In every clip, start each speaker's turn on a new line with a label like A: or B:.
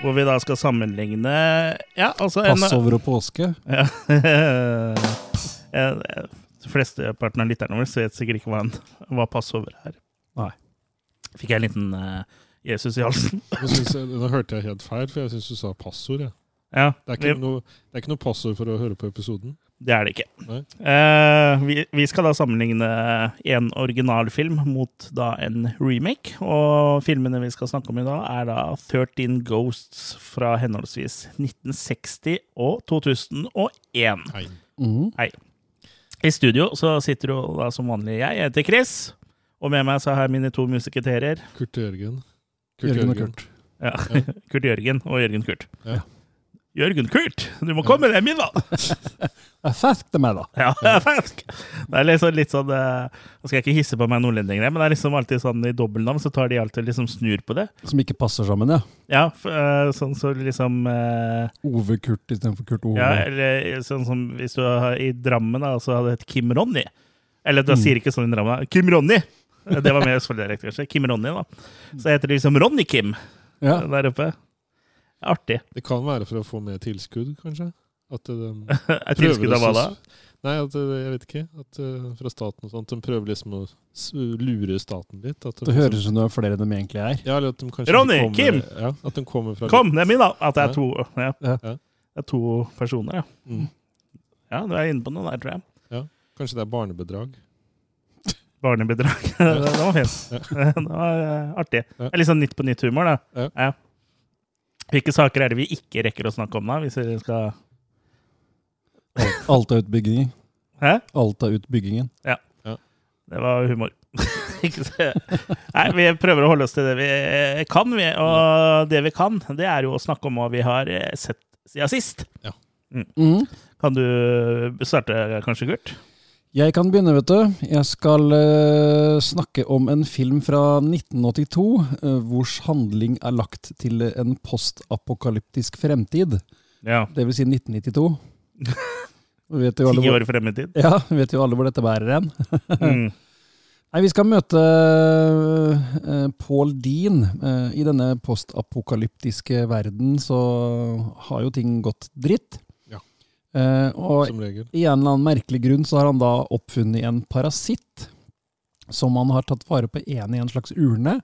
A: Hvor vi da skal sammenligne Ja, altså en-
B: Passover og påske.
A: ja. Eh, De fleste parten av lytterne våre vet sikkert ikke hva, en, hva passover er.
B: Nei.
A: Fikk jeg en liten eh, Jesus i halsen?
C: Jeg synes jeg, nå hørte jeg helt feil, for jeg syns du sa passord. Jeg.
A: Ja,
C: Det, er
A: vi-
C: ikke noe, det er ikke noe passord for å høre på episoden.
A: Det er det ikke.
C: Nei.
A: Eh, vi, vi skal da sammenligne en originalfilm mot da en remake. Og filmene vi skal snakke om i dag, er da 13 Ghosts fra henholdsvis 1960 og 2001.
C: Nei.
B: Mm.
A: I studio så sitter jo da som vanlig jeg. Jeg heter Chris. Og med meg så har jeg mine to musiketerer.
C: Kurt Jørgen.
B: Jørgen og Kurt.
A: Ja. Kurt Jørgen og Jørgen Kurt.
C: Ja.
A: Jørgen Kurt, du må komme deg min, da!
B: Jeg fikk det med, da.
A: Ja, faktisk. Det er liksom litt sånn eh, Nå skal jeg ikke hisse på meg nordlendinger, men det er liksom alltid sånn i dobbeltnavn så tar de alltid liksom snur på det.
B: Som ikke passer sammen, ja.
A: Ja, f- eh, sånn så liksom eh,
B: Ove Kurt istedenfor Kurt Ove.
A: Ja, eller sånn som hvis du har i Drammen, da, så hadde det hett Kim Ronny. Eller da
B: Mm.
A: sier ikke sånn i Drammen. da. Kim Ronny! Det var mer Østfold-dialekt, kanskje. Kim Ronny, da. Så heter det liksom Ronny-Kim
B: Ja.
A: der oppe. Artig.
C: Det kan være for å få mer tilskudd, kanskje? At eh, de
A: Et
C: prøver
A: tilskudd av hva da?
C: å s- Nei, at, eh, jeg vet ikke. At, eh, fra staten og sånt. De prøver liksom å s- lure staten litt. At de
B: Det
C: liksom-
B: høres ut som det er flere enn de egentlig er.
C: ja, eller at de kanskje
A: Ronny,
C: kommer,
A: Kim!
C: Ja, at de kommer fra
A: Kom, det er min, da! At det er to, ja.
B: Ja.
A: Det er to personer, ja.
C: Mm.
A: Ja, du er inne på noe der, tror jeg.
C: Kanskje det er barnebedrag.
A: Barnebidrag. det det var fint. det var eh, artig.
C: Ja.
A: Det er litt sånn Nytt på nytt-humor, da.
C: Ja.
A: Hvilke saker er det vi ikke rekker å snakke om, da? Hvis vi skal
B: Alta-utbyggingen.
A: Hæ?
B: Alta-utbyggingen.
A: Det var humor. Ikke så- Nei, vi prøver å holde oss til det vi eh, kan, vi. Og det vi kan, det er jo å snakke om hva vi har eh, sett siden sist. Mm.
B: Mhm.
A: Kan du starte, kanskje, Kurt?
B: Jeg kan begynne, vet du. Jeg skal eh, snakke om en film fra 1982 eh, hvors handling er lagt til en postapokalyptisk fremtid.
A: Ja.
B: Det vil si 1992. Og vet jo alle
A: Ti
B: hvor,
A: år frem i tid.
B: ja, vet jo alle hvor dette bærer hen.
A: Mm.
B: Nei, Vi skal møte eh, Paul Dean. Eh, I denne postapokalyptiske verden så har jo ting gått dritt.
C: Ja.
B: Eh, og
C: Som regel.
B: i en eller annen merkelig grunn så har han da oppfunnet en parasitt som han har tatt vare på én i en slags urne,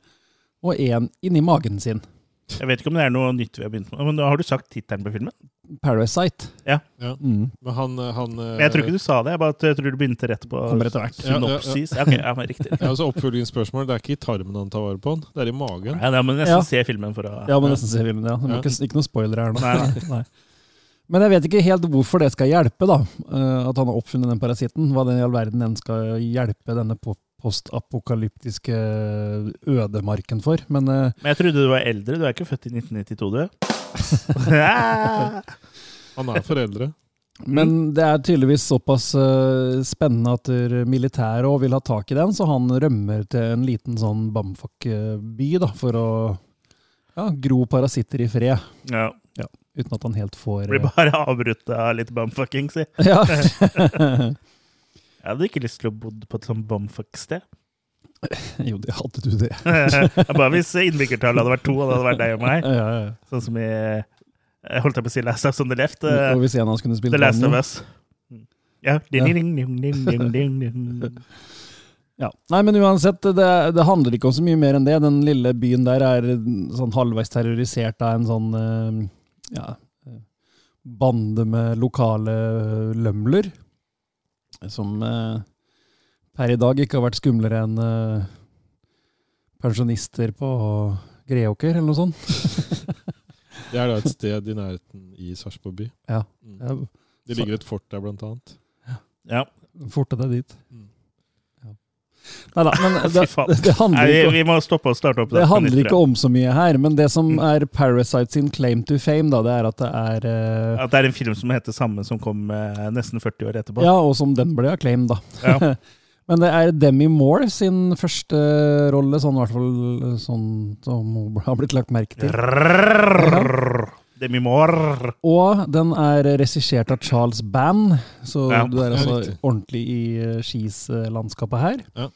B: og én inni magen sin.
A: Jeg vet ikke om det er noe nytt vi har begynt med, men har du sagt tittelen på filmen?
B: Parasite.
A: Ja.
C: Ja.
B: Mm.
C: Men han, eh, han eh,
A: Men jeg tror ikke du sa det, jeg bare jeg tror du begynte rett på
B: Kommer etter hvert.
C: Ja, ja, ja.
A: synopsis. Ja, ok, ja, men riktig.
C: ja, altså Oppfølgingsspørsmål. Det er ikke i tarmen han tar vare på, han. det er i magen.
A: Ja, da må du nesten
B: Ja.
A: se filmen for å
B: Ja, må nesten se filmen, ja. Det
C: Ja.
B: blir ikke, ikke noe spoiler her nå.
A: Nei,
B: Nei. Men jeg vet ikke helt hvorfor det skal hjelpe, da. eh, At han har oppfunnet den parasitten. Hva den i all verden den skal hjelpe denne po- postapokalyptiske ødemarken for. Men eh,
A: Men jeg trodde du var eldre. Du er ikke født i 1992, du? Ja.
C: Han er foreldre.
B: Men det er tydeligvis såpass eh, spennende at eh, militæret òg vil ha tak i den, så han rømmer til en liten sånn bamfuck-by da, for å ja, gro parasitter i fred.
A: ja.
B: uten at han helt får eh,
A: Blir bare avbrutt av litt bumfucking, si.
B: Ja.
A: Jeg hadde ikke lyst til å bo på et sånt bumfuck-sted.
B: Jo, det hadde du, det.
A: Bare hvis innbyggertallet hadde vært to, og det hadde vært deg og meg.
B: Ja, ja, ja.
A: Sånn som i Jeg holdt jeg på å si Last House on the Left. eh,
B: Og hvis en av oss kunne
A: The
B: spille
A: Last of
B: banjo.
A: Us. Ja. Ding, ding, ding, ding, ding, ding, ding.
B: Ja. Nei, men uansett, det, det handler ikke om så mye mer enn det. Den lille byen der er sånn halvveis terrorisert av en sånn eh, ja, eh, bande med lokale eh, lømler. Som eh, per i dag ikke har vært skumlere enn eh, pensjonister på Greåker, eller noe sånt.
C: Det er da et sted i nærheten i Sarpsborg by.
B: Ja.
C: Mm.
B: Jeg
C: Det ligger et fort der, blant annet.
A: Ja.
B: Forte deg dit.
C: Mm.
B: Nei da, men det,
A: Fy faen.
B: det, det
A: Nei,
B: handler
A: vi,
B: ikke om
A: vi må stoppe og starte opp.
B: Det handler ikke
A: om
B: om så mye her, men det som
A: Mm.
B: er Parasite sin claim to fame, da, det er at det er eh,
A: At det er en film som heter samme som kom eh, nesten 40 år etterpå.
B: Ja, og som den ble acclaimed, da.
A: Ja.
B: Men det er Demi Moore sin første rolle, sånn i hvert fall eh, sånn som hun har blitt lagt merke til.
A: Rrrr. Demi Moore.
B: Og den er regissert av Charles Band, så
A: Ja,
B: du
C: det
B: er
C: er
B: altså
C: riktig.
B: ordentlig i eh, skislandskapet her.
C: Ja.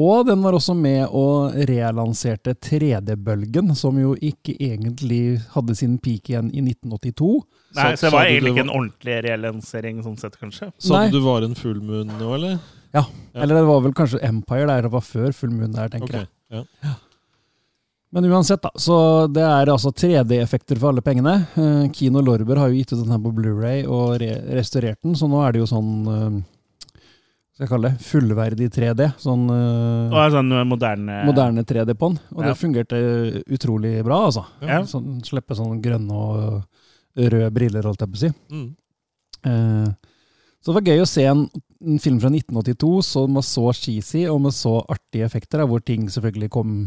B: Og den var også med og relanserte 3D-bølgen, som jo ikke egentlig hadde sin peak igjen i 1982.
A: Nei,
C: Sa-
A: så det
C: sa
A: var
C: du
A: egentlig
C: det
A: ikke en ordentlig relansering sånn sett, kanskje.
C: Sa
B: Nei.
C: du du var en full moon nå, eller? Ja.
B: Eller det var vel kanskje Empire der det var før Full Moon der, tenker
C: Ok,
B: jeg.
C: Ja.
B: Men uansett, da. Så det er altså 3D-effekter for alle pengene. Eh, Kino Lorber har jo gitt ut den her på Blu-ray og re restaurert den, så nå er det jo sånn eh, Skal jeg kalle det fullverdig 3D. Sånn
A: Det
B: eh,
A: var sånn eh, moderne
B: moderne 3D på den. Og
A: Ja.
B: det fungerte eh, utrolig bra, altså.
A: Ja.
B: Sånn, slippe sånne grønne og røde briller, holdt jeg på å si.
C: Mm.
B: Eh, Så det var gøy å se en, en film fra 1982 så med så cheesy og med så artige effekter, da, hvor ting selvfølgelig kom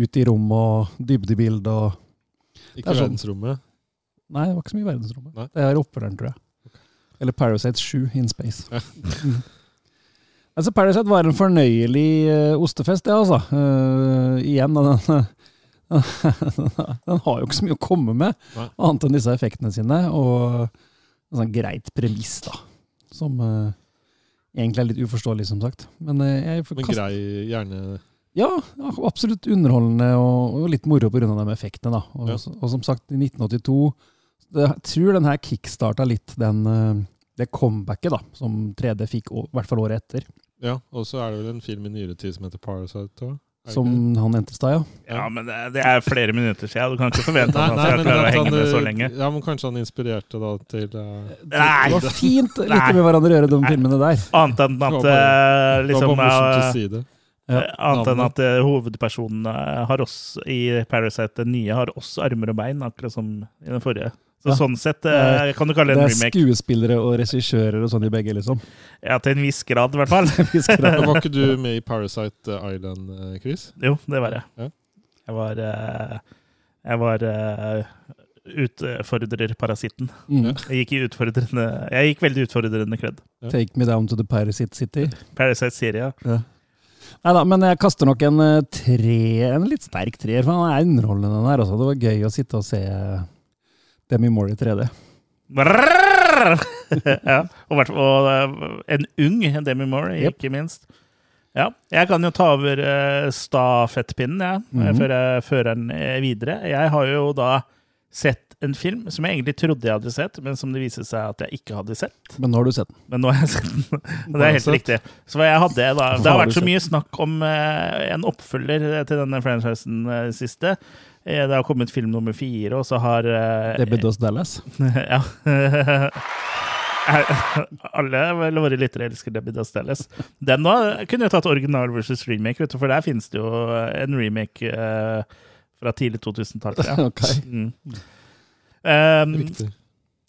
B: ut i rom og dybdebild og
C: Ikke
B: Det er sånn.
C: verdensrommet.
B: Nei, det var ikke så mye i verdensrommet.
C: Nei.
B: Det er oppfølgeren, tror jeg. Eller Parasite 7 in Space.
C: Ja.
B: Mm. altså, Parasite var en fornøyelig eh, ostefest, det, altså. Eh, igjen, da, den, den har jo ikke så mye å komme med,
C: Nei.
B: annet enn disse effektene sine. Og en sånn greit premiss, da. Som eh, egentlig er litt uforståelig, som sagt. Men eh, jeg får
C: Men
B: kaste
C: grei gjerne
B: ja, ja, absolutt underholdende og, og litt moro pga. de effektene. da. Og,
C: Ja.
B: og som sagt, i 1982 det, Jeg tror den her kickstarta litt den, eh, det comebacket da, som 3D fikk, å- i hvert fall året etter.
C: Ja, og så er det vel en film i nyere tid som heter Parasite. da? Er det
B: Som
C: ikke det?
B: han Entestad, ja.
A: Ja, men det, det er flere minutter siden. Du kan ikke forvente at
C: Nei,
A: han
C: nei,
A: skal
C: men
A: klare å
C: at
A: henge med så
C: eh,
A: lenge.
C: Ja, men Kanskje han inspirerte da til eh,
B: Det
A: Nei!
B: var fint å
A: Nei.
B: like med hverandre å gjøre de
A: Nei.
B: filmene der.
A: Annet enn at
C: Det var bare-
A: eh,
C: Det var
A: liksom,
C: bare morsomt å
A: eh,
C: si det.
B: Ja,
A: eh, Annet enn
C: navnet.
A: at eh, hovedpersonene har også, i Parasite den nye har også armer og bein, akkurat som i den forrige. Så
B: Ja.
A: Sånn sett eh, kan du kalle
B: Det
A: det en
B: er
A: remake.
B: skuespillere og regissører og sånn i begge, liksom.
A: Ja, Til en viss grad, i hvert fall.
B: Vi skrev-
C: Men var ikke du med i Parasite Island, eh, Chris?
A: Jo, det var jeg.
C: Ja.
A: Jeg var, eh, jeg var eh, utfordrerparasitten.
B: Mm.
A: Jeg gikk i utfordrende Jeg gikk veldig utfordrende kledd.
B: Take me down to the Parasite City.
A: Parasite Syria.
B: Nei da, men jeg kaster nok en eh, tre, en litt sterk treer, for han er underholdende den her. Altså. Det var gøy å sitte og se eh, Demi Moore i 3D.
A: Brrrr! ja, og, hvert- og eh, en ung Demi Moore, ikke minst. Ja, jeg kan jo ta over eh, stafettpinnen jeg,
B: Mhm.
A: før jeg fører den eh, videre. Jeg har jo da sett en film som jeg egentlig trodde jeg hadde sett, men som det viste seg at jeg ikke hadde sett.
B: Men nå har du sett den.
A: Men nå har jeg sett den. Det er helt
C: Uansett.
A: riktig. Så jeg hadde da, Det
B: Hva
A: har
B: har
A: vært
B: du
A: så mye snakk om eh, en oppfølger til denne franchisen eh, siste. Eh, Det har kommet film nummer fire, og så har eh,
B: Det blir Dos Dallas.
A: ja. Alle vel våre lyttere elsker Debbie Does Dallas. Den da kunne jeg tatt original versus remake, vet du, for der finnes det jo en remake eh, fra tidlig 2000-tall. Ja.
B: Ok.
A: Mm. Um,
C: Riktig.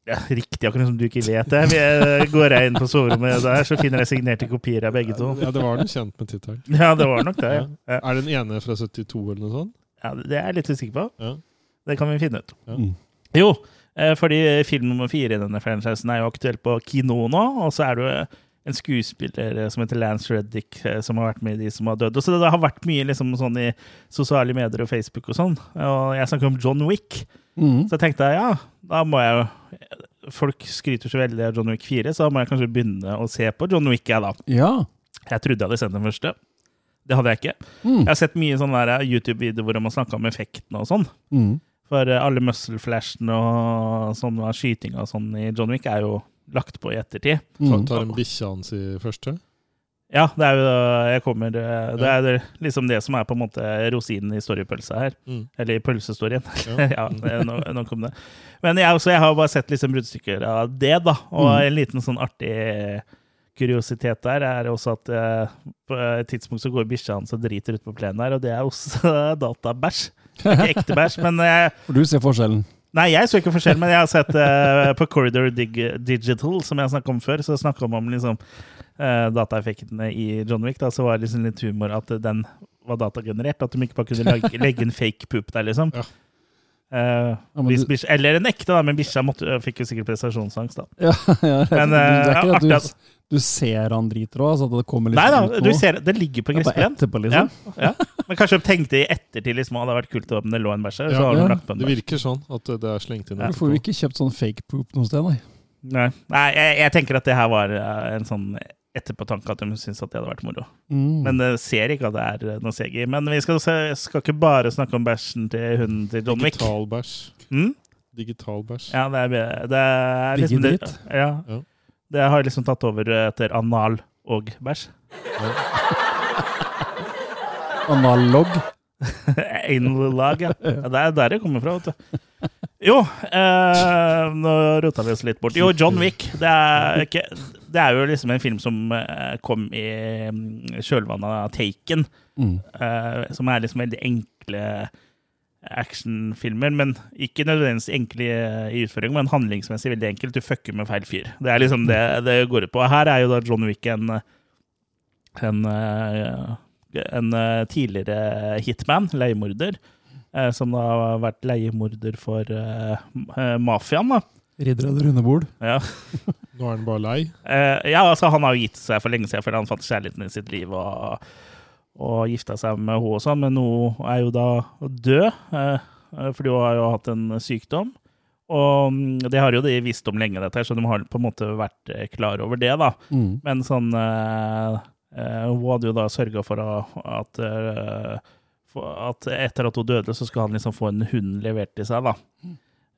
A: ja, riktig, akkurat som du ikke vet det. Vi, eh, Går jeg inn på soverommet der, så finner jeg signerte kopier av begge to.
C: Ja, det var den kjent med tittelen.
A: Ja, det var nok det. ja. Ja.
C: Er den ene fra 72 eller noe sånt?
A: Ja, det er jeg litt usikker på.
C: Ja.
A: Det kan vi finne ut.
C: Ja.
B: Mm.
A: Jo, eh, fordi film nummer fire i denne franchisen er jo aktuell på kino nå, og så er det jo eh, en skuespiller eh, som heter Lance Reddick, eh, som har vært med i de som har dødd. Og så det har vært mye liksom sånn i sosiale medier og Facebook og sånn. Og jeg snakker om John Wick,
B: Mm.
A: Så jeg tenkte ja, da må jeg jo Folk skryter så veldig av John Wick 4, så da må jeg kanskje begynne å se på John Wick. Jeg, da.
B: Ja.
A: jeg trodde jeg hadde sett den første. Det hadde jeg ikke.
B: Mm.
A: Jeg har sett mye sånne der YouTube-videoer hvor man snakka om effektene og sånn.
B: Mm.
A: For eh, alle muscle flashene og sånn av skytinga og sånn i John Wick er jo lagt på i ettertid.
B: Mm.
C: Tar en bikkja hans i første?
A: Ja, det er jo da jeg kommer eh, Det er det- liksom det som er på en måte rosinen i storypølsa her.
C: Mm.
A: Eller i pølsestoryen.
C: Ja.
A: ja, det- nå, nå kom det. Men jeg, også, jeg har bare sett liksom bruddstykker av det, da. Og
B: Mm.
A: en liten sånn artig kuriositet der er også at eh, på et tidspunkt så går bikkja hans og driter ute på plenen her, og det er også databæsj. Ikke ekte bæsj, men eh, jeg
B: For du ser forskjellen.
A: Nei, jeg så ikke forskjell, men jeg har sett eh, på Corridor Dig Digital, som jeg snakket om før, så snakket man om liksom, eh, dataeffektene i John Wick. Da, så var det liksom litt humor at den var datagenerert, at de ikke bare kunne legge, legge en fake poop der, liksom.
C: Ja.
A: Eh,
B: Ja, men
A: hvis
B: du-
A: bikkja- eller en ekte, da, men bikkja måtte- eh, fikk jo sikkert prestasjonsangst, da.
B: Ja, ja, det er
A: Men eh,
B: ikke at
A: artig at
B: du, du ser han driter òg, så at det kommer litt
A: Nei da,
B: ut
A: du
B: nå.
A: ser det ligger på
B: Det er bare
A: gressplenen.
B: etterpå, liksom.
A: Ja, ja. Men kanskje de tenkte i ettertid liksom, at det hadde vært kult om det lå en bæsj her, så
C: Ja,
A: har
B: ja.
A: de lagt på en
C: Det
A: bæsj.
C: virker sånn at det er slengt inn.
A: Ja.
B: Du får jo ikke kjøpt sånn fake poop noe sted, nei.
A: Nei, Nei jeg, jeg tenker at det her var eh, en sånn etterpåtanke at de syntes at det hadde vært moro.
B: Mm.
A: Men det ser ikke at det er eh, noe CGI. Men vi skal, se, skal ikke bare snakke om bæsjen til hunden til John Wick.
C: Digital bæsj.
A: Mm?
C: Digital bæsj.
A: Ja, det er, det er liksom det,
B: Diggedritt.
A: ja.
C: Ja.
A: det har liksom tatt over etter anal og bæsj.
B: Analog.
A: Analog, ja. ja. Det er der det kommer fra, vet du. Jo, eh, nå rota vi oss litt bort. Jo, John Wick. Det er, ikke, det er jo liksom en film som eh, kom i mm, kjølvannet av Taken.
B: Mm.
A: eh, som er liksom veldig enkle actionfilmer, men ikke nødvendigvis enkle i- i utføring, men handlingsmessig veldig enkelt. Du fucker med feil fyr. Det er liksom det det går ut på. Og Her er jo da John Wick en en, eh, en eh, tidligere hitman, leiemorder, eh, som da har vært leiemorder for eh, eh, mafiaen, da.
B: Ridder av det runde bord.
A: Ja.
C: Nå er den bare lei.
A: Eh, ja, altså han har jo gitt seg for lenge siden fordi han fant kjærligheten i sitt liv og, og gifta seg med henne og sånn, men nå er jo da død, eh, eh, fordi hun har jo hatt en sykdom. Og mm, det har jo de visst om lenge, dette her, så de har på en måte vært eh, klar over det, da.
B: Mm.
A: Men sånn eh, eh, Hun hadde jo da sørga for å- at, eh, for at etter at hun døde, så skulle han liksom få en hund levert til seg, da.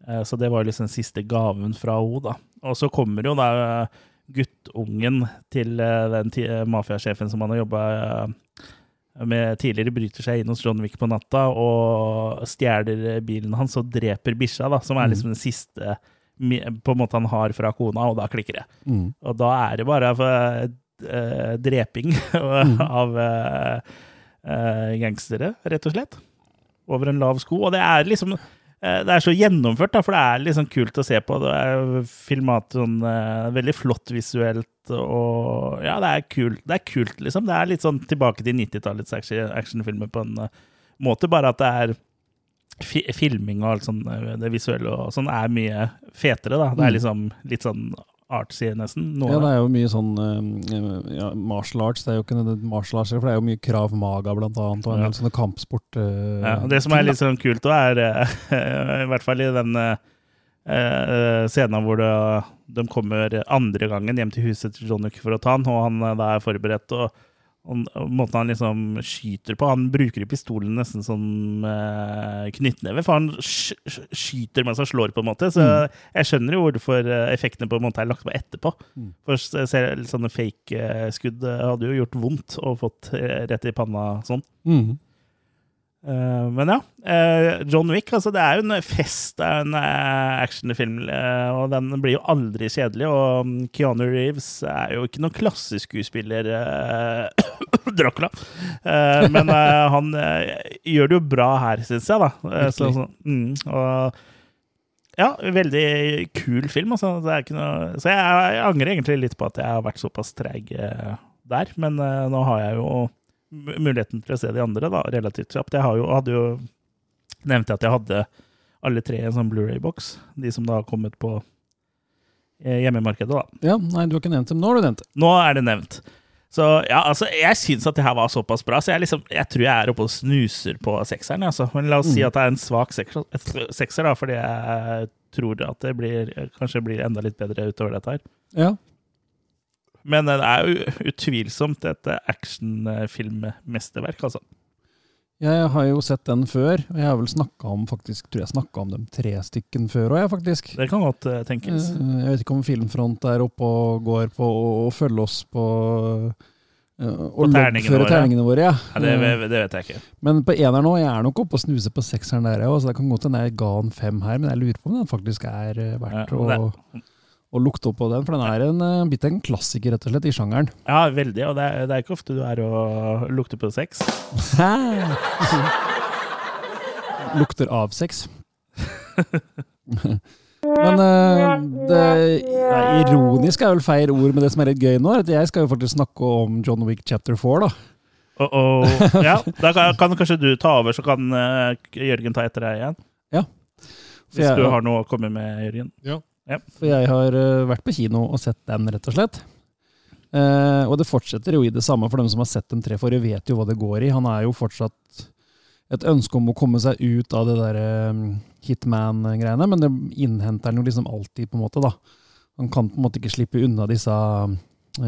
A: Eh, så det var jo liksom den siste gaven fra henne, da. Og så kommer jo da eh, guttungen til eh, den ti- eh, mafiasjefen som han har jobba med tidligere, bryter seg inn hos John Wick på natta og stjeler bilen hans og dreper bikkja, da, som er liksom den siste mi- på en måte han har fra kona, og da klikker det.
B: Mm.
A: Og da er det bare eh, eh, dreping av eh, eh, gangstere, rett og slett. Over en lav sko. Og det er liksom eh, det er så gjennomført, da, for det er liksom kult å se på. Det er filmat sånn eh, veldig flott visuelt, og ja, det er kult, det er kult liksom. Det er litt sånn tilbake til 90-tallets action- actionfilmer på en eh, måte, bare at det er fi filming og alt sånn, eh, det visuelle og sånn, er mye fetere, da. Det er liksom litt sånn artsy, nesten. Noe
B: Ja,
A: av det.
B: det er jo mye sånn eh, ja, martial arts. Det er jo ikke nødvendigvis martial arts, for det er jo mye krav maga, blant annet, og en
A: Ja.
B: del sånne kampsport... eh,
A: Ja, og det som er litt sånn kult òg, er eh, i hvert fall i den eh, eh, scenen hvor det, de kommer andre gangen hjem til huset til John Wick for å ta han, og han eh, da er forberedt. og og måten han liksom skyter på Han bruker pistolen nesten som eh, knyttneve, for han sk sk- skyter mens han slår, på en måte. Så jeg skjønner jo hvorfor eh, effektene på en måte er lagt på etterpå.
B: Mm.
A: For s- ser- sånne fake-skudd eh, hadde jo gjort vondt og fått eh, rett i panna sånn.
B: Mm.
A: Eh, men ja, eh, John Wick, altså det er jo en fest, det er en eh, actionfilm, eh, og den blir jo aldri kjedelig, og mm, Keanu Reeves er jo ikke noen klasseskuespiller, eh, Dracula, Eh, men eh, han eh, gjør det jo bra her, synes jeg da. Eh, så, så, mm, og ja, veldig kul film, altså. Det er ikke noe, så jeg, jeg angrer egentlig litt på at jeg har vært såpass treg eh, der, men eh, nå har jeg jo mu- muligheten til å se de andre da, relativt kjapt. Jeg har jo, hadde jo nevnte at jeg hadde alle tre i en sånn Blu-ray-boks, de som da har kommet på eh, hjemmemarkedet. da.
B: ja, nei, du har ikke nevnt det, men nå har du nevnt det.
A: Nå er det nevnt. Så ja, altså, jeg syns at det her var såpass bra, så jeg, liksom, jeg tror jeg er oppe og snuser på sekseren. Altså. Men la oss si at det er en svak sekser, sekser da, fordi jeg tror at det blir, kanskje blir enda litt bedre utover dette her.
B: Ja.
A: Men eh, det er jo utvilsomt et actionfilmmesterverk, altså.
B: Jeg har jo sett den før, og jeg har vel snakka om faktisk, tror jeg snakket om dem tre stykken før òg, faktisk.
A: Det kan godt eh,
B: Eh,
A: tenkes.
B: Jeg vet ikke om Filmfront er oppe og går på å å følge oss på eh, Og
A: terningene
B: loggføre
A: våre.
B: terningene våre. Ja.
A: Ja, det,
B: Eh,
A: det vet jeg ikke.
B: Men på eneren òg, jeg er nok oppe og snuser på sekseren der, jeg òg, så det kan godt hende jeg ga den fem her, men jeg lurer på om den faktisk er eh, verdt
A: Ja, det-
B: å, å lukte opp på den, for den er en, eh, blitt en klassiker, rett og slett, i sjangeren.
A: Ja, veldig. Og det er, det er ikke ofte du er og lukter på sex.
B: Lukter av sex. Men eh, det nei, ironisk er vel feil ord, men det som er litt gøy nå, er at jeg skal jo faktisk snakke om John Wick chapter 4, da.
A: Oh, oh. Ja, da kan, kan kanskje du ta over, så kan eh, Jørgen ta etter deg igjen.
B: For
A: Hvis du
B: jeg,
A: har noe å komme med, Jørgen.
B: for jeg har eh, vært på kino og sett den, rett og slett. Eh, og det fortsetter jo i det samme for dem som har sett dem tre forrige, vet jo hva det går i. Han er jo fortsatt et ønske om å komme seg ut av det der eh, hitman-greiene, men det innhenter han jo liksom alltid, på en måte, da. Han kan på en måte ikke slippe unna disse eh,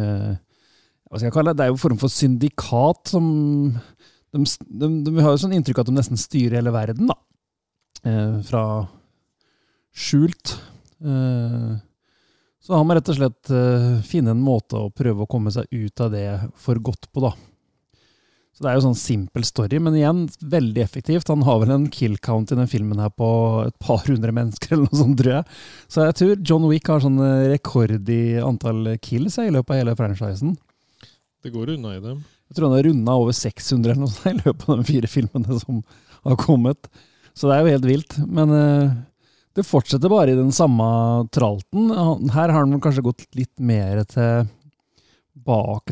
B: Hva skal jeg kalle det? Det er jo en form for syndikat som de, s- de, de har jo sånn inntrykk at de nesten styrer hele verden, da. Eh, fra skjult. Eh, så han må rett og slett eh, finne en måte å prøve å komme seg ut av det for godt på, da. Så det er jo sånn simpel story, men igjen veldig effektivt. Han har vel en kill count i den filmen her på et par hundre mennesker eller noe sånt, tror jeg. Så jeg tror John Wick har sånn eh, rekord i antall kills jeg, i løpet av hele franchisen.
C: Det går unna i dem.
B: Jeg tror han har runda over 600 eller noe sånt i løpet av de fire filmene som har kommet. Så det er jo helt vilt. Men eh, det fortsetter bare i den samme tralten. Han- Her har han vel kanskje gått litt mer tilbake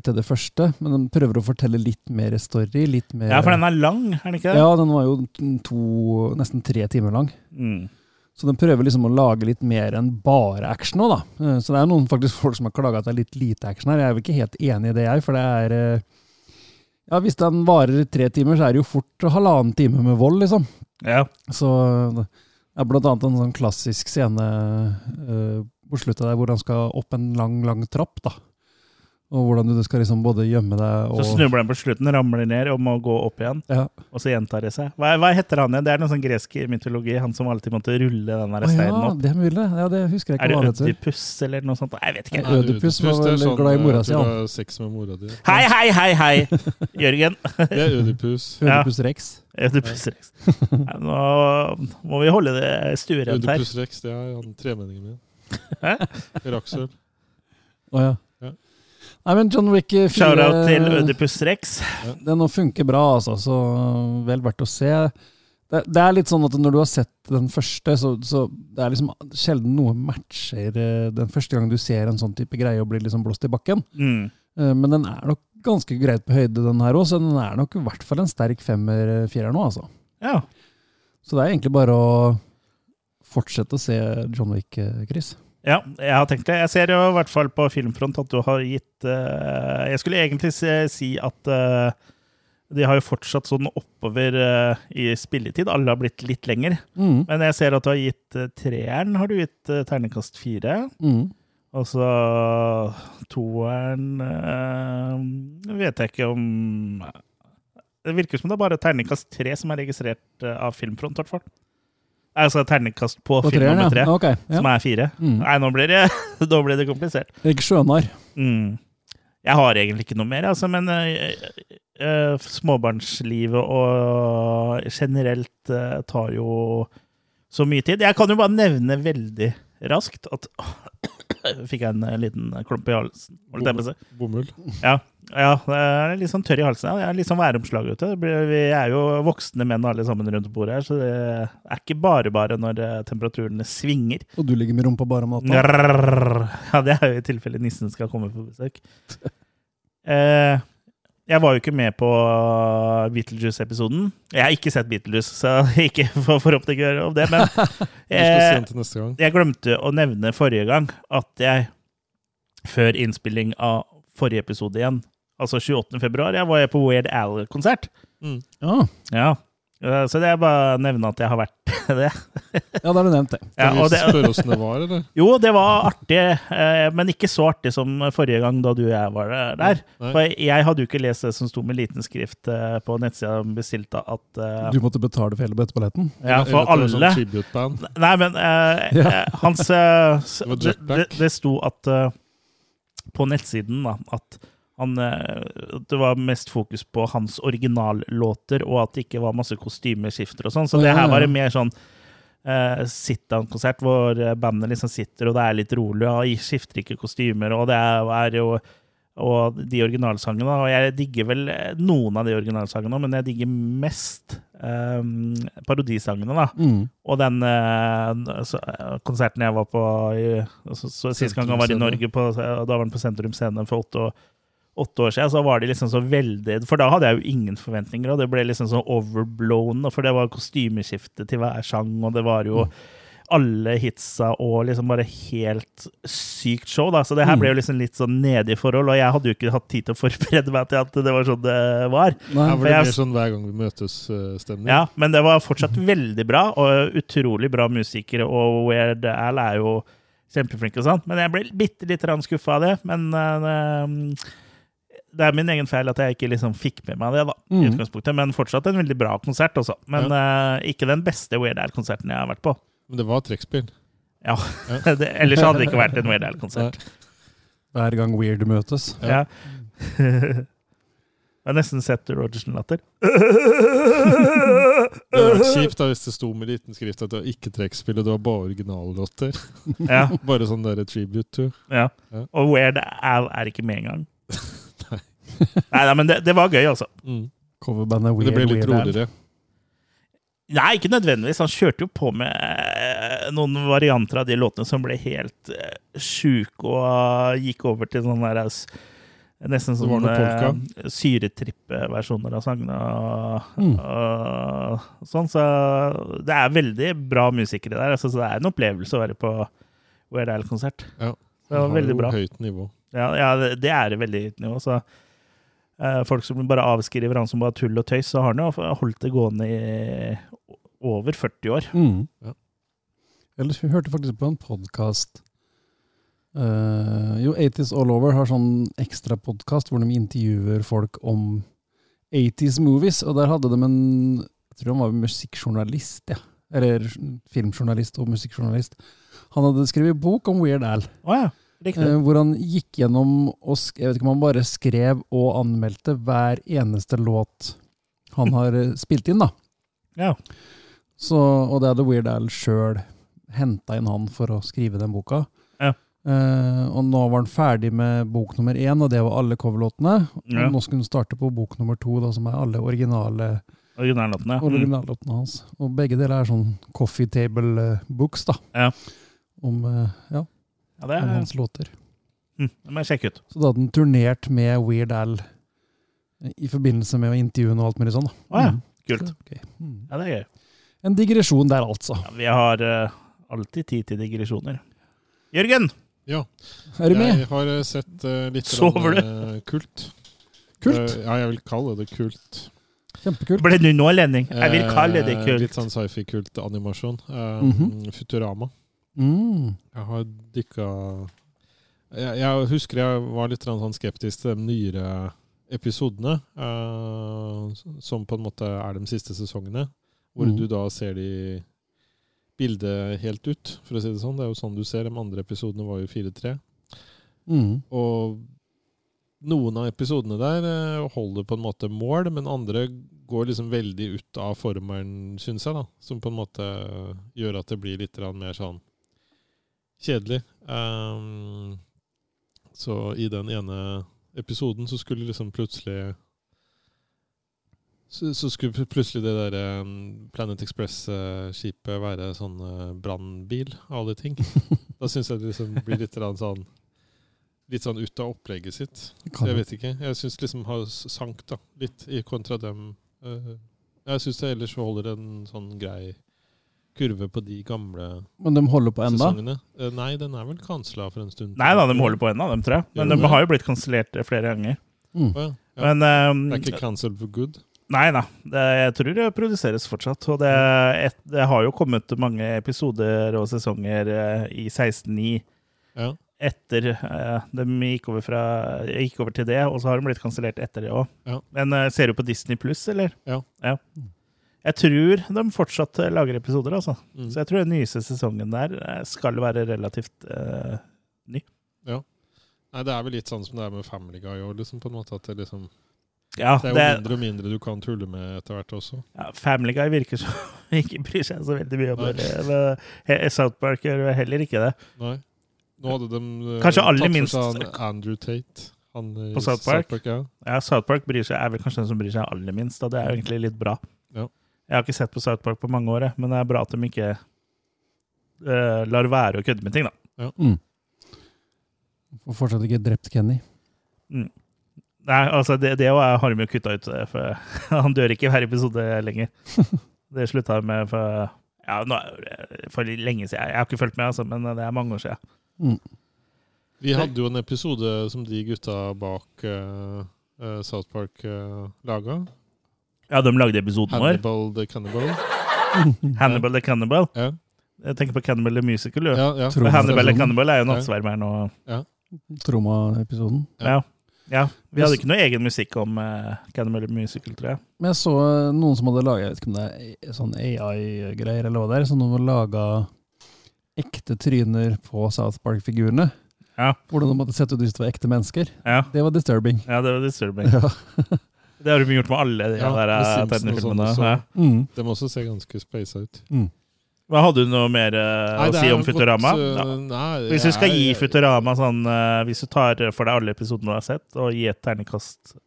B: til det første, men han prøver å fortelle litt mer story. litt mer...
A: Ja, for den er lang, er den ikke det?
B: Ja, den var jo to, nesten tre timer lang.
A: Mm.
B: Så den prøver liksom å lage litt mer enn bare action òg, da. Eh, Så det er noen faktisk folk som har klaga at det er litt lite action her. Jeg er vel ikke helt enig i det, jeg. For det er eh, Ja, hvis den varer i tre timer, så er det jo fort halvannen time med vold, liksom.
A: Ja.
B: Så eh, det er blant annet en sånn klassisk scene eh, på sluttet der hvor han skal opp en lang, lang trapp, da. Og hvordan du skal liksom både gjemme deg
A: Så
B: og
A: snubler den på slutten, ramler ned og må gå opp igjen.
B: Ja.
A: Og så gjentar det seg. Hva, hva heter han igjen? Det er noe sånn gresk mytologi, han som alltid måtte rulle den der
B: Å
A: steinen
B: ja,
A: opp.
B: det er mulig. Ja, det husker jeg
A: Er
B: ikke
A: det
B: hva det heter.
A: Ødipus eller noe sånt? Nei, Jeg vet ikke.
B: Nei, Ødipus var vel
C: sånn,
B: glad i mora si,
C: han.
B: han.
C: Du har sex med mora di.
A: Hei, hei, hei, hei! Jørgen.
C: Det er Ødipus.
A: Ja.
B: Ødipus Rex.
A: Ødipus Rex. Nei, Nå må vi holde det stuerent her.
C: Ødipus rex, det er han tremenningen min.
A: Hæ?
C: Raksel.
B: Å ja.
C: Ja.
B: Nei, men John Wick 4
A: Shout-out til Ødipus Rex.
B: Den funker bra, altså. Så vel verdt å se. Det, det er litt sånn at når du har sett den første, så, så det er liksom sjelden noe matcher eh, den første gang du ser en sånn type greie og blir liksom blåst i bakken.
A: Mm.
B: Eh, Men den er nok ganske greit på høyde, den her òg, så den er nok i hvert fall en sterk femmer-firer nå, altså.
A: Ja.
B: Så det er egentlig bare å fortsette å se John Wick, eh, Chris.
A: Ja, jeg har tenkt det. Jeg ser jo i hvert fall på Filmfront at du har gitt eh, Jeg skulle egentlig se, si at eh, de har jo fortsatt sånn oppover eh, i spilletid. Alle har blitt litt lenger.
B: Mm.
A: Men jeg ser at du har gitt eh, treeren har du gitt eh, terningkast fire.
B: Mm.
A: Og så toeren eh, vet jeg ikke om Det virker som det er bare terningkast tre som er registrert eh, av Filmfront, i hvert fall. Altså terningkast på,
B: Og
A: film
B: treeren,
A: nummer tre,
B: ja. Ok, ja.
A: som er fire.
B: Mm.
A: Nei, nå blir det, nå blir det komplisert.
B: Erik Sjønar.
A: Mm. Jeg har egentlig ikke noe mer, altså, men eh, eh, småbarnslivet og generelt eh, tar jo så mye tid. Jeg kan jo bare nevne veldig raskt at Fikk jeg en eh, liten klump i halsen? Holdt jeg på å si.
C: Bomull.
A: Ja, jeg er litt sånn tørr i halsen. Jeg er litt sånn væromslag ute. Det blir- Vi er jo voksne menn alle sammen rundt bordet her, så det er ikke bare bare når eh, temperaturene svinger.
B: Og du ligger med rumpa bare om natta.
A: Grrrr. Ja, det er jo i tilfelle nissen skal komme på besøk. Eh, jeg var jo ikke med på Beetlejuice-episoden. Jeg har ikke sett Beetlejuice, så ikke for, forhåpentlig ikke høre om det, men
C: Du skal se
A: eh,
C: den til neste gang.
A: jeg glemte å nevne forrige gang at jeg, før innspilling av forrige episode igjen, altså 28. februar, jeg var jeg på Weird Al-konsert.
C: Mm.
B: Ja,
A: Ja. Eh, Så det er bare å nevne at jeg har vært det.
B: ja da har du nevnt det.
A: Ja,
C: Kan
A: og det
C: vi spørre åssen det var, eller?
A: jo, det var artig, eh, men ikke så artig som forrige gang da du og jeg var der.
C: Nei.
A: For jeg hadde jo ikke lest det som sto med liten skrift eh, på nettsida de bestilte, at eh,
B: Du måtte betale for hele billettballetten?
A: ja, for
C: Eller at det var
A: alle
C: Sånn tribute-band.
A: Nei, men eh,
B: Ja.
A: eh, hans eh, s-
C: Det var
A: det,
C: jetpack.
A: det, det sto at eh, på nettsiden da, at han, eh, det var mest fokus på hans originallåter, og at det ikke var masse kostymeskifter og sånn. Så
B: Å,
A: det
B: ja,
A: her var
B: ja.
A: en mer sånn eh, sit-down-konsert, hvor eh, bandet liksom sitter, og det er litt rolig, og de skifter ikke kostymer, og det er, er jo og de originalsangene. Og jeg digger vel eh, noen av de originalsangene, men jeg digger mest eh, parodisangene, da.
B: Mm.
A: Og den eh, så, eh, konserten jeg var på i, altså, så, Sist gang
C: Sentrum
A: han var i
C: Scene.
A: Norge, på, eh, da var han på Sentrum Scene for åtte, år- åtte år siden, så var de liksom så veldig For da hadde jeg jo ingen forventninger, og det ble liksom sånn overblown, og for det var kostymeskifte til hver sang, og det var
C: Mm.
A: jo alle hitsa og liksom bare helt sykt show, da. Så det her
B: Mm.
A: ble jo liksom litt sånn nede i forhold, og jeg hadde jo ikke hatt tid til å forberede meg til at det var sånn det var.
B: Nei,
C: Her var det
A: jeg-
C: mer sånn hver gang vi eh, møtes-stemning.
A: Ja, men det var fortsatt veldig bra, og utrolig bra musikere, og Weird Al er jo kjempeflink og sånn. Men jeg ble bitte litt skuffa av det. Men eh, det er min egen feil at jeg ikke liksom fikk med meg det, da, i
B: Mhm.
A: utgangspunktet. Men fortsatt en veldig bra konsert, også. Men eh, ikke den beste Weird Al-konserten jeg har vært på.
C: Men det var trekkspill.
A: Ja,
C: Ja.
A: det, Ellers hadde det ikke vært en Weird Al-konsert.
B: Hver gang Weird møtes.
C: Nei,
A: Ja. Jeg har nesten sett Rogersen-latter.
C: Det hadde
A: Uh-huh.
C: vært kjipt da hvis det sto med liten skrift at det var ikke trekkspill, og det var bare originallåter.
A: Ja,
C: Bare sånn der tribute to.
A: ja.
C: Ja.
A: Og Weird Al er ikke med engang. Nei, nei, men det, det var gøy, altså.
C: Mm.
B: Coverbandet
C: Men
B: Weird
C: det ble litt
B: Weird Al.
C: roligere.
A: Nei, ikke nødvendigvis. Han kjørte jo på med eh, noen varianter av de låtene som ble helt eh, sjuke og eh, gikk over til sånn der eh, s- Nesten
C: var
A: sånn
C: noe polka.
A: eh, syretrippversjoner av sangene og,
B: Mm.
A: og sånn. Så det er veldig bra musikere der. Altså, så det er en opplevelse å være på Weird Al-konsert.
C: Ja.
A: Det var
C: Han har
A: veldig
C: jo
A: bra.
C: Høyt nivå.
A: Ja, ja det- det er det veldig høyt nivå. Så eh, folk som bare avskriver han som bare tull og tøys, så har han jo holdt det gående i over 40 år.
B: Mm.
C: Ja.
B: Ellers vi hørte faktisk på en podkast Jo, 80s All Over har sånn ekstra podkast hvor de intervjuer folk om 80s movies, og der hadde de en Jeg tror han var musikkjournalist, ja. Eller filmjournalist og musikkjournalist. Han hadde skrevet bok om Weird Al.
A: Å ja, riktig.
B: Eh, hvor han gikk gjennom og sk jeg vet ikke om han bare skrev og anmeldte hver eneste låt han har eh, spilt inn. da.
A: Ja.
B: Så, og det hadde Weird Al sjøl henta inn han for å skrive den boka.
A: Ja.
B: Eh, og nå var han ferdig med bok nummer én, og det var alle coverlåtene. Og
A: Ja.
B: Nå skulle han starte på bok nummer to, da, som er alle originale
A: Originallåtene. Mm.
B: originallåtene hans. Og begge deler er sånn coffee table eh, books, da.
A: Ja.
B: Om, eh, ja,
A: Ja, det,
B: om
A: er,
B: hans låter.
A: mm, det må jeg sjekke ut.
B: Så da hadde han turnert med Weird Al i forbindelse med å intervjue og alt mulig sånn. da.
A: Å ja,
B: Mm.
A: kult.
B: Så, ok. Mm.
A: Ja, det er gøy.
B: En digresjon der, altså.
A: Ja, vi har eh, alltid tid til digresjoner. Jørgen!
C: Ja.
B: Er du med?
C: Jeg har eh, sett eh, litt
A: Sover
C: grann, eh, kult.
B: Kult.
C: Eh, ja, jeg vil kalle det kult.
B: Kjempekult.
A: Ble du nå lending? Jeg vil kalle det
C: Eh,
A: kult.
C: Litt sånn sci-fi-kult animasjon. Eh,
B: Mhm.
C: Futurama.
B: Mm.
C: Jeg har dykka jeg, jeg husker jeg var litt grann sånn skeptisk til de nyere episodene, eh, som på en måte er de siste sesongene, hvor
B: Mhm.
C: du da ser de bildet helt ut, for å si det sånn. Det er jo sånn du ser. De andre episodene var jo 4-3.
B: Mm.
C: Og noen av episodene der eh, holder på en måte mål, men andre går liksom veldig ut av formelen, syns jeg, da. Som på en måte gjør at det blir litt grann mer sånn kjedelig. Ehm, så i den ene episoden så skulle liksom plutselig så, så skulle pl- plutselig det der eh, Planet Express-skipet være sånn eh, brannbil av alle ting. Da syns jeg det liksom blir litt grann sånn Litt sånn ut av opplegget sitt. Så jeg vet ikke. Jeg syns liksom har s- sank da, litt i kontra dem. Eh, Jeg syns det ellers holder en sånn grei kurve på de gamle
B: Men de holder på enda?
C: sesongene. Eh, Nei, den er vel kansla for en stund.
A: Nei da, de holder på ennå, dem, tror jeg. Men
C: Gjør de
A: de
C: det?
A: har jo blitt kansellert eh, flere ganger.
B: Mm.
C: Å ja. ja.
A: Men
C: Det
A: eh,
C: er ikke cancelled for good?
A: Nei da. Det, jeg tror det produseres fortsatt. Og det, et, det har jo kommet mange episoder og sesonger eh, i 16.9
C: Ja.
A: etter eh, de gikk over, fra, gikk over til det, og så har de blitt kansellert etter det òg.
C: Ja.
A: Men eh, ser du på Disney pluss, eller?
C: Ja.
A: Jeg tror de fortsatt eh, lager episoder, altså.
C: Mm.
A: Så jeg tror den nyeste sesongen der eh, skal være relativt eh,
C: Nei, det er vel litt sånn som det er med Family Guy òg, liksom, på en måte. At det liksom
A: Ja,
C: Det er jo
A: det,
C: mindre og mindre du kan tulle med etter hvert også.
A: ja Family Guy virker som ikke bryr seg så veldig mye om det. Men, eh, South Park gjør heller ikke det.
C: Nei. Nå hadde de eh,
A: Kanskje aller
C: tatt for
A: minst-
C: seg han Andrew Tate. Han i
A: På South Park?
C: ja.
A: Ja, South Park bryr seg, er vel kanskje den som bryr seg aller minst. Da. Det er jo egentlig litt bra.
C: Ja.
A: Jeg har ikke sett på South Park på mange år, jeg, men det er bra at de ikke eh, lar være å kødde med ting, da.
B: Mm. Får fortsatt ikke drept Kenny.
A: Nei, altså, det, det også er- har de jo kutta ut, eh, for han dør ikke i hver episode lenger. Det slutta jeg med for, ja, nå, er- for lenge siden. Jeg har ikke fulgt med, altså, men det er mange år siden.
B: Mm.
C: Vi hadde jo en episode som de gutta bak eh, eh, South Park uh, laga.
A: Ja, de lagde episoden vår.
C: Hannibal the Cannibal.
A: Hannibal the Cannibal.
C: Ja.
A: Jeg tenker på Cannibal the Musical. jo.
C: Ja, ja.
B: Tror-
A: Hannibal the Cannibal er jo
C: Ja.
A: nattsvermeren og
B: Troma-episoden.
A: Ja, vi hadde ikke noe egen musikk om uh, Cannibal Musical, tror jeg.
B: Men jeg så eh, noen som hadde laga, jeg vet ikke om det er A- sånn AI-greier eller hva det er, som de laga ekte tryner på South Park-figurene.
A: Ja.
B: Hvordan de hadde sett ut hvis det var ekte mennesker.
A: Ja,
B: Det var disturbing.
A: ja det var disturbing.
B: Ja.
A: Det har de gjort med alle de
C: Ja,
A: der
C: med
A: eh,
C: Simpsons og
A: tegnefilmene.
C: sånn også.
A: Ja.
B: Mm.
C: De også ser ganske spaced ut.
A: Hva Hadde du noe mer eh,
C: Nei,
A: å
C: det
A: si
C: er
A: om
C: godt,
A: Futurama?
C: eh,
A: Ja.
C: nei,
A: Hvis du skal
C: jeg-
A: gi
C: jeg-
A: Futurama sånn eh, Hvis du tar for deg alle episodene du har sett, og gi et ternekast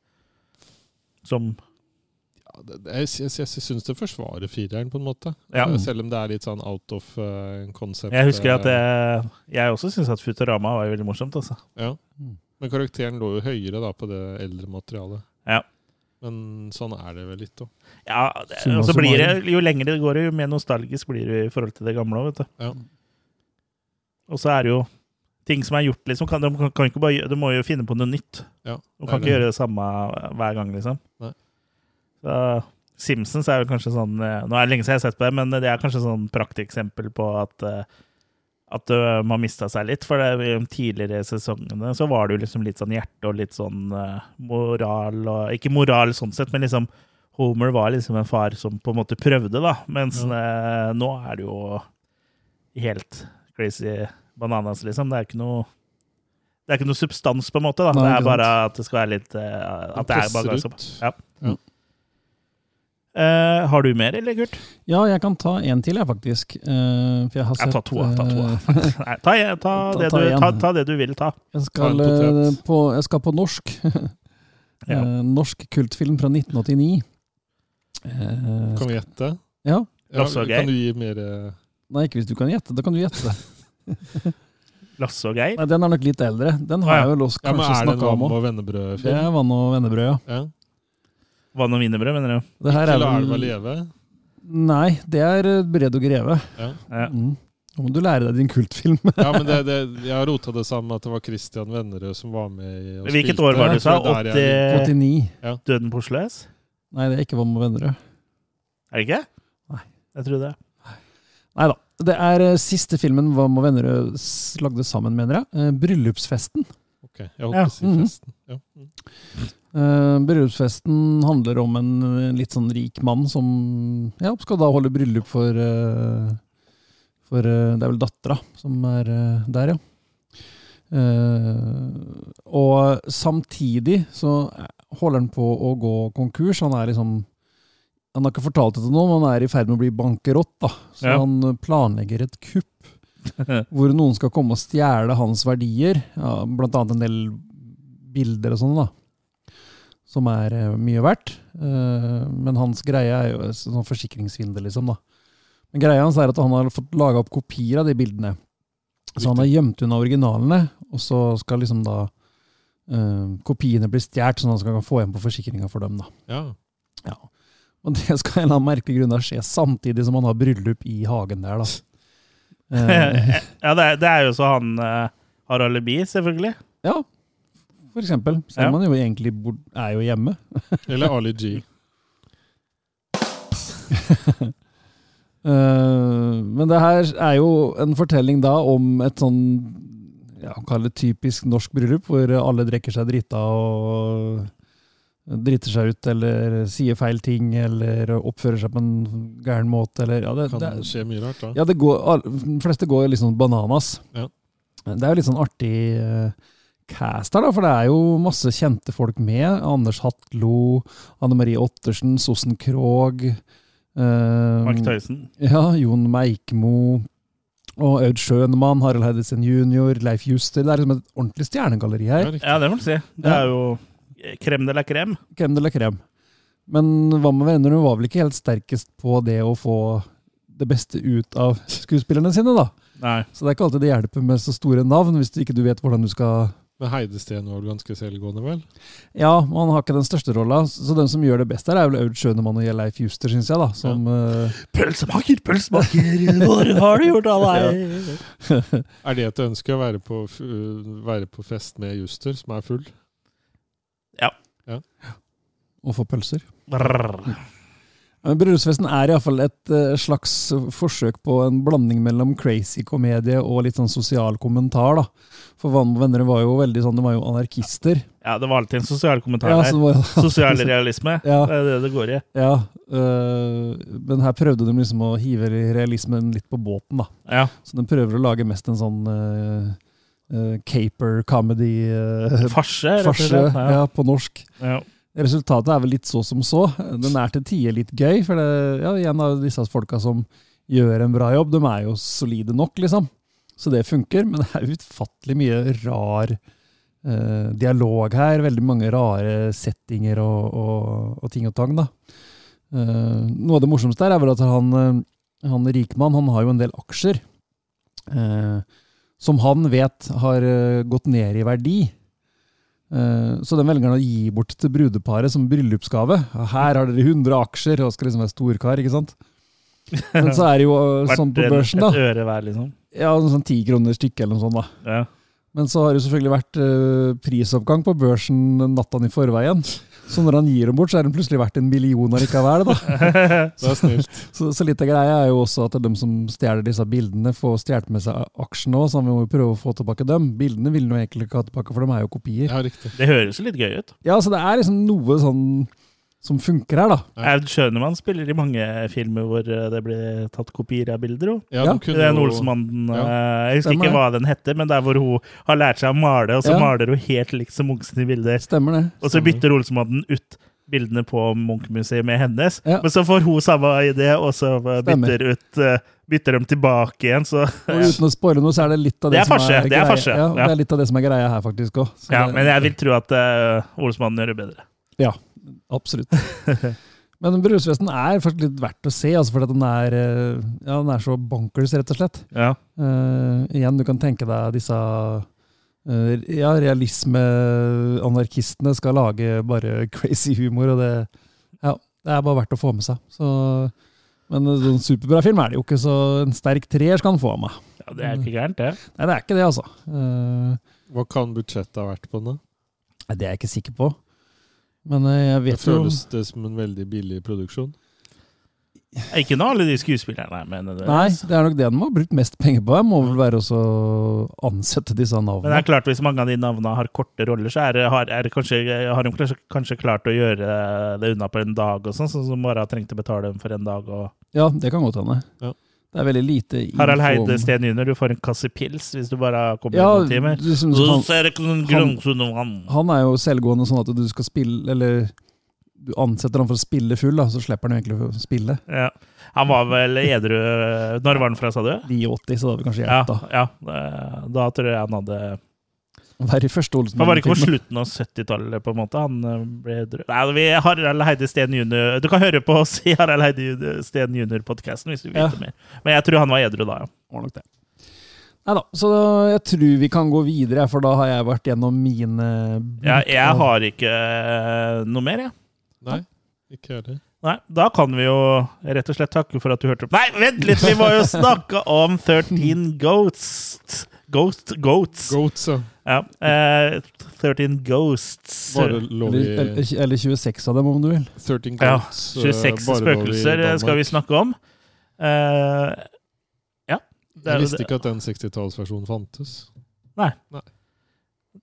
A: som
C: Ja, det- det- Jeg, jeg, jeg syns det forsvarer fireren, på en måte.
A: Ja.
C: Eh, Selv om det er litt sånn out of uh, concept.
A: Jeg husker at
C: eh,
A: jeg, jeg også syns at Futurama var veldig morsomt, altså.
C: ja.
B: Mm.
C: Men karakteren lå jo høyere da på det eldre materialet.
A: Ja.
C: Men sånn er det vel litt òg.
A: Ja, det,
B: Summa
A: og så blir det,
B: summarum.
A: jo lenger det går, jo mer nostalgisk blir du i forhold til det gamle. også, Vet du.
C: Ja.
A: Og så er det jo ting som er gjort, liksom. Kan, de, kan, kan ikke bare, gjø- de må jo finne på noe nytt.
C: Ja,
A: De kan
C: det
A: ikke
C: er
A: gjøre det samme hver gang, liksom.
C: Nei.
A: Så, Simpsons er vel kanskje sånn eh, Nå er det lenge siden jeg har sett på det, men det er kanskje sånn prakteksempel på at eh, at eh, man mista seg litt. For det, i de tidligere sesongene så var det jo liksom litt sånn hjerte og litt sånn eh, moral og Ikke moral sånn sett, men liksom Homer var liksom en far som på en måte prøvde, da. Mens eh, nå er det jo helt crazy bananas, liksom. Det er ikke noe det er ikke noe substans, på en måte. da.
B: Nei,
A: det
B: ikke
A: er
B: sant.
A: bare at det skal være litt eh, At det er
C: presser
A: bare sånn- som,
C: ut.
A: ja.
C: Ja.
A: Eh, Har du mer, eller, Kurt?
B: Ja, jeg kan ta en til, jeg, faktisk. Eh, for jeg har
A: Jeg
B: sett
A: tar to. jeg Tar to.
B: eh,
A: Nei, ta, ta,
B: Ta-
A: det
B: ta
A: du,
B: igjen.
A: ta, ta det du vil ta.
B: Jeg skal,
C: Ta en potet.
B: eh, på, jeg skal på norsk.
A: Ja.
B: Eh, norsk kultfilm fra 1989. Eh,
C: Kan vi gjette?
B: ja.
C: Ja,
A: Også gøy.
C: kan du gi mer eh,
B: Nei, ikke hvis du kan gjette. Da kan du gjette.
A: Lasse og Geir.
B: Nei, den er nok litt eldre. Den har
A: Ah, ja.
B: jeg vel også
C: Ja, men
B: kanskje
C: Er det en
B: snakka om
C: vann-
B: òg.
C: og vennebrødfilm?
B: Det er vann og vennebrød, ja.
C: Ja.
A: Vann og wienerbrød, mener du?
B: Det her er
C: Eller er det bare
B: vel
C: leve?
B: Nei, det er eh, Bredo Greve.
C: Ja.
A: Ja.
B: Mm. Nå må du lære deg din kultfilm.
C: ja, men det, det, jeg rota det sammen med at det var Christian Vennerød som var med. i- og
A: Hvilket
C: spilte.
A: år var det du sa?
C: Jeg tror det er der jeg-
A: 80
B: 89.
A: Døden på Oslo S?
B: Nei, det er ikke Vann og vennebrød.
A: Er det ikke?
B: Nei.
A: Jeg tror det.
B: Nei da. Det er eh, siste filmen Vann og vennebrød eh, s- lagde sammen, mener jeg. Eh, Bryllupsfesten.
C: Ok, jeg holdt
A: Ja.
C: på å si
B: Mhm.
C: festen. Ja. Mm.
B: Eh, bryllupsfesten handler om en eh, litt sånn rik mann som ja, skal da holde bryllup for, eh, for eh, Det er vel dattera som er eh, der, ja. Eh, og samtidig så eh, holder han på å gå konkurs. Han er liksom Han har ikke fortalt det til noen, men han er i ferd med å bli bankerott. da. Så
A: Ja.
B: han planlegger et kupp hvor noen skal komme og stjele hans verdier. Ja, blant annet en del bilder og sånn, da. Som er eh, mye verdt. Eh, men hans greie er jo sånn forsikringssvindel, liksom. da. Men greia hans er at han har fått laga opp kopier av de bildene. Så han har gjemt unna originalene, og så skal liksom da eh, kopiene bli stjålet, sånn at han skal få igjen på forsikringa for dem, da.
C: ja.
B: Ja. Og det skal av en eller annen merkelig grunn da skje samtidig som han har bryllup i hagen der, da. Eh,
A: eh, ja, det er, det er jo så han eh, har alibi, selvfølgelig.
B: Ja. for eksempel. Selv
A: Ja.
B: om man jo egentlig bor, er jo hjemme.
C: Eller Ali G.
B: Eh, men det her er jo en fortelling da om et sånn ja, kall det typisk norsk bryllup, hvor alle drikker seg drita og driter seg ut, eller sier feil ting, eller oppfører seg på en gæren måte, eller ja, det,
C: Kan
B: det,
C: skje mye rart, da.
B: ja, det går, all- de fleste går jo litt sånn bananas.
C: Ja.
B: Det er jo litt sånn artig eh, cast her, da, for det er jo masse kjente folk med. Anders Hatlo, Anne Marie Ottersen, Sossen Krogh. eh,
A: Mark Tyson.
B: ja, Jon Meikmo. Og Aud Schønemann, Harald Heidesen jr., Leif Juster. Det er liksom et ordentlig stjernegalleri her.
C: Ja, riktig.
A: Ja, det må du si. Det
B: Ja.
A: er jo krem de la krem.
B: Krem de la krem. Men hva med venner, hun var vel ikke helt sterkest på det å få det beste ut av skuespillerne sine, da.
A: Nei.
B: Så det er ikke alltid det hjelper med så store navn, hvis du ikke du vet hvordan du skal
C: Men Heidesteen var vel ganske selvgående, vel?
B: Ja, man har ikke den største rolla, så den som gjør det best her, er vel Aud Schønemann og Leif Juster, syns jeg, da. Som, eh,
A: Pølsemaker, pølsemaker, hvor har du gjort av deg?
C: Er det et ønske å være på, f- øh, være på fest med Juster, som er full?
B: og får pølser.
A: Brrr.
B: Men Bryllupsfesten er iallfall et eh, slags forsøk på en blanding mellom crazy komedie og litt sånn sosial kommentar, da. For Vann og venner var jo veldig sånn, de var jo anarkister.
A: Ja, det var alltid en sosial kommentar
B: Ja,
A: her.
B: så det var,
A: Sosial realisme.
B: Ja.
A: Det er det det går i.
B: ja eh, men her prøvde de liksom å hive realismen litt på båten, da.
A: Ja.
B: Så de prøver å lage mest en sånn eh, eh, caper-comedy eh,
A: Farse, rett og
B: farse
A: slett. Ja.
B: ja, på norsk.
A: Ja.
B: Resultatet er vel litt så som så. Den er til tider litt gøy, for det, ja, igjen av disse folka som gjør en bra jobb, de er jo solide nok, liksom. Så det funker, men det er utfattelig mye rar eh, dialog her. Veldig mange rare settinger og, og, og ting og tang, da. Eh, noe av det morsomste her er vel at han, eh, han rikmann, han har jo en del aksjer. eh, som han vet har eh, gått ned i verdi. Eh, Så den velger han å gi bort til brudeparet som bryllupsgave. Her har dere 100 aksjer og skal liksom være storkar, ikke sant? Men så er det jo eh, sånn på
A: Verdt en-
B: børsen, da.
A: Et øre hver, liksom.
B: Ja, noe sånn ti kroner stykket eller noe sånt, da.
A: Ja.
B: Men så har det jo selvfølgelig vært eh, prisoppgang på børsen natta i forveien. Så når han gir dem bort, så er den plutselig verdt en million allikevel, da.
C: Det er snilt.
B: Så, så litt av greia er jo også at de som stjeler disse bildene, får stjålet med seg aksjene òg, så han må jo prøve å få tilbake dem. Bildene vil han jo egentlig ikke ha tilbake, for de er jo kopier.
C: Ja, riktig.
A: Det høres jo litt gøy ut.
B: Ja, så det er liksom noe sånn som funker her, da.
C: Ja.
A: Aud Schønemann spiller i mange filmer hvor eh, det blir tatt kopier av bilder. jo.
C: Ja,
B: Ja,
C: de kunne
A: Den
C: jo-
A: Olsenmannen
C: Ja.
A: eh, Jeg husker
B: Stemmer
A: ikke hva den heter, men der hvor hun har lært seg å male, og så
B: Ja.
A: maler hun helt likt som Munch sine bilder.
B: Stemmer det.
A: Og så
C: Stemmer.
A: bytter Olsenmannen ut bildene på Munch-museet med hennes.
B: Ja.
A: Men så får hun samme idé, og så eh,
B: Stemmer.
A: bytter, ut, eh, bytter dem tilbake igjen. Så
B: Og uten å spoile noe, så er det litt av det,
A: Det er
B: som
A: farse, det er
B: greia.
A: farse,
B: Ja,
A: ja.
B: det er litt av det som er greia her, faktisk òg.
A: ja, men jeg vil tro at eh, Olsenmannen gjør det bedre.
B: Absolutt. Men bryllupsfesten er faktisk litt verdt å se, altså fordi at den er, eh, ja, den er så bonkers, rett og slett.
A: Ja.
B: Eh, igjen, du kan tenke deg disse eh, ja, realisme-anarkistene skal lage bare crazy humor, og det, ja, det er bare verdt å få med seg. Så, men en sånn superbra film er det jo ikke, så en sterk treer skal han få av meg.
A: Ja, Det er ikke gærent, det.
B: Nei, det er ikke det, altså. Eh,
C: Hva kan budsjettet ha vært på den? da?
B: Nei, Det er jeg ikke sikker på. Men eh, jeg
C: Det
B: vet jo
C: føles det som en veldig billig produksjon.
A: Ikke nå alle de skuespillerne, men eh, det,
B: Nei, det er nok det de har brukt mest penger på. Jeg må vel være også å ansette disse
A: Men det
B: navnene.
A: er klart, hvis mange av de navnene har korte roller, så er det, har, er det kanskje, har de kanskje, kanskje klart å gjøre det unna på en dag og sånn, sånn som bare har trengt å betale dem for en dag. Og
B: Ja, det kan godt hende.
C: Ja.
B: Det er veldig lite
A: Harald
B: info om-
A: Heide Steen jr., du får en kasse pils hvis du bare kommer
B: ja,
A: i noen timer.
B: du synes
A: Så
B: han,
A: ser det ikke noen
B: han-
A: grønnsunn om han.
B: han er jo selvgående sånn at du skal spille Eller du ansetter han for å spille full, da, så slipper han jo egentlig å spille.
A: Ja. Han var vel edru eh, Når var han fra, sa du?
B: 89, så det hadde vi kanskje
A: Ja,
B: hjulpet,
A: ja. eh, Da tror jeg han hadde
B: da. Å være i første
A: Han var ikke på
B: Olsenmann-filmen.
A: slutten av 70-tallet, på en måte. Han eh, ble edru. Nei, vi Harald Heide Steen jr. Du kan høre på oss i Harald Heide Steen jr.-podkasten hvis du vil
B: Ja.
A: vite mer. Men jeg tror han var edru da, ja.
B: Var nok det. Neida, så da- jeg tror vi kan gå videre, for da har jeg vært gjennom mine
A: Jeg,
B: Mm.
A: jeg har ikke eh, noe mer, jeg.
C: Nei, ikke heller.
A: Nei, Da kan vi jo rett og slett takke for at du hørte på. Nei, vent litt! Vi må jo snakke om 13 Ghosts. Ghost, goats.
C: Goats, ja.
A: Ja. eh, 13 Ghosts.
C: Bare lov i
B: Eller, eller- eller 26 av dem, om du vil.
C: 13
A: Ja,
C: goats. eh,
A: 26
C: bare lov i
A: spøkelser eh,
C: Danmark.
A: skal vi snakke om. Eh, ja. Det er
C: Jeg
A: jo
C: visste
A: det.
C: ikke at den 60-tallsversjonen fantes.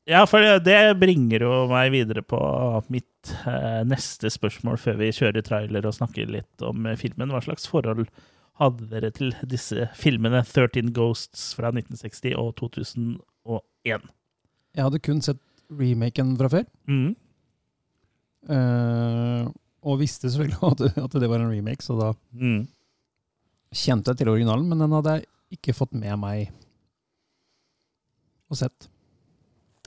A: Ja, for det- det bringer jo meg videre på mitt eh, neste spørsmål før vi kjører trailer og snakker litt om eh, filmen. Hva slags forhold hadde dere til disse filmene 13 Ghosts fra 1960 og 2001?
B: Jeg hadde kun sett remaken fra før,
A: Mm.
B: eh, og visste selvfølgelig at, at det var en remake, så da
A: Mm.
B: kjente jeg til originalen, men den hadde jeg ikke fått med meg og sett,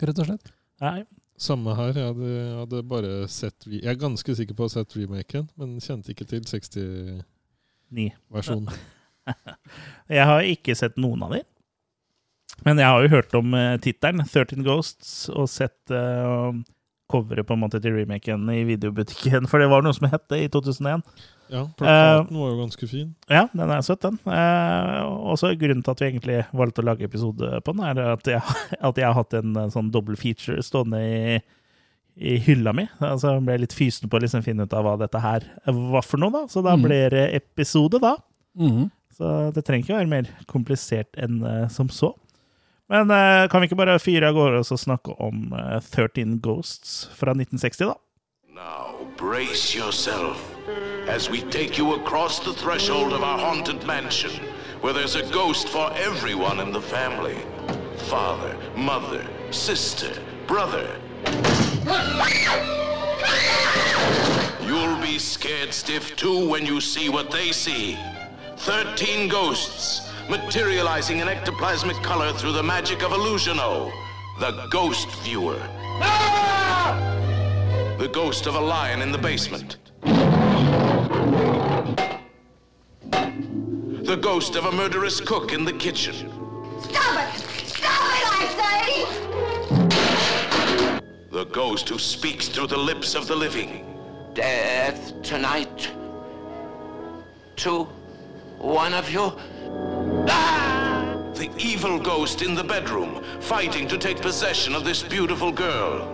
B: rett og slett.
A: Nei.
C: Samme her. Jeg hadde, jeg hadde bare sett re- Jeg er ganske sikker på å ha sett remaken, men kjente ikke til 60-versjonen.
A: Ni. Jeg har ikke sett noen av de. Men jeg har jo hørt om eh, tittelen, 13 Ghosts, og sett eh, coveret på en måte til remaken i videobutikken, for det var noe som het det i 2001.
C: Ja,
A: Eh,
C: plakaten var jo ganske fin.
A: Ja, den er søt, den. Eh, også grunnen til at vi egentlig valgte å lage episode på den, er at jeg, at jeg har hatt en eh, sånn double feature stående i, i hylla mi. Altså jeg ble litt fysen på å liksom finne ut av hva dette her var for noe, da. Så da
B: Mm.
A: blir det episode, da.
B: Mhm.
A: Så det trenger ikke være mer komplisert enn eh, som så. Men eh, kan vi ikke bare fyre av gårde og så snakke om eh, 13 Ghosts fra 1960, da?
D: Now, brace yourself as we take you across the threshold of our haunted mansion, where there's a ghost for everyone in the family father, mother, sister, brother. You'll be scared stiff too when you see what they see. Thirteen ghosts materializing in ectoplasmic color through the magic of Illusiono, the Ghost Viewer. The ghost of a lion in the basement. The ghost of a murderous cook in the kitchen.
E: Stop it! Stop it, I say!
D: The ghost who speaks through the lips of the living.
F: death tonight to one of you.
G: Ah!
D: The evil ghost in the bedroom, fighting to take possession of this beautiful girl.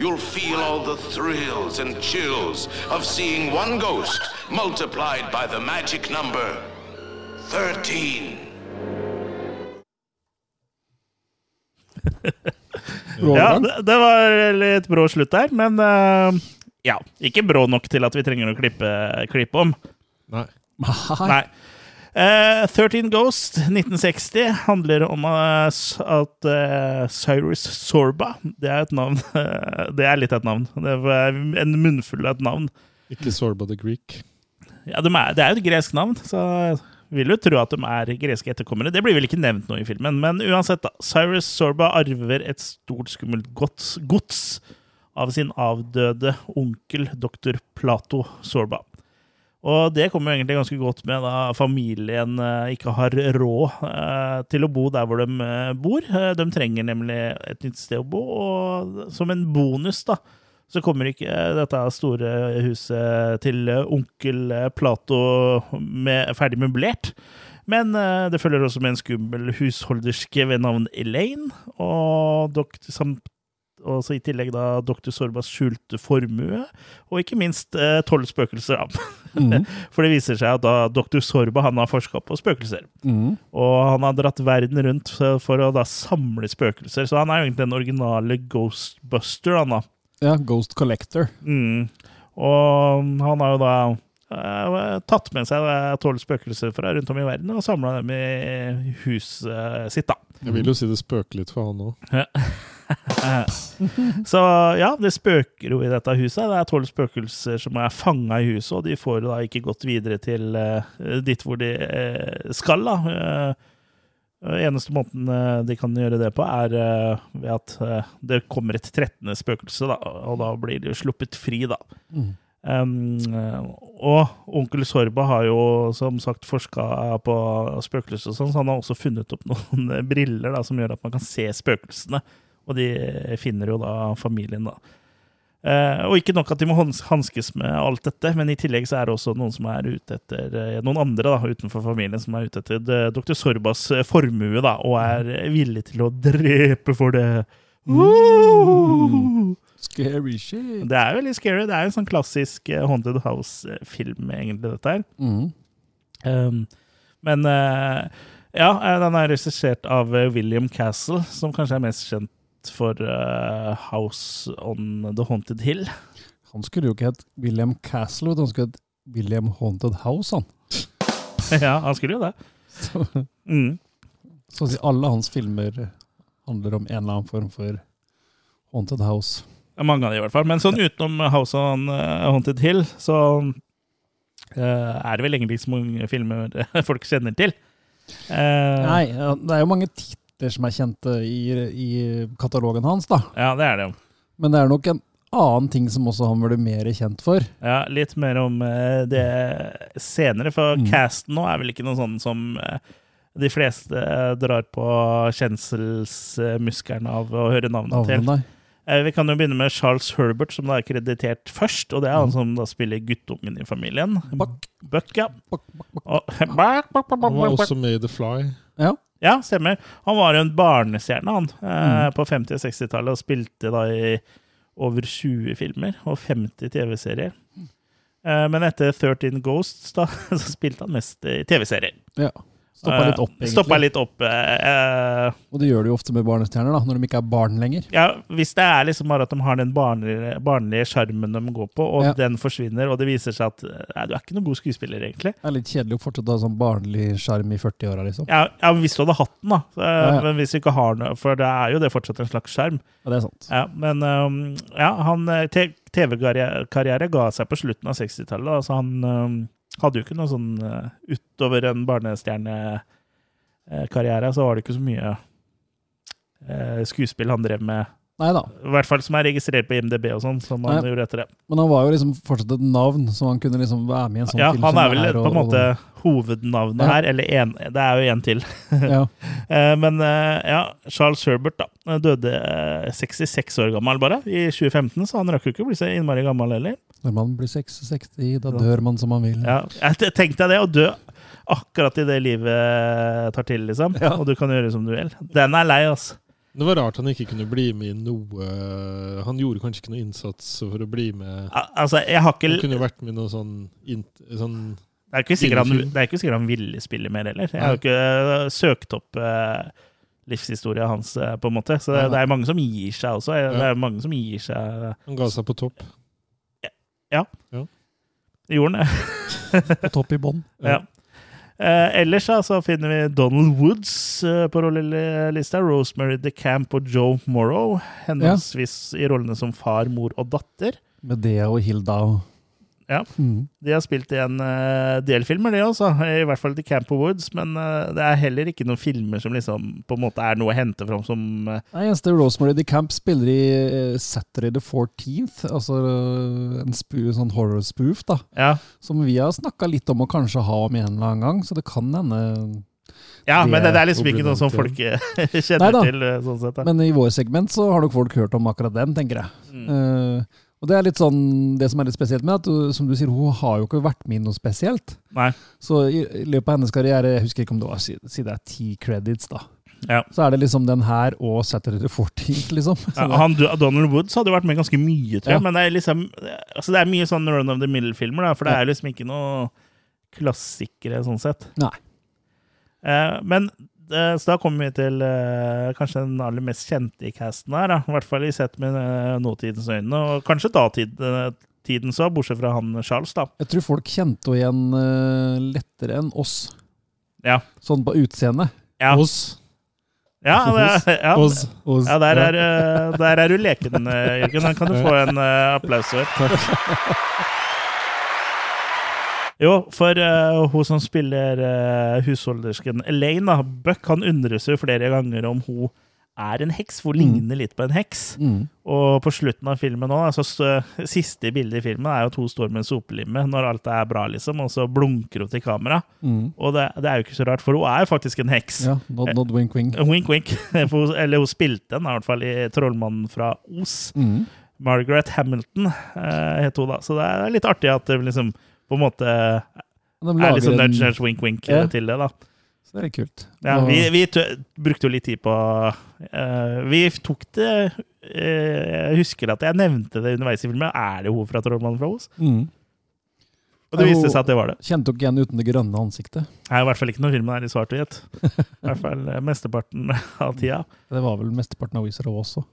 D: You'll feel all the thrills and chills of seeing one ghost multiplied by the magic number 13.
B: Bra
A: Ja,
B: overgang.
A: det, det var litt brå slutt der, men eh, ja, ikke brå nok til at vi trenger å klippe, klippe om.
C: Nei.
A: Nei. Eh, 13 Ghost 1960 handler om eh, s- at eh, Cyrus Sorba Det er et navn. eh, det er litt av et navn. Det er en munnfull av et navn.
C: Ikke Sorba the Greek.
A: Ja, de er, Det er jo et gresk navn, så jeg vil jo tro at de er greske etterkommere. Det blir vel ikke nevnt noe i filmen, men uansett, da. Cyrus Sorba arver et stort, skummelt gods, gods av sin avdøde onkel doktor Plato Sorba. Og det kommer jo egentlig ganske godt med da familien eh, ikke har råd eh, til å bo der hvor de eh, bor. Eh, De trenger nemlig et nytt sted å bo, og som en bonus da, så kommer ikke eh, dette store huset til eh, onkel eh, Plato med, ferdig møblert. Men eh, det følger også med en skummel husholderske ved navn Elaine, og dokt, samt og så i tillegg da Dr. Sorbas skjulte formue, og ikke minst eh, tolv spøkelser. Da.
B: Mhm.
A: For det viser seg at da Dr. Sorba han har forska på spøkelser.
B: Mhm.
A: Og han har dratt verden rundt eh, for for å da samle spøkelser, så han er jo egentlig den originale Ghostbuster. han da.
B: Ja, Ghost Collector.
A: Mm. Og han har jo da eh, tatt med seg tolv spøkelser fra rundt om i verden og samla dem i huset sitt. da.
C: Jeg
B: Mm.
C: vil jo si det spøker litt for han òg.
A: Så ja, det spøker jo i dette huset. Det er tolv spøkelser som er fanga i huset, og de får da ikke gått videre til eh, dit hvor de eh, skal, da. Eh, eneste måten eh, de kan gjøre det på, er eh, ved at eh, det kommer et 13. spøkelse, da, og da blir de jo sluppet fri, da. Um, og onkel Sorba har jo som sagt forska på spøkelser og sånn, så han har også funnet opp noen briller da, som gjør at man kan se spøkelsene. Og de finner jo da familien, da. Eh, og ikke nok at de må hans hanskes med alt dette, men i tillegg så er det også noen som er ute etter eh, noen andre da, utenfor familien som er ute etter eh, dr. Sorbas eh, formue, da, og er eh, villig til å drepe for det. Woo!
B: Scary shit.
A: Det er jo litt scary. Det er jo en sånn klassisk eh, Haunted House-film, egentlig, dette her.
B: Mm.
A: Um, men eh, ja, eh, den er regissert av eh, William Castle, som kanskje er mest kjent for eh, House on the Haunted Hill.
B: Han skulle jo ikke hett William Castle, vet du. han skulle hett William Haunted House. han.
A: ja, han skulle jo det.
B: Så,
A: Mm.
B: så å si alle hans filmer handler om en eller annen form for Haunted House.
A: Mange av de i hvert fall. Men sånn utenom House on eh, Haunted Hill, så eh, er det vel egentlig ikke så mange filmer folk kjenner til. Eh,
B: Nei, ja, det er jo mange titler som er kjente i, i katalogen hans, da.
A: Ja, det er det jo.
B: Men det er nok en annen ting som også han ble mer kjent for.
A: Ja, litt mer om eh, det senere, for
B: Mm.
A: casten nå er vel ikke noe sånn som eh, de fleste eh, drar på kjenselsmuskelen av å høre navnet til.
B: Navnet,
A: Eh, Vi kan jo begynne med Charles Herbert, som da er kreditert først. Og det
B: Mm.
A: er han som da spiller guttungen i familien.
B: Buck.
A: Buck, ja.
B: Bak, bak, bak.
A: Og, Buck, Buck, Buck, Buck,
C: Han var
A: Buck, Buck.
C: også med i The Fly.
B: Ja.
A: Ja, stemmer. Han var jo en barnestjerne, han, eh,
B: Mm.
A: på 50- og 60-tallet, og spilte da i over 20 filmer og 50 TV-serier. Eh, men etter 13 Ghosts da, så spilte han mest i TV-serier.
B: ja. Stoppa
A: Eh,
B: litt opp, egentlig.
A: Stoppa litt opp. eh, eh,
B: Og det gjør du jo ofte med barnestjerner, da, når de ikke er barn lenger.
A: ja, hvis det er liksom bare at de har den barnlige, barnlige sjarmen de går på, og
B: Ja.
A: den forsvinner, og det viser seg at eh, nei, du er ikke noen god skuespiller, egentlig.
B: Det er litt kjedelig å fortsette å ha sånn barnlig sjarm i 40-åra, liksom.
A: Ja, ja, hvis du hadde hatt den, da. Eh,
B: ja.
A: Men hvis du ikke har den, for det er jo det fortsatt en slags skjerm.
B: Ja, det er sant.
A: Ja, men um, ja, han eh, te- TV-karriere ga seg på slutten av 60-tallet, da, så han um, hadde jo ikke noe sånn eh, Utover en barnestjernekarriere, så var det ikke så mye eh, skuespill han drev med.
B: Nei da.
A: I hvert fall som er registrert på IMDb og sånn, som han
B: Nei.
A: gjorde etter det.
B: Men han var jo liksom fortsatt et navn, så han kunne liksom være med i en sånn
A: Ja,
B: film.
A: han
B: som
A: er vel på en
B: og-
A: måte hovednavnet
B: Ja.
A: her, eller en, det er jo en til.
B: og- ja.
A: Eh, Men eh, ja, Charles Herbert da, eh, døde eh, 66 år gammel bare, i 2015, så han rakk jo ikke å bli så innmari gammel heller.
B: Når man blir 66, da dør man som man vil.
A: Ja, jeg te- tenkte jeg det, å dø akkurat i det livet tar til, liksom.
B: Ja.
A: Og du kan gjøre som du vil. Den er lei, altså.
C: Det var rart han ikke kunne bli med i noe Han gjorde kanskje ikke noe innsats for å bli med.
A: Al- Altså, jeg har ikke
C: Han
A: Det
C: kunne jo vært med i noe sånn, int, sånn
A: er ikke sikkert han,
C: Kinofilm.
A: det er ikke sikkert han ville spille mer heller. Jeg har jo ikke øh, søkt opp uh, livshistoria hans, øh, på en måte. Så det,
B: Nei,
A: det
B: nei.
A: er mange som gir seg også.
C: Ja.
A: Det er mange som gir seg
C: Han ga seg på topp.
A: i jorden.
B: På topp i bånn.
A: Ja. Eh, ellers da, så finner vi Donald Woods eh, på rollelista. Rosemary DeCamp og Joe Morrow. Henholdsvis i rollene som far, mor og datter.
B: Medea og Hilda og
A: Ja.
B: Mm.
A: De har spilt i en eh, del filmer, det også. I hvert fall til Camp of Woods. Men eh, det er heller ikke noen filmer som liksom på en måte er noe å hente fram som eh,
B: Nei, eneste Rosemary de Camp spiller i eh, Saturday the 14th, altså eh, en spu- sånn horror spoof, da,
A: Ja,
B: som vi har snakka litt om å kanskje ha om en eller annen gang, så det kan hende.
A: ja
B: Det
A: men det, det er
C: er
A: liksom ikke noe som folk eh, kjenner
B: Neida.
A: til, eh, sånn sett. Da.
B: Men i vår segment så har nok folk hørt om akkurat den, tenker jeg.
A: Mm.
B: Eh, og det er litt sånn, det som er litt spesielt med at, du- som du sier, hun har jo ikke vært med i noe spesielt.
A: Nei.
B: Så i, i løpet av hennes karriere, jeg husker ikke om det var, si, si det er ti credits da,
A: Ja.
B: så er det liksom den her og Saturday the 14th, liksom. Så
A: Ja,
B: det-
A: han, Donald Woods hadde jo vært med ganske mye, tror jeg.
B: Ja.
A: Men det er, liksom, altså det er mye sånn Run of the Middle-filmer, da, for det er liksom ikke noe klassikere sånn sett.
B: Nei.
A: Eh, men eh, så da kommer vi til eh, kanskje den aller mest kjente i casten her. Da. I hvert fall i sett med eh, nåtidens øyne, og kanskje datidens òg, bortsett fra han Charles, da.
B: Jeg tror folk kjente henne igjen eh, lettere enn oss.
A: Ja.
B: Sånn på utseendet.
A: Ja,
C: Oss.
A: ja, det, ja,
C: Oss.
B: Oss.
A: ja der, er, eh, der er du leken, eh, Jørgen. Den kan du få en eh, applaus for.
C: Takk.
A: Jo, for eh, hun som spiller eh, husholdersken Elaine, da, Buck, han undrer seg jo flere ganger om hun er en heks, for hun ligner litt på en heks.
B: Mm.
A: Og på slutten av filmen nå, da, så st- siste bildet i filmen er jo at hun står med en sopelime når alt er bra, liksom, og så blunker hun til kamera.
B: Mm.
A: Og det, det er jo ikke så rart, for hun er jo faktisk en heks.
B: Ja, nod, nod, wink, wink.
A: Wink, wink. For hun- Eller hun spilte den, i hvert fall, i 'Trollmannen fra Os'.
B: Mm.
A: Margaret Hamilton eh, het hun da. Så det er litt artig at det liksom på en måte er
B: De lager
A: litt sånn
B: en-
A: nudge, nudge, wink, wink
B: Ja.
A: eh, til det, da.
B: Så det er kult.
A: Ja,
B: Og-
A: vi vi tø- brukte jo litt tid på eh, Vi tok det eh, Jeg husker at jeg nevnte det underveis i filmen. Er det hun fra Trollmannen fra Os?
B: Mm.
A: Og det
B: Er
A: viste
B: hun-
A: seg at det var det.
B: Kjente dere igjen uten det grønne ansiktet?
A: Det er i hvert fall ikke noen film her i svart og hvitt. I hvert fall eh, mesteparten av tida.
B: Det var vel mesteparten av Wizard of Oz også.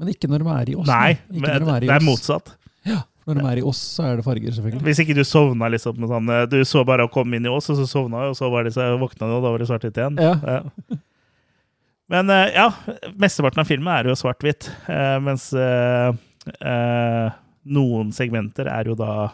B: Men ikke når de er i oss.
A: Nei,
B: ikke
A: men
B: når de er i
A: det er
B: Oz.
A: motsatt.
B: Når de er i oss, så er det farger, selvfølgelig.
A: Hvis ikke du sovna liksom med sånn eh, Du så bare å komme inn i oss, og så sovna du, og så var det så våkna du, og da var det svart-hvitt igjen.
B: Ja.
A: Ja. Men eh, ja, mesteparten av filmen er jo svart-hvitt, eh, mens eh, eh, noen segmenter er jo da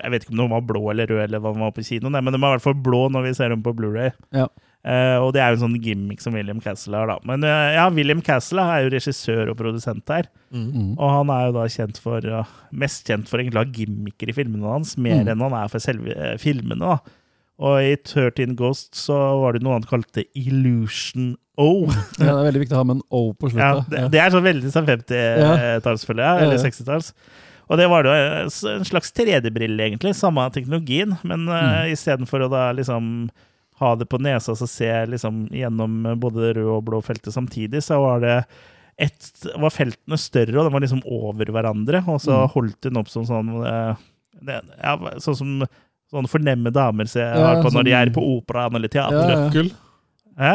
A: Jeg vet ikke om den var blå eller rød, eller hva den var på kino, nei, men den var i hvert fall blå når vi ser den på Blu-ray.
B: Ja.
A: Eh, og det er jo en sånn gimmick som William Castle har, da. Men eh, ja, William Castle er jo regissør og produsent her.
B: Mm.
A: Og han er jo da kjent for ja, mest kjent for egentlig å ha gimmicker i filmene hans, mer
B: Mm.
A: enn han er for selve eh, filmene. da. Og i 13 Ghosts så var det noe han kalte Illusion O.
B: Ja, det er veldig viktig å ha med en O på
A: Ja,
B: slutten.
A: det, det er så veldig sånn 50-tallsfølge, ja.
B: Ja,
A: eller
B: ja.
A: 60-talls. Og det var jo eh, s- en slags 3D-brille, egentlig. Samme teknologien, men
B: Mm.
A: uh, istedenfor å da liksom ha det på nesa og se liksom gjennom både det røde og blå feltet samtidig, så var det ett var feltene større, og de var liksom over hverandre. Og så
B: Mm.
A: holdt hun opp som sånn eh, det, ja, Sånn som sånne fornemme damer ser, har på når de er
B: sånn-
A: på operaen eller
B: Ja,
A: teatret.
B: ja.
C: Nøkkel.
A: Hæ?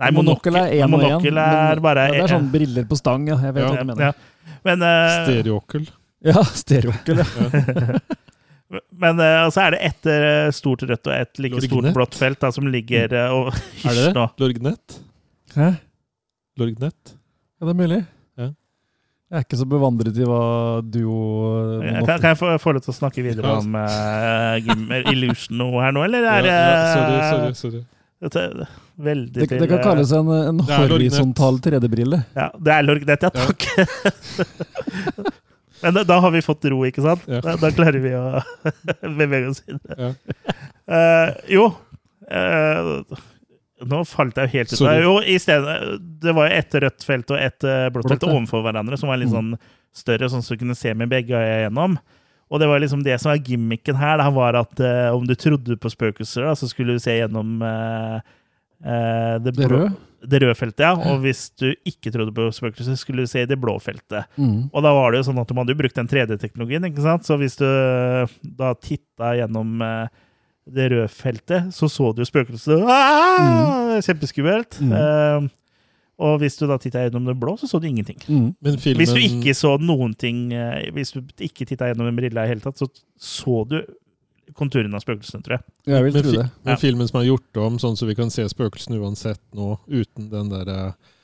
A: Nei, monokkel er
B: en og en,
A: Monokkel er
B: men-
A: bare
B: ja, Det er sånn briller på stang, ja. Jeg vet
C: Ja.
B: hva du mener.
A: ja. Men, eh,
C: Stereokkel.
B: Ja, stereokkel, ja.
A: men eh, så er det ett eh, stort rødt og ett like stort
C: Lorgnett?
A: blått felt da, som ligger eh, og
C: Mm. Er det
A: Hysj
C: det?
A: nå.
C: Lorgnett?
B: Hæ?
C: Lorgnett?
B: Ja, det er mulig.
C: Ja.
B: Jeg er ikke så bevandret i hva duo eh,
A: Kan, kan jeg få, få lov til å snakke videre
C: Ja.
A: om eh, Gim- Illusion nå her nå, eller
C: Ja,
A: er
C: ja, sorry,
A: eh,
C: sorry. sorry.
A: dette er veldig
B: Det,
A: til
B: det kan
A: eh,
B: kalles en, en
C: Det er lorgnett.
B: horisontal 3D-brille.
A: Ja, det er lorgnett, ja.
C: Ja.
A: Takk. Men da, da har vi fått ro, ikke sant?
C: Ja.
A: Da, da klarer vi å bevege oss videre.
C: Ja.
A: Eh, jo eh, Nå falt jeg jo helt ut.
C: Sorry.
A: Jo, i stedet, det var jo ett rødt felt og ett eh, blått
B: Blått,
A: felt
B: ja.
A: overfor hverandre, som var litt sånn
B: Mm.
A: større, sånn så du kunne se med begge øya gjennom. Og det var liksom det som var gimmicken her, da, var at eh, om du trodde på spøkelser, da, så skulle du se gjennom eh, eh, det,
B: Det
A: blå-
B: røde?
A: det røde feltet, ja. Og hvis du ikke trodde på spøkelser, skulle du se i det blå feltet.
B: Mm.
A: Og da var det jo sånn at man hadde jo brukt den 3D-teknologien, ikke sant? Så hvis du eh, da titta gjennom eh, det røde feltet, så så du jo spøkelser. Ah! Kjempeskummelt. Eh, og hvis du da titta gjennom det blå, så så du ingenting.
B: Mm.
C: Men filmen
A: Hvis du ikke så noen ting, eh, hvis du ikke titta gjennom en brille i det hele tatt, så så du konturene av spøkelsene, tror jeg.
B: Jeg vil
C: men,
B: tro
C: fi-
B: det.
A: Ja.
C: men filmen som er gjort om sånn så vi kan se spøkelsene uansett nå, uten den der eh,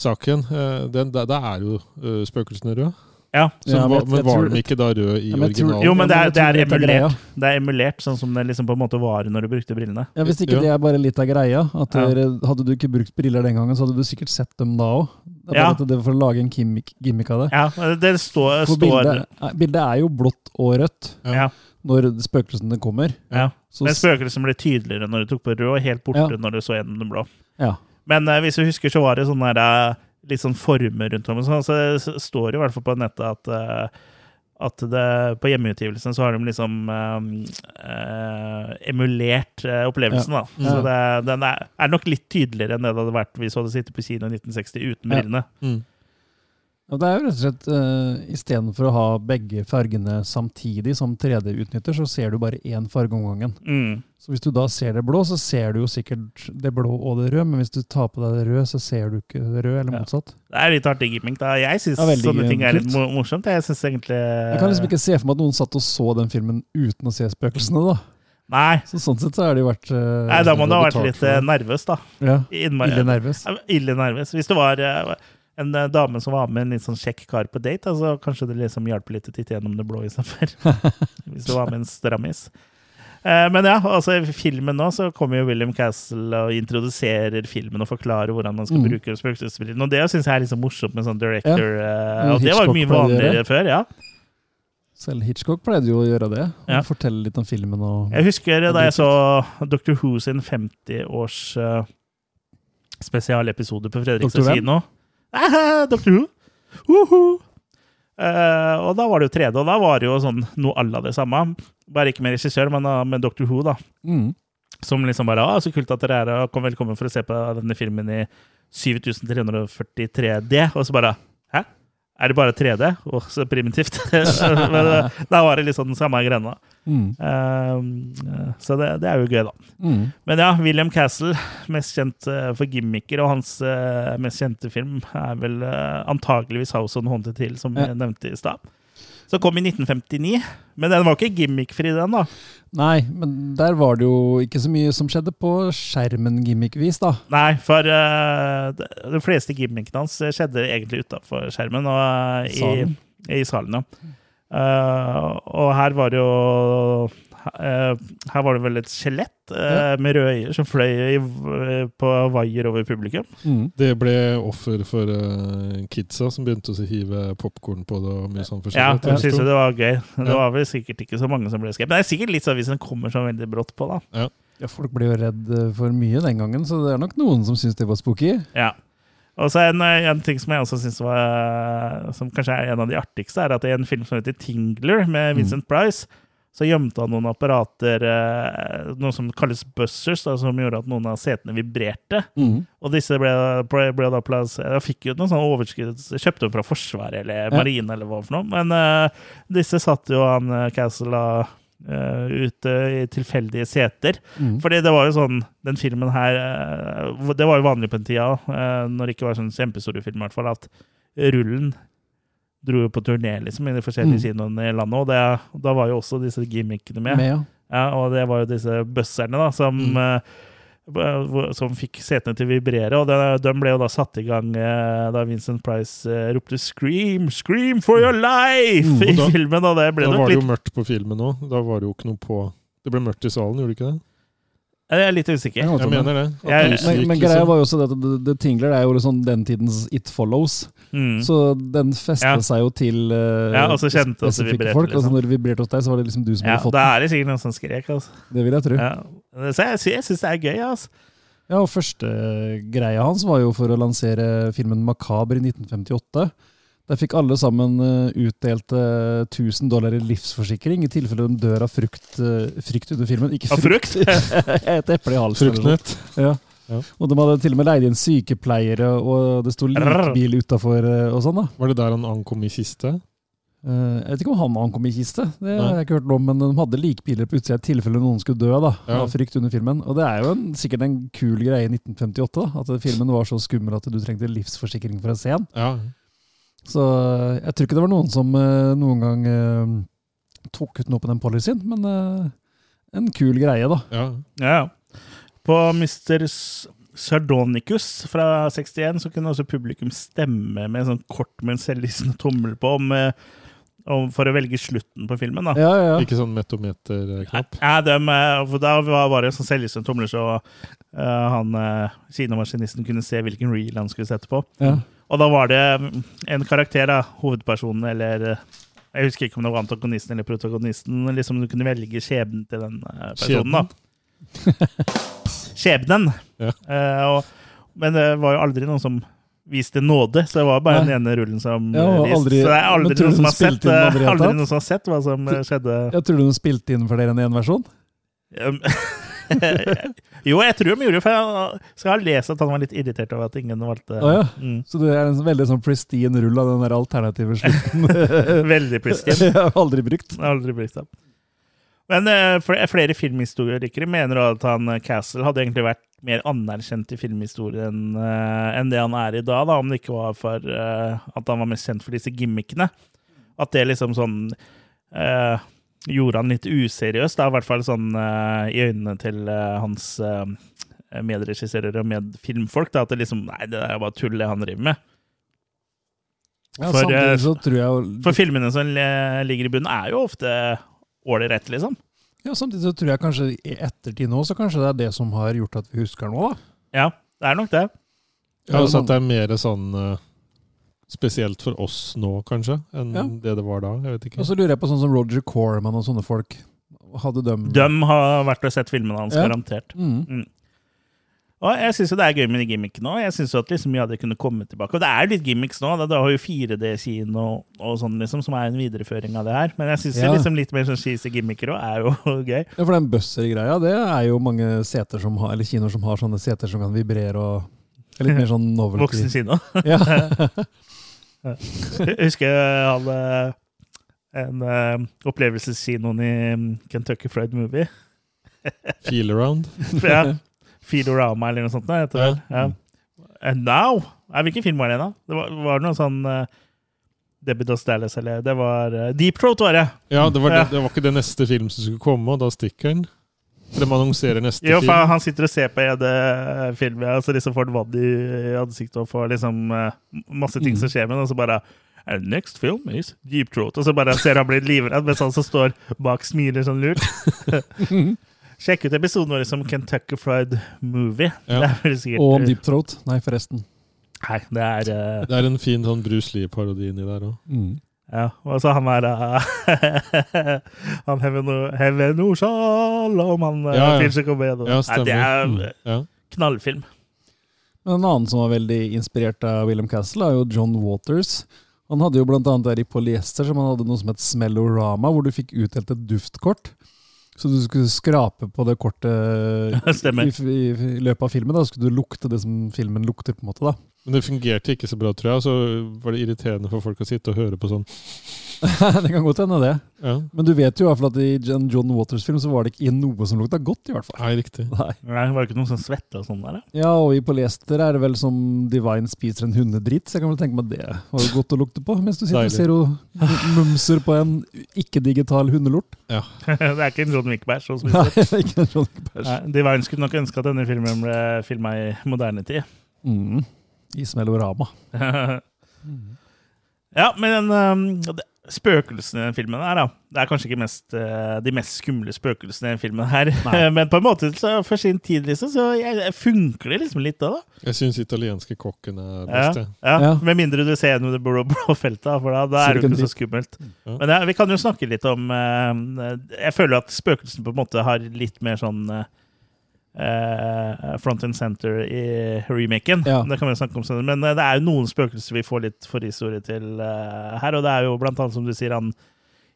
C: saken, eh, den, der, der er jo eh, spøkelsene røde.
A: Ja,
C: Så
B: Ja, men
C: hva-
B: jeg-
C: men
B: jeg
C: var
B: tror-
C: de ikke da røde i
B: Ja, men jeg tror-
C: originalen?
A: Jo, men det er-
B: jeg tror
A: det er
B: litt av
A: emulert.
B: greia.
A: Det er emulert, sånn som det liksom på en måte var når du brukte brillene.
B: Ja, Hvis ikke
C: Ja.
B: det er bare litt av greia. At
A: Ja.
B: dere, hadde du ikke brukt briller den gangen, så hadde du sikkert sett dem da òg. Det er bare
A: Ja.
B: at det er for å lage en gimmick, gimmick av det.
A: Ja, det står,
B: For
A: står
B: bildet, eh, bildet er jo blått og rødt
A: Ja.
B: når spøkelsene kommer.
A: ja.
B: Så,
A: Men
B: s-
A: spøkelset ble tydeligere når du tok på rød, og helt borte
B: Ja.
A: når du så gjennom den blå.
B: ja.
A: Men eh, hvis du husker, så var det sånne der, eh, litt sånn former rundt om. og Sånn, så det s- står i hvert fall på nettet at, eh, at det, på hjemmeutgivelsen så har de liksom eh, eh, emulert eh, opplevelsen, da. Så
B: Ja.
A: det, den er, er nok litt tydeligere enn det det hadde vært hvis du hadde sittet på kino i 1960 uten
B: Ja.
A: brillene.
C: Mm.
B: Ja, Det er jo rett og slett eh, Istedenfor å ha begge fargene samtidig som 3D-utnytter, så ser du bare én farge om gangen.
A: Mm.
B: Så hvis du da ser det blå, så ser du jo sikkert det blå og det røde, men hvis du tar på deg det røde, så ser du ikke det røde, eller
A: Ja.
B: motsatt.
A: Det er litt artig gimmick. da. Jeg syns
B: Ja, veldig
A: sånne ting er litt
B: kult.
A: mo- morsomt. Jeg synes egentlig
B: Jeg kan
A: Eh.
B: liksom ikke se for meg at noen satt og så den filmen uten å se spøkelsene, da.
A: Nei.
B: Så sånn sett så har det jo vært eh,
A: Nei, da må du ha vært
C: betalt
A: litt
C: for det.
A: eh, nervøs, da.
B: ja,
A: Innmari-
B: ille nervøs.
A: Ja, Ille nervøs. Hvis det var eh, en eh, dame som var med en litt sånn kjekk kar på date, da, så kanskje det liksom hjalp litt å titte gjennom det blå istedenfor. Hvis det var med en strammis. Eh, Men ja, altså i filmen nå så kommer jo William Castle og introduserer filmen og forklarer hvordan man skal
B: Mm.
A: bruke spøkelsesbrillene. Og det syns jeg er liksom morsomt med sånn director. eh, Og det var jo
B: Mm, Hitchcock
A: mye
B: pleier å
A: vanligere før, ja.
B: Selv Hitchcock pleide jo å gjøre det.
A: Ja.
B: og Fortelle litt om filmen og
A: Jeg husker da
B: det er
A: jeg så Dr. Who sin 50-års eh, spesialepisode på Fredrikstad
B: Dr. hvem?
A: kino. Ah, Dr. Who! Uhu. Eh, og da var det jo 3D, og da var det jo sånn noe à la det samme. Bare ikke med regissør, men da med Dr. Who, da.
B: Mm.
A: Som liksom bare ah, 'Så kult at dere er her, og kom velkommen for å se på denne filmen i 7343D'. Og så bare 'Hæ? Er det bare 3D?' Og så primitivt. Men eh, da var det liksom den samme greia. da.
B: Mm.
A: Eh, så det, det er jo gøy, da.
B: Mm.
A: Men ja, William Castle, mest kjent eh, for gimmicker, og hans eh, mest kjente film er vel eh, antakeligvis House on Haunted Hill, som
B: Ja.
A: jeg nevnte i stad. Som kom i 1959, men den var ikke gimmickfri, den, da.
B: Nei, men der var det jo ikke så mye som skjedde på skjermen gimmickvis, da.
A: Nei, for eh, de de fleste gimmickene hans skjedde egentlig utafor skjermen og eh,
B: Salen.
A: i, i salen. Ja. Eh, og her var det jo eh, Her var det vel et skjelett eh, med røde øyne som fløy i, v- på vaier over publikum.
B: Mm.
C: Det ble offer for eh, kidsa som begynte å hive popkorn på det. og mye sånn
A: Ja,
C: forskjellig.
A: de syntes jo det var gøy. Det
C: Ja.
A: var vel sikkert ikke så mange som ble skrevet. Men det er sikkert litt sånn hvis den kommer så veldig brått på, da.
B: Ja, Folk ble jo redd eh, for mye den gangen, så det er nok noen som syns det var spooky.
A: Ja. Og så en, eh, en ting som jeg også synes var eh, Som kanskje er en av de artigste, er at i en film som heter Tingler, med Vincent Price, så gjemte han noen apparater, eh, noe som kalles buzzers, da, som gjorde at noen av setene vibrerte. Og disse ble, ble, ble da plass, jeg fikk jo noen sånne overskudd, kjøpte dem fra Forsvaret eller Marine eller hva for noe, men eh, disse satt jo han eh, Castle da eh, ute i tilfeldige seter.
B: Mm.
A: Fordi det var jo sånn, den filmen her, eh, hvor- det var jo vanlig på den tida, eh, når det ikke var sånn kjempestore film i hvert fall, at rullen dro jo på turné liksom, i de forskjellige
C: Mm.
A: kinoene i landet, og det, da var jo også disse gimmickene med.
B: Med, ja.
A: Ja, og det var jo disse bøsserne da, som,
C: Mm.
A: eh, hvor- som fikk setene til å vibrere, og de, de ble jo da satt i gang eh, da Vincent Price eh, ropte 'Scream! Scream for your life!'
C: Mm, og
A: i
C: da-
A: filmen, og det ble
C: Da
A: nok
C: var det
A: litt
C: jo mørkt på filmen òg. Da var det jo ikke noe på Det ble mørkt i salen, gjorde det ikke det?
A: Jeg er litt usikker.
B: Ja,
C: Jeg mener det. At
A: Jeg-
C: lyset
B: Men,
C: gikk
B: men
C: liksom.
B: greia var jo også det at The, the Tingler er jo liksom den tidens It Follows.
A: Mm.
B: Så den festa
A: Ja.
B: seg jo til eh,
A: Ja, og så kjente det, og så
B: spesifikke
A: vibrerte,
B: folk. Og
A: liksom.
B: så når det vibrerte hos deg, så var det liksom du som
A: Ja,
B: hadde fått
A: da
B: den.
A: er det sikkert noen som skrek, altså.
B: Det vil jeg tro. Ja.
A: Ja. Så jeg, sy- jeg syns det er gøy, altså.
B: og første greia hans var jo for å lansere filmen Makaber i 1958. Der fikk alle sammen eh, utdelt eh, 1000 dollar i livsforsikring i tilfelle de dør av frukt, eh, frykt under filmen. Ikke
A: Av frukt?
B: et eple i halsen. eller noe.
C: Fruktnøtt.
B: Ja.
C: Ja.
B: Og de hadde til og med leid inn sykepleiere, og det sto likbil utafor og sånn. da.
C: Var det der han ankom i kiste?
B: Eh, Jeg vet ikke om han ankom i kiste, det
C: Nei.
B: har jeg ikke hørt noe om, men de hadde likbiler på utsida i tilfelle noen skulle dø da,
C: Ja.
B: av frykt under filmen. Og det er jo en, sikkert en kul greie i 1958, da, at filmen var så skummel at du trengte livsforsikring for å se den.
C: Ja.
B: Så eh, jeg tror ikke det var noen som eh, noen gang eh, tok ut noe på den policyen, men eh, en kul greie, da.
C: ja.
A: Ja. ja. På Mr. S- Sardonicus fra 61 så kunne også publikum stemme med en sånn kort, men selvlysende tommel på om, eh, om for å velge slutten på filmen. da.
B: Ja, ja, ja.
C: Ikke sånn metometerknapp.
A: Ja, dem, eh, for da var var det sånn selvlysende tomler, så eh, han eh, kinomaskinisten kunne se hvilken reel han skulle sette på.
B: ja.
A: Og da var det mm, en karakter, da, hovedpersonen eller eh, Jeg husker ikke om det var antagonisten eller protagonisten. liksom Du kunne velge skjebnen til den eh, personen. da. Skjebnen.
C: Ja.
A: Eh, og, men det var jo aldri noen som viste nåde, så det var bare
B: Nei.
A: den ene rullen som
B: Ja, og
A: eh, viste.
B: aldri-
A: så det er
B: men
A: aldri
B: tror
A: noen,
B: du
A: som
B: den
A: har sett,
B: spilte inn
A: eh,
B: aldri i det hele
A: aldri
B: tatt?
A: noen som har sett hva som eh, skjedde.
B: Jeg tror de spilte inn flere enn én versjon.
A: Um, jo, jeg tror de gjorde det, for jeg skal ha lest at han var litt irritert over at ingen valgte
B: Å, ja.
A: mm.
B: Så det er en veldig sånn pristine rull av den der alternative slutten.
A: Veldig pristig.
B: Jeg har aldri brukt.
A: Det har aldri blitt det. Men eh, fl- flere filmhistorikere mener også at han eh, Castle hadde egentlig vært mer anerkjent i filmhistorien eh, enn det han er i dag, da, om det ikke var for eh, at han var mest kjent for disse gimmickene. At det liksom sånn eh, gjorde han litt useriøs, da, i hvert fall sånn eh, i øynene til eh, hans eh, medregissører og medfilmfolk. Da, at det liksom Nei, det er bare tull, det han driver med.
B: Ja,
A: For, eh,
B: samtidig så tror jeg jo-
A: For filmene som eh, ligger i bunnen, er jo ofte eh, ålreit, liksom.
B: Ja, samtidig så tror jeg kanskje i ettertid nå, så kanskje det er det som har gjort at vi husker nå, da.
A: Ja, det er nok det.
C: Ja, altså at det er mer sånn eh, Spesielt for oss nå, kanskje, enn
B: Ja.
C: det det var da. Jeg vet ikke.
B: Og så lurer jeg på sånn som Roger Corman og sånne folk. Hadde Mm. de
A: De har vært og sett filmene hans,
B: Ja.
A: garantert.
B: Mm.
A: Og jeg syns jo det er gøy med de gimmickene òg. Jeg syns jo at liksom mye av det kunne komme tilbake. Og det er jo litt gimmicks nå. Da, det har jo 4D-kino og sånn, liksom, som er en videreføring av det her. Men jeg syns
B: Ja.
A: liksom litt mer sånn cheesy gimmicker òg er jo gøy.
B: Ja, for den buzzer-greia, det er jo mange seter som har, eller kinoer som har sånne seter som kan vibrere og det er Litt mer sånn novelty.
A: Voksen kino.
B: Ja.
A: Jeg husker jeg hadde en eh, opplevelseskinoen i mm, Kentucky Fried Movie.
B: Altså-
C: Feel around.
A: Ja. Filorama eller noe sånt. da, heter det vel. Ja. And now! Nei, hvilken film var det, da? Det var, var det noe sånn eh, Debbie Does Dallas eller Det var eh, Deep Throat, var det!
C: Ja, det var,
A: Ja.
C: det, det var ikke det neste film som skulle komme, og da stikker den. For de annonserer neste
A: Jo, for
C: film.
A: han sitter og ser på en eh, film, ja, så liksom får han vann i i ansiktet og får liksom eh, masse ting som skjer med den, og så bare And next film is Deep Throat. Og så bare ser han blir livredd, mens han som står bak, smiler sånn lurt. Sjekk ut episoden vår som Kentucky Fried Movie.
C: Ja.
A: Det er vel sikkert
B: Og om Deep Throat. Nei, forresten.
A: Nei, det er eh,
C: Det er en fin sånn Bruce Lee-parodi inni der òg.
A: Ja, og så han der eh, Han Heveno- Heveno Shalom, han eh,
C: Ja, ja.
A: fyren som kommer igjen. Nei,
C: Ja,
A: det
C: stemmer. Mm.
A: er
C: Ja.
A: knallfilm.
B: Men en annen som var veldig inspirert av William Castle, er jo John Waters. Han hadde jo blant annet der i polyester som han hadde noe som het Smellorama, hvor du fikk utdelt et duftkort. Så du skulle skrape på det kortet
A: Stemmer.
B: i, i, i løpet av filmen. Da skulle du lukte det som filmen lukter, på en måte. da.
C: Men det fungerte ikke så bra, tror jeg. Så var det irriterende for folk å sitte og høre på sånn.
B: det kan godt hende, det.
C: Ja,
B: Men du vet jo i hvert fall at i en John Waters-film så var det ikke noe som lukta godt, i hvert fall.
C: Nei, riktig.
B: Nei.
A: Nei, var det ikke noe sånn svette og sånn der? da?
B: Ja, og i polyester er det vel som Divine spiser en hundedrit, så jeg kan vel tenke meg at det var jo godt å lukte på, mens du sitter og
C: Deilig.
B: ser henne mumser på en ikke-digital hundelort.
C: Ja.
A: det er ikke en sånn John Wickbæsj som
B: Nei,
A: spiser.
B: ikke en sånn bæsj.
A: Nei, De verden skulle nok ønske at denne filmen ble filma i moderne tid.
B: Mm. I smellorama.
A: ja, men um, det- spøkelsene i den filmen her, da. Det er kanskje ikke mest, eh, de mest skumle spøkelsene i den filmen her, men på en måte så for sin tid, liksom, så jeg, jeg funker det liksom litt da, da.
C: Jeg syns italienske kokken er
A: Ja,
C: best, jeg.
A: ja.
B: Ja.
A: Med mindre du ser gjennom det blå, blå feltet, da, for da, da er
B: Ser
A: det
B: du
A: jo
B: ikke
A: ikke så skummelt.
C: Ja.
A: Men ja, vi kan jo snakke litt om eh, Jeg føler at spøkelsen på en måte har litt mer sånn eh, front and center i remaken.
B: Ja.
A: Det kan vi jo snakke om senere. Men eh, det er jo noen spøkelser vi får litt forhistorie til eh, her, og det er jo blant annet, som du sier, han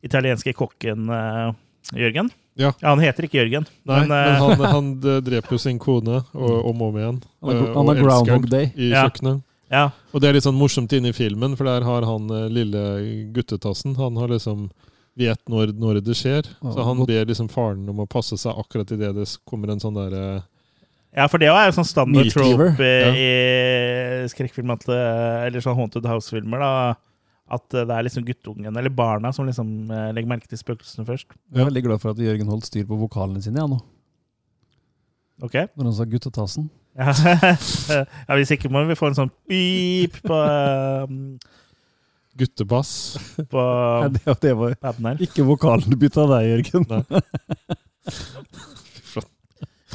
A: italienske kokken eh, Jørgen.
C: Ja.
A: han heter ikke Jørgen,
C: Nei, men,
A: men, eh,
C: han, han eh, dreper jo sin kone og, om og om igjen.
B: Han er-
C: eh,
B: han er
C: og elsker
B: Groundhog
C: den
B: Day.
C: I
A: Ja.
C: kjøkkenet.
A: ja,
C: Og det er litt sånn morsomt inne i filmen, for der har han eh, lille guttetassen. Han har liksom vet når, når det skjer.
B: Ja,
C: Så han
B: godt.
C: ber liksom faren om å passe seg akkurat idet det s- kommer en sånn derre
A: Ja, for det er jo sånn standard
B: Meat Cleaver,
A: trope eh, i skrekkfilm, at, eh, eller sånn Haunted House-filmer, da. At eh, det er liksom guttungen, eller barna, som liksom eh, legger merke til spøkelsene først.
B: Jeg er veldig glad for at Jørgen holdt styr på vokalene sine ja, nå,
A: Ok?
B: når han sa guttetassen.
A: Ja, ja Hvis ikke må vi få en sånn pip på, eh,
C: guttebass.
A: på
B: Nei, det, det var
A: paden her.
B: ikke vokalen du bytta deg, Jørgen.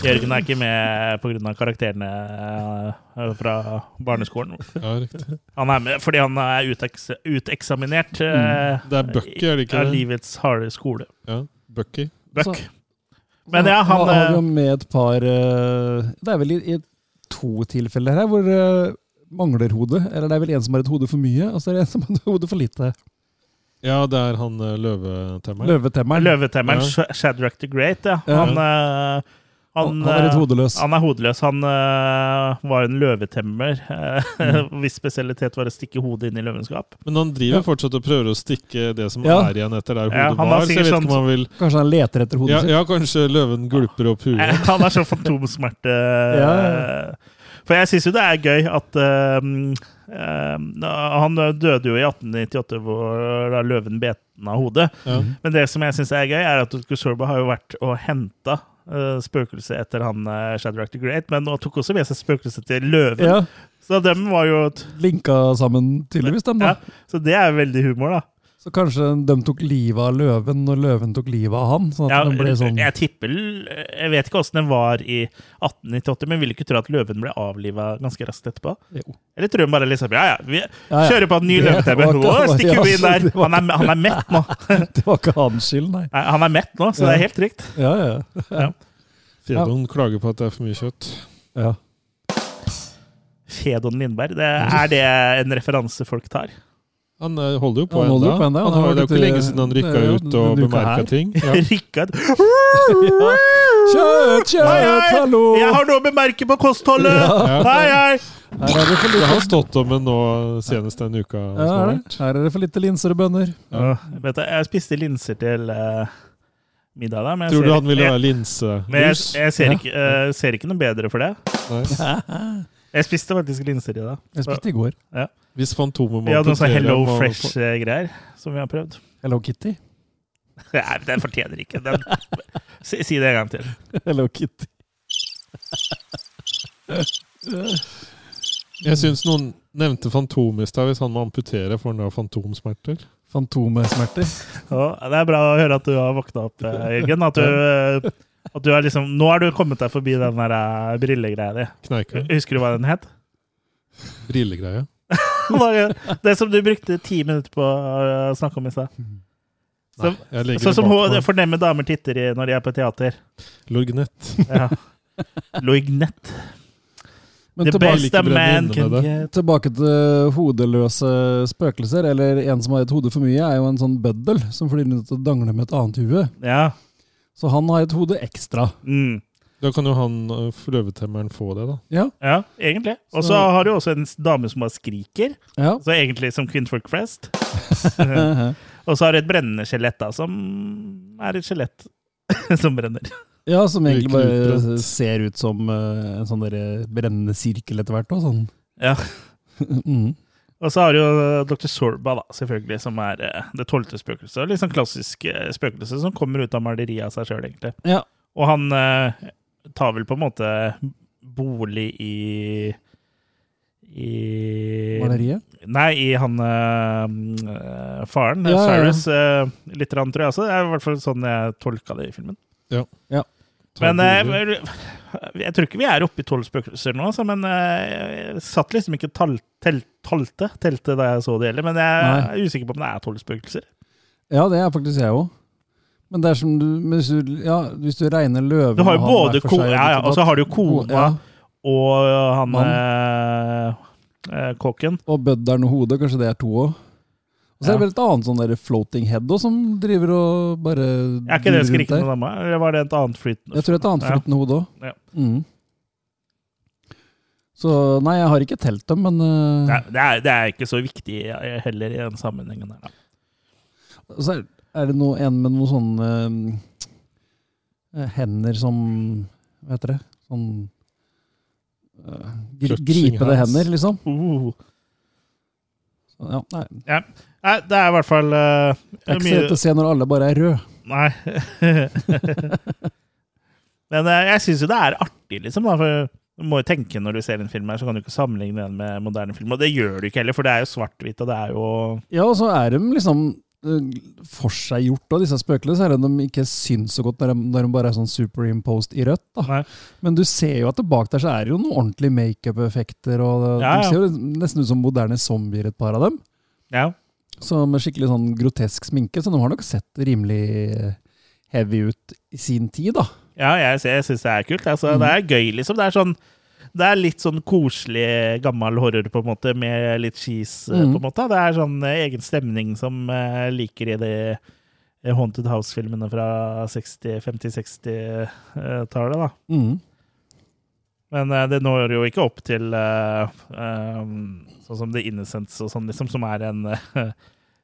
A: Jørgen er ikke med pga. karakterene eh, fra barneskolen.
C: Ja, riktig.
A: Han er med fordi han er utekse- uteksaminert eh,
C: Mm, Det er Bucky, er det ikke
A: av
C: det?
A: livets harde skole.
C: Ja, Bucky.
A: Buck.
B: Så-
A: Men ja, han,
B: har jo
A: eh,
B: med et par eh, Det er vel i, i to tilfeller her hvor eh, mangler hodet. Eller det er vel en som har et hode for mye, og så er det en som har et hode for lite.
C: Ja, det er han eh, løvetemmeren.
B: Løvetemmeren.
A: Løvetemmeren
C: Ja.
A: Sh- Shadrach the Great, ja.
B: Ja.
A: Han, eh, han,
B: Han- han er litt
A: eh,
B: hodeløs.
A: Han er hodeløs. Han eh, var en løvetemmer, eh, hvis spesialitet var å stikke hodet inn i løvenskap.
C: Men han driver fortsatt og prøver å stikke det som
B: Ja.
C: er igjen etter der hodet
A: Ja, han har
C: var. Så jeg
A: sikkert
C: vet ikke om
A: sånn-
C: han vil
B: Kanskje han leter etter hodet
C: ja, ja, kanskje løven gulper opp huet.
A: Eh, han er sånn fantomsmerte.
B: Ja.
A: eh, For jeg syns jo det er gøy at eh, eh, Han døde jo i 1898, hvor da løven bet den av hodet.
C: Ja.
A: Men det som jeg syns er gøy, er at Utku Sorba har jo vært og henta uh, spøkelset eter han uh, Shadrach the Great, men nå tok også med seg spøkelset til løven.
B: sitt. Ja,
A: Så dem var jo t-
B: Linka sammen, tydeligvis, dem, da.
A: ja, Så det er veldig humor, da.
B: Så kanskje de tok livet av løven når løven tok livet av han. Sånn at
A: Ja,
B: den ble sånn
A: Jeg tipper Jeg vet ikke åssen den var i 1898, men vil ikke tro at løven ble avliva ganske raskt etterpå.
B: Jo.
A: Eller tror hun bare liksom Ja, ja, vi
B: ja.
A: kjører på en ny
B: Det
A: løvetemme.
B: var
A: Å,
B: ikke-
A: Stikk
B: ja,
A: huet inn der!
B: det var-
A: Han er, han er mett nå.
B: Det var ikke hans skyld, nei.
A: Nei, Han er mett nå, så det er helt trygt.
B: Ja, ja.
C: Fedon klager på at det er for mye kjøtt.
B: ja.
A: Fedon Lindberg. Det, er det en referanse folk tar?
C: Han eh, holder jo på
B: Han holder jo
C: enda.
B: på enda,
C: Han
B: han
C: har,
B: har
C: det er jo
B: litt,
C: ikke lenge siden han rykka
B: eh,
C: ut og
B: denne uka her.
C: bemerka ting. Ja.
A: Rikard
B: Kjøtt,
A: Hei,
B: kjøtt,
A: hei!
B: hallo!
A: Jeg har noe å bemerke på kostholdet!
C: Ja.
A: Hei, hei!
B: Her er det for
C: Det
B: lite,
C: har stått om en nå senest den uka.
B: ja,
C: som har
B: er
C: vært.
B: det? Her er det for lite linser og bønner.
A: Ja. Vet du, jeg spiste linser til eh, middag der, men jeg
C: Tror du
A: ser,
C: han ville
A: jeg,
C: ha
A: men jeg,
C: linselus?
A: jeg ser, ikke, eh, ser ikke noe bedre for det.
C: Nei.
A: Jeg spiste faktisk linser i dag.
B: Jeg spiste i går.
C: Hvis Fantomet må
A: Vi hadde noen sånne
C: portrere
A: Hello
C: ham og-
A: Fresh-greier som vi har prøvd.
B: Hello Kitty.
A: Nei, den fortjener ikke den. Si, si det en gang til.
B: Hello Kitty.
C: Jeg syns noen nevnte Fantomet i stad. Hvis han må amputere, får han da fantomsmerter?
B: Fantomesmerter.
A: Ja, det er bra å høre at du har våkna opp, eh, Jørgen. At du, eh, at du er liksom, nå har du kommet deg forbi den der eh, brillegreia di.
C: Kneika?
A: Husker du hva den het?
C: Brillegreie?
A: Det som du brukte ti minutter på å eh, snakke om i stad.
C: Nei,
A: Som-
C: jeg legger
A: Sånn som hun-
C: det bak meg.
A: fornemme damer titter i når de er på teater.
C: Lorgnett.
A: Ja. Loignett.
B: Men
A: The
B: tilbake,
A: best
C: ikke
A: a
C: brenne
A: man
C: inne
A: can
C: med
A: get.
B: tilbake til eh, hodeløse spøkelser, eller en som har et hode for mye, er jo en sånn bøddel som flyr rundt og dangler med et annet hue.
A: Ja.
B: Så han har et hode ekstra.
A: Mm.
C: Da kan jo han eh, løvetemmeren få det, da.
B: Ja,
A: ja, egentlig. Og så
B: Så-
A: har du også en s- dame som har skriker,
B: ja.
A: så egentlig som kvinnfolk flest. Og så har du et brennende skjelett, da, som er et skjelett som brenner.
B: ja som egentlig
C: Liker
B: bare
C: utbrent.
B: ser ut som eh, en sånn der brennende sirkel etter hvert. Og sånn.
A: Ja.
B: Mm.
A: Og så har du jo Dr. Sorba, da, selvfølgelig, som er eh, det tolvte spøkelset. Litt sånn klassisk eh, spøkelse som kommer ut av maleriet av seg sjøl, egentlig.
B: Ja.
A: Og han eh, tar vel på en måte bolig i i
B: Maleriet.
A: Nei, i han eh, mm, eh, faren,
B: Ja, ja, ja.
A: Cyrus, eh, litt, rann, tror jeg også. Det er i hvert fall sånn jeg tolka det i filmen.
C: Ta
A: Men eh,
C: bolig.
A: vel, jeg tror ikke vi er oppe i tolv spøkelser nå, altså, men eh, jeg satt liksom ikke tall, tel, talte teltet da jeg så det heller. Men jeg
B: Nei.
A: er usikker på om det er tolv spøkelser.
B: Ja, det er faktisk jeg òg. Men det er som du, men hvis, du ja, hvis du regner løven
A: Du har jo
B: og han hver
A: både
B: for
A: ko
B: seg,
A: ja, ja,
B: ditt
A: og så har du jo
B: datt.
A: kona og han eh, eh, kåken.
B: Og bøddelen og hodet, kanskje det er to òg. Og så er det
A: Ja.
B: vel et annet sånn der floating head også, som driver og bare
A: Er ikke det
B: durer rundt
A: skrikende
B: der.
A: dama? Eller var det et annet flytende?
B: Jeg tror det er et annet
A: Ja.
B: flytende hode òg.
A: Ja.
B: Mm. Så nei, jeg har ikke telt dem, men øh,
A: Nei, det, er, det er ikke så viktig eh, heller i den sammenhengen. her, da.
B: så er, er det noe, en med noen sånne øh, hender som Hva heter det? Sånn øh, gri,
C: Clutching
B: Gripede
C: hands.
B: hender, liksom.
A: Uh.
B: Så, Ja, nei,
A: Nei, det er i hvert fall eh,
B: det er ikke så
A: mye-
B: lett å se når alle bare er røde.
A: Nei. Men eh, jeg syns jo det er artig, liksom. Da, for du må jo tenke når du ser en film her, så kan du ikke sammenligne den med moderne film. Og det gjør du ikke heller, for det er jo svart-hvitt, og det er jo
B: Ja, og så er de liksom eh, forseggjort av disse spøkelsene, så er det de ikke syns så godt når de, når de bare er sånn superimposed i rødt. da.
A: Nei.
B: Men du ser jo at det bak der så er det jo noen ordentlige makeup-effekter, og det
A: Ja,
B: de
A: ja.
B: ser jo nesten ut som moderne zombier, et par av dem.
A: Ja.
B: Så med skikkelig sånn grotesk sminke, så de har nok sett rimelig eh, heavy ut i sin tid, da.
A: ja jeg, sy- jeg syns det er kult. Altså, Det
B: Mhm.
A: er gøy, liksom. Det er sånn det er litt sånn koselig gammel horror, på en måte, med litt skis, eh,
B: Mhm.
A: på en måte. Det er sånn eh, egen stemning som eh, jeg liker i de eh, Haunted House-filmene fra 60-, 50-60-tallet, eh, da.
B: Mm.
A: Men eh, det når jo ikke opp til eh, ehm, sånn som The Innocents og sånn, liksom, som er en eh,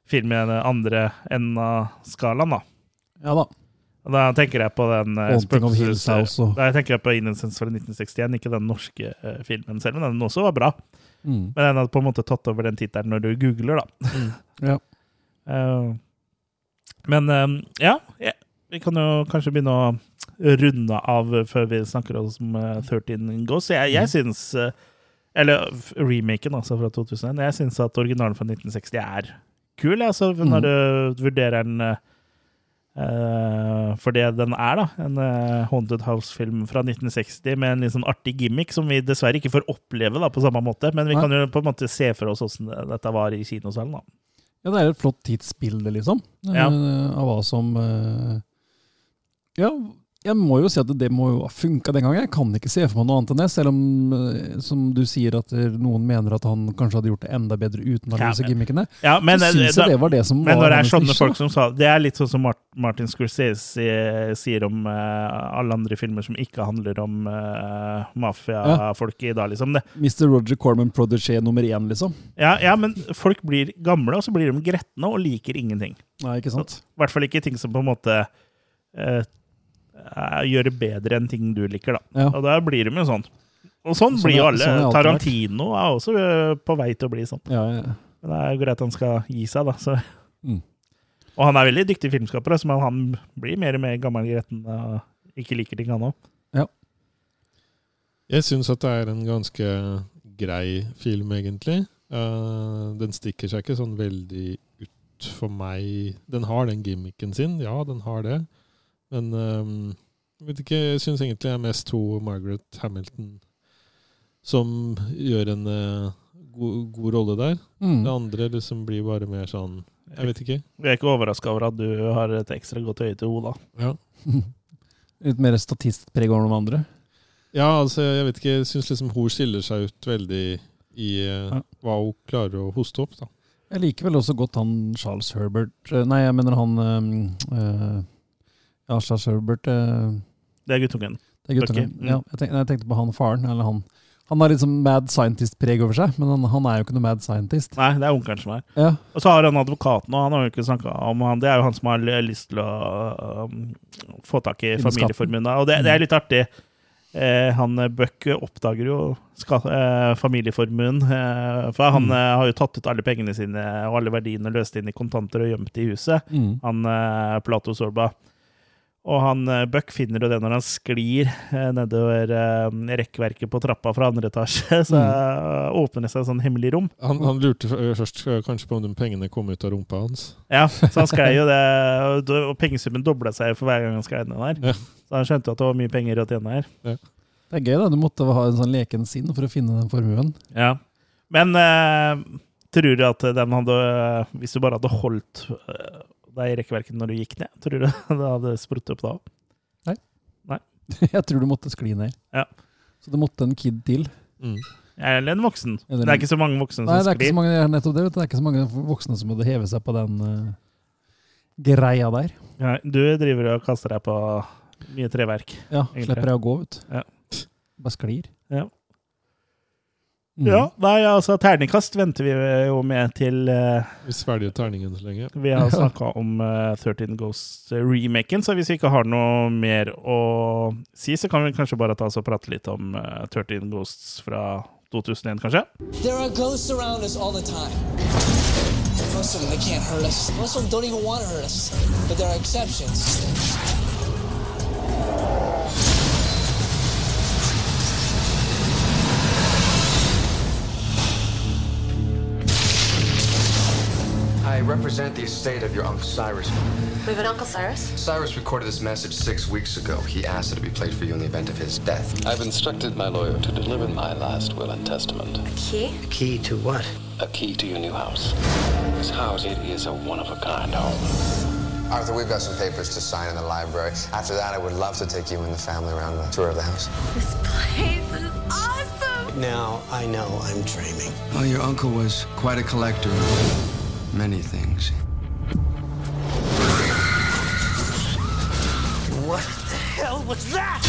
A: film i den andre enden av skalaen, da.
B: Ja da.
A: Og da tenker jeg på den eh,
B: Haunting of
A: spøkelses-
B: Hills House og
A: Da tenker jeg på Innocents fra 1961, ikke den norske eh, filmen selv, men den også var bra.
B: mm.
A: Men den hadde på en måte tatt over den tittelen når du googler, da.
B: Ja.
A: Eh, men eh, ja, ja, vi kan jo kanskje begynne å runde av før vi snakker om eh, 13 Ghosts. Jeg, jeg syns eh, Eller f- remaken, altså, fra 2001. Jeg syns at originalen fra 1960 er kul, altså, når du vurderer den eh, eh, for det den er, da. En eh, Haunted House-film fra 1960 med en litt sånn artig gimmick som vi dessverre ikke får oppleve da, på samme måte, men vi
B: Nei.
A: kan jo på en måte se for oss åssen dette var i kinosalen. da.
B: Ja, det er et flott tidsbilde, liksom.
A: Ja.
B: eh, Av hva som eh, Ja, jeg må jo si at det må jo ha funka den gangen. Jeg kan ikke se for meg noe annet enn det, selv om eh, som du sier at eh, noen mener at han kanskje hadde gjort det enda bedre uten alle
A: Ja,
B: disse
A: men-
B: gimmickene.
A: Ja, men, eh,
B: så syns jeg det var det som
A: men
B: var
A: når det er
B: hennes
A: sånne
B: nisje,
A: folk
B: da.
A: som sa Det er litt sånn som Mart- Martin Scorsese eh, sier om eh, alle andre filmer som ikke handler om uh, mafiafolk i dag, liksom. Det.
B: Mr. Roger Corman Prodigy nummer én, liksom.
A: Ja, ja, men folk blir gamle, og så blir de gretne og liker ingenting.
B: Nei, ikke sant?
A: I hvert fall ikke ting som på en måte eh, eh, gjør det bedre enn ting du liker, da.
B: Ja.
A: Og da blir de jo sånn. Og sånn
B: Sånn
A: blir jo
B: er-
A: alle.
B: sånn er det alltid vært.
A: Tarantino er også eh, på vei til å bli sånn.
B: Ja, ja.
A: Men det er jo greit han skal gi seg, da. Så.
B: Mm.
A: Og han er veldig dyktig filmskaper, altså, men han blir mer og mer gammel i retten og ikke liker ting, han òg.
C: Jeg syns at det er en ganske grei film, egentlig. Eh, den stikker seg ikke sånn veldig ut for meg. Den har den gimmicken sin, ja, den har det. Men ehm, jeg vet ikke, jeg syns egentlig det er mest to Margaret Hamilton som gjør en eh, god, god rolle der.
B: Mm.
C: Det andre liksom blir bare mer sånn Jeg vet ikke.
A: Jeg er ikke overraska over at du har et ekstra godt øye til Ola.
C: Ja.
B: Litt mer statistpreg over noen andre.
C: Ja, altså, jeg vet ikke. Jeg syns liksom hun skiller seg ut veldig i eh,
B: Ja.
C: hva hun klarer å hoste opp, da.
B: Jeg liker vel også godt han Charles Herbert eh, Nei, jeg mener han eh, eh, Ja, Charles Herbert eh,
A: Det er guttungen.
B: Det er guttungen.
A: Bucky, mm.
B: Ja, jeg, tenkte, jeg tenkte på han faren, eller han. Han har litt sånn mad scientist-preg over seg, men han, han er jo ikke noe mad scientist.
A: Nei, det er onkelen som er.
B: Ja,
A: Og så har han advokaten, og han har jo ikke snakka om han. Det er jo han som har l- lyst til å um, få tak i
B: Filmskatten.
A: familieformuen. Og det, det er litt artig. Eh, han eh, Buck oppdager jo ska, eh, familieformuen. Eh, for han
B: Mm.
A: eh, har jo tatt ut alle pengene sine og alle verdiene, løst inn i kontanter og gjemt i huset
B: mm.
A: han eh, Plato Sorba. Og han eh, Buck finner jo det når han sklir eh, nedover eh, rekkverket på trappa fra andre etasje. Så eh, åpner det seg et sånn hemmelig rom.
C: Han, han lurte f- først eh, kanskje på om de pengene kom ut av rumpa hans.
A: Ja, Så han sklei jo det, og da- og pengesummen dobla seg for hver gang han sklei ned der.
C: Ja.
A: Så han skjønte jo at det var mye penger å tjene her.
B: Det er gøy, da. Du måtte ha en sånn leken sinn for å finne den formuen.
A: Ja. Men eh, tror du at den hadde Hvis du bare hadde holdt eh, deg i rekkverket når du gikk ned, tror du det hadde sprutt opp da òg?
B: Jeg tror du måtte skli ned.
A: Ja.
B: Så det måtte en kid til.
C: Mm.
A: Eller en voksen?
B: Eller-
A: Det er ikke så mange voksne
B: Nei, det
A: som
B: er ikke
A: sklir.
B: så mange, nettopp det, vet du. Det er ikke så mange voksne som hadde hevet seg på den eh, greia der.
A: Ja, du driver og kaster deg på mye treverk.
B: Ja,
A: Egentlig.
B: slipper jeg å gå ut.
A: Ja.
B: Bare sklir.
A: Ja.
B: Mm.
A: Ja, nei, altså Terningkast venter vi jo med til eh,
C: Vi svelger terningen så lenge.
A: vi har snakka om eh, 13 Ghosts-remaken. Så hvis vi ikke har noe mer å si, så kan vi kanskje bare ta oss og prate litt om eh, 13 Ghosts fra 2001, kanskje?
H: There are ghosts around us all the time. Most of them, they can't hurt us. Most of them don't even want to hurt us. But there are exceptions.
G: I represent the estate of your Uncle Cyrus.
E: We have an Uncle Cyrus?
G: Cyrus recorded this message six weeks ago. He asked that it be played for you in the event of his death.
I: I've instructed my lawyer to deliver my last will and testament,
E: A key?
J: Key to what?
I: a key to your new house. This house, it is a one-of-a-kind home.
G: Arthur, we've got some papers to sign in the library. After that, I would love to take you and the family around on a tour of the house.
E: This place is awesome!
J: Now I know I'm dreaming.
G: Well, your uncle was quite a collector of many things.
J: What the hell was that?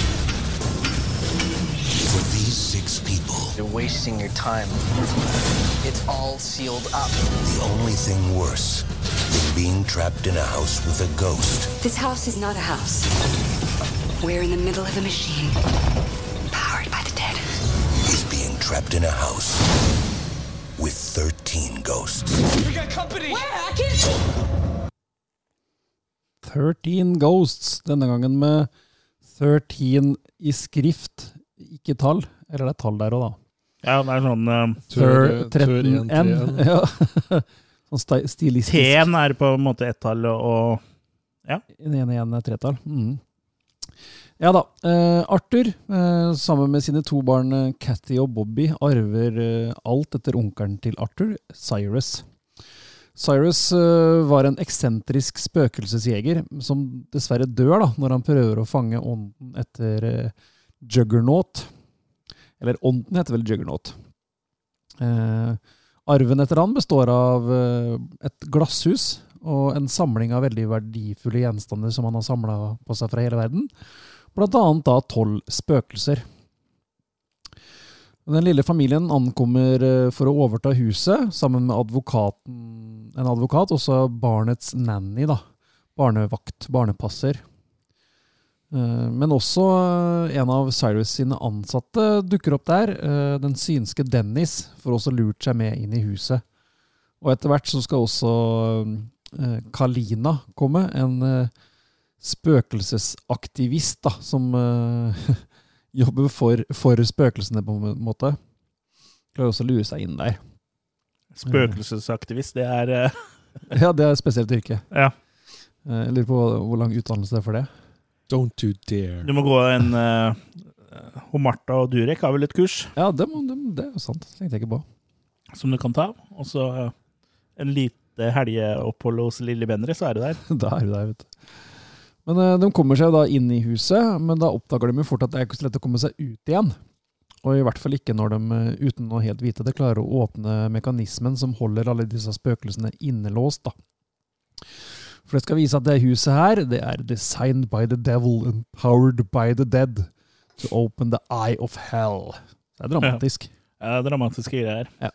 D: For these six people,
H: You're wasting your time. It's all sealed up.
D: the only thing worse than being trapped in a house with a ghost
E: This house is not a house. We're in the middle of a machine, powered by the dead.
D: is being trapped in a house with 13 ghosts.
H: We got company!
B: 13 Ghosts, denne gangen med 13 i skrift, ikke tall. Eller det er tall der òg, da.
A: Ja, det er sånn eh,
B: Thir-
C: Tør- tør en,
B: 13 N.
C: tre en.
B: Ja. Sånn sti- stilistisk.
A: T-en er på en måte ett-tall, og
B: En ene igjen er tretall. Mm. Ja da. Eh, Arthur, eh, sammen med sine to barn eh, Cathy og Bobby, arver eh, alt etter onkelen til Arthur, Cyrus. Cyrus øh, var en eksentrisk spøkelsesjeger som dessverre dør da, når han prøver å fange ånden etter øh, Juggernaut. Eller ånden heter vel Juggernaut. Eh, arven etter han består av øh, et glasshus og en samling av veldig verdifulle gjenstander som han har samla på seg fra hele verden. Blant annet da tolv spøkelser. Den lille familien ankommer eh, for å overta huset sammen med advokaten, en advokat, også barnets nanny, da. Barnevakt, barnepasser. Eh, Men også eh, en av Cyrus sine ansatte dukker opp der. eh, Den synske Dennis får også lurt seg med inn i huset. Og etter hvert så skal også eh, Kalina komme, en eh, spøkelsesaktivist da, som eh, jobber for, for spøkelsene på en måte. Klarer også å lure seg inn der.
A: Spøkelsesaktivist, det er eh,
B: Ja, det er et spesielt yrke.
A: Ja.
B: Eh, Jeg lurer på hva- hvor lang utdannelse det er for det.
C: Don't you dare.
A: Du må gå en eh, Og Martha og Durek har vel et kurs?
B: Ja, det, må, det, det er jo sant. Det tenkte jeg ikke på.
A: Som du kan ta. Og så eh, en lite helgeopphold hos Lilly Bendriss, så er du der.
B: Da er du der, vet du. Men eh, de kommer seg da inn i huset, men da oppdager de jo fort at det er ikke så lett å komme seg ut igjen. Og i hvert fall ikke når de, eh, uten å helt vite det, klarer å åpne mekanismen som holder alle disse spøkelsene innelåst. da. For det skal vise at det huset her, det er designed by the devil and powered by the dead to open the eye of hell. Det er dramatisk.
A: Ja, dramatiske greier.
B: Ja.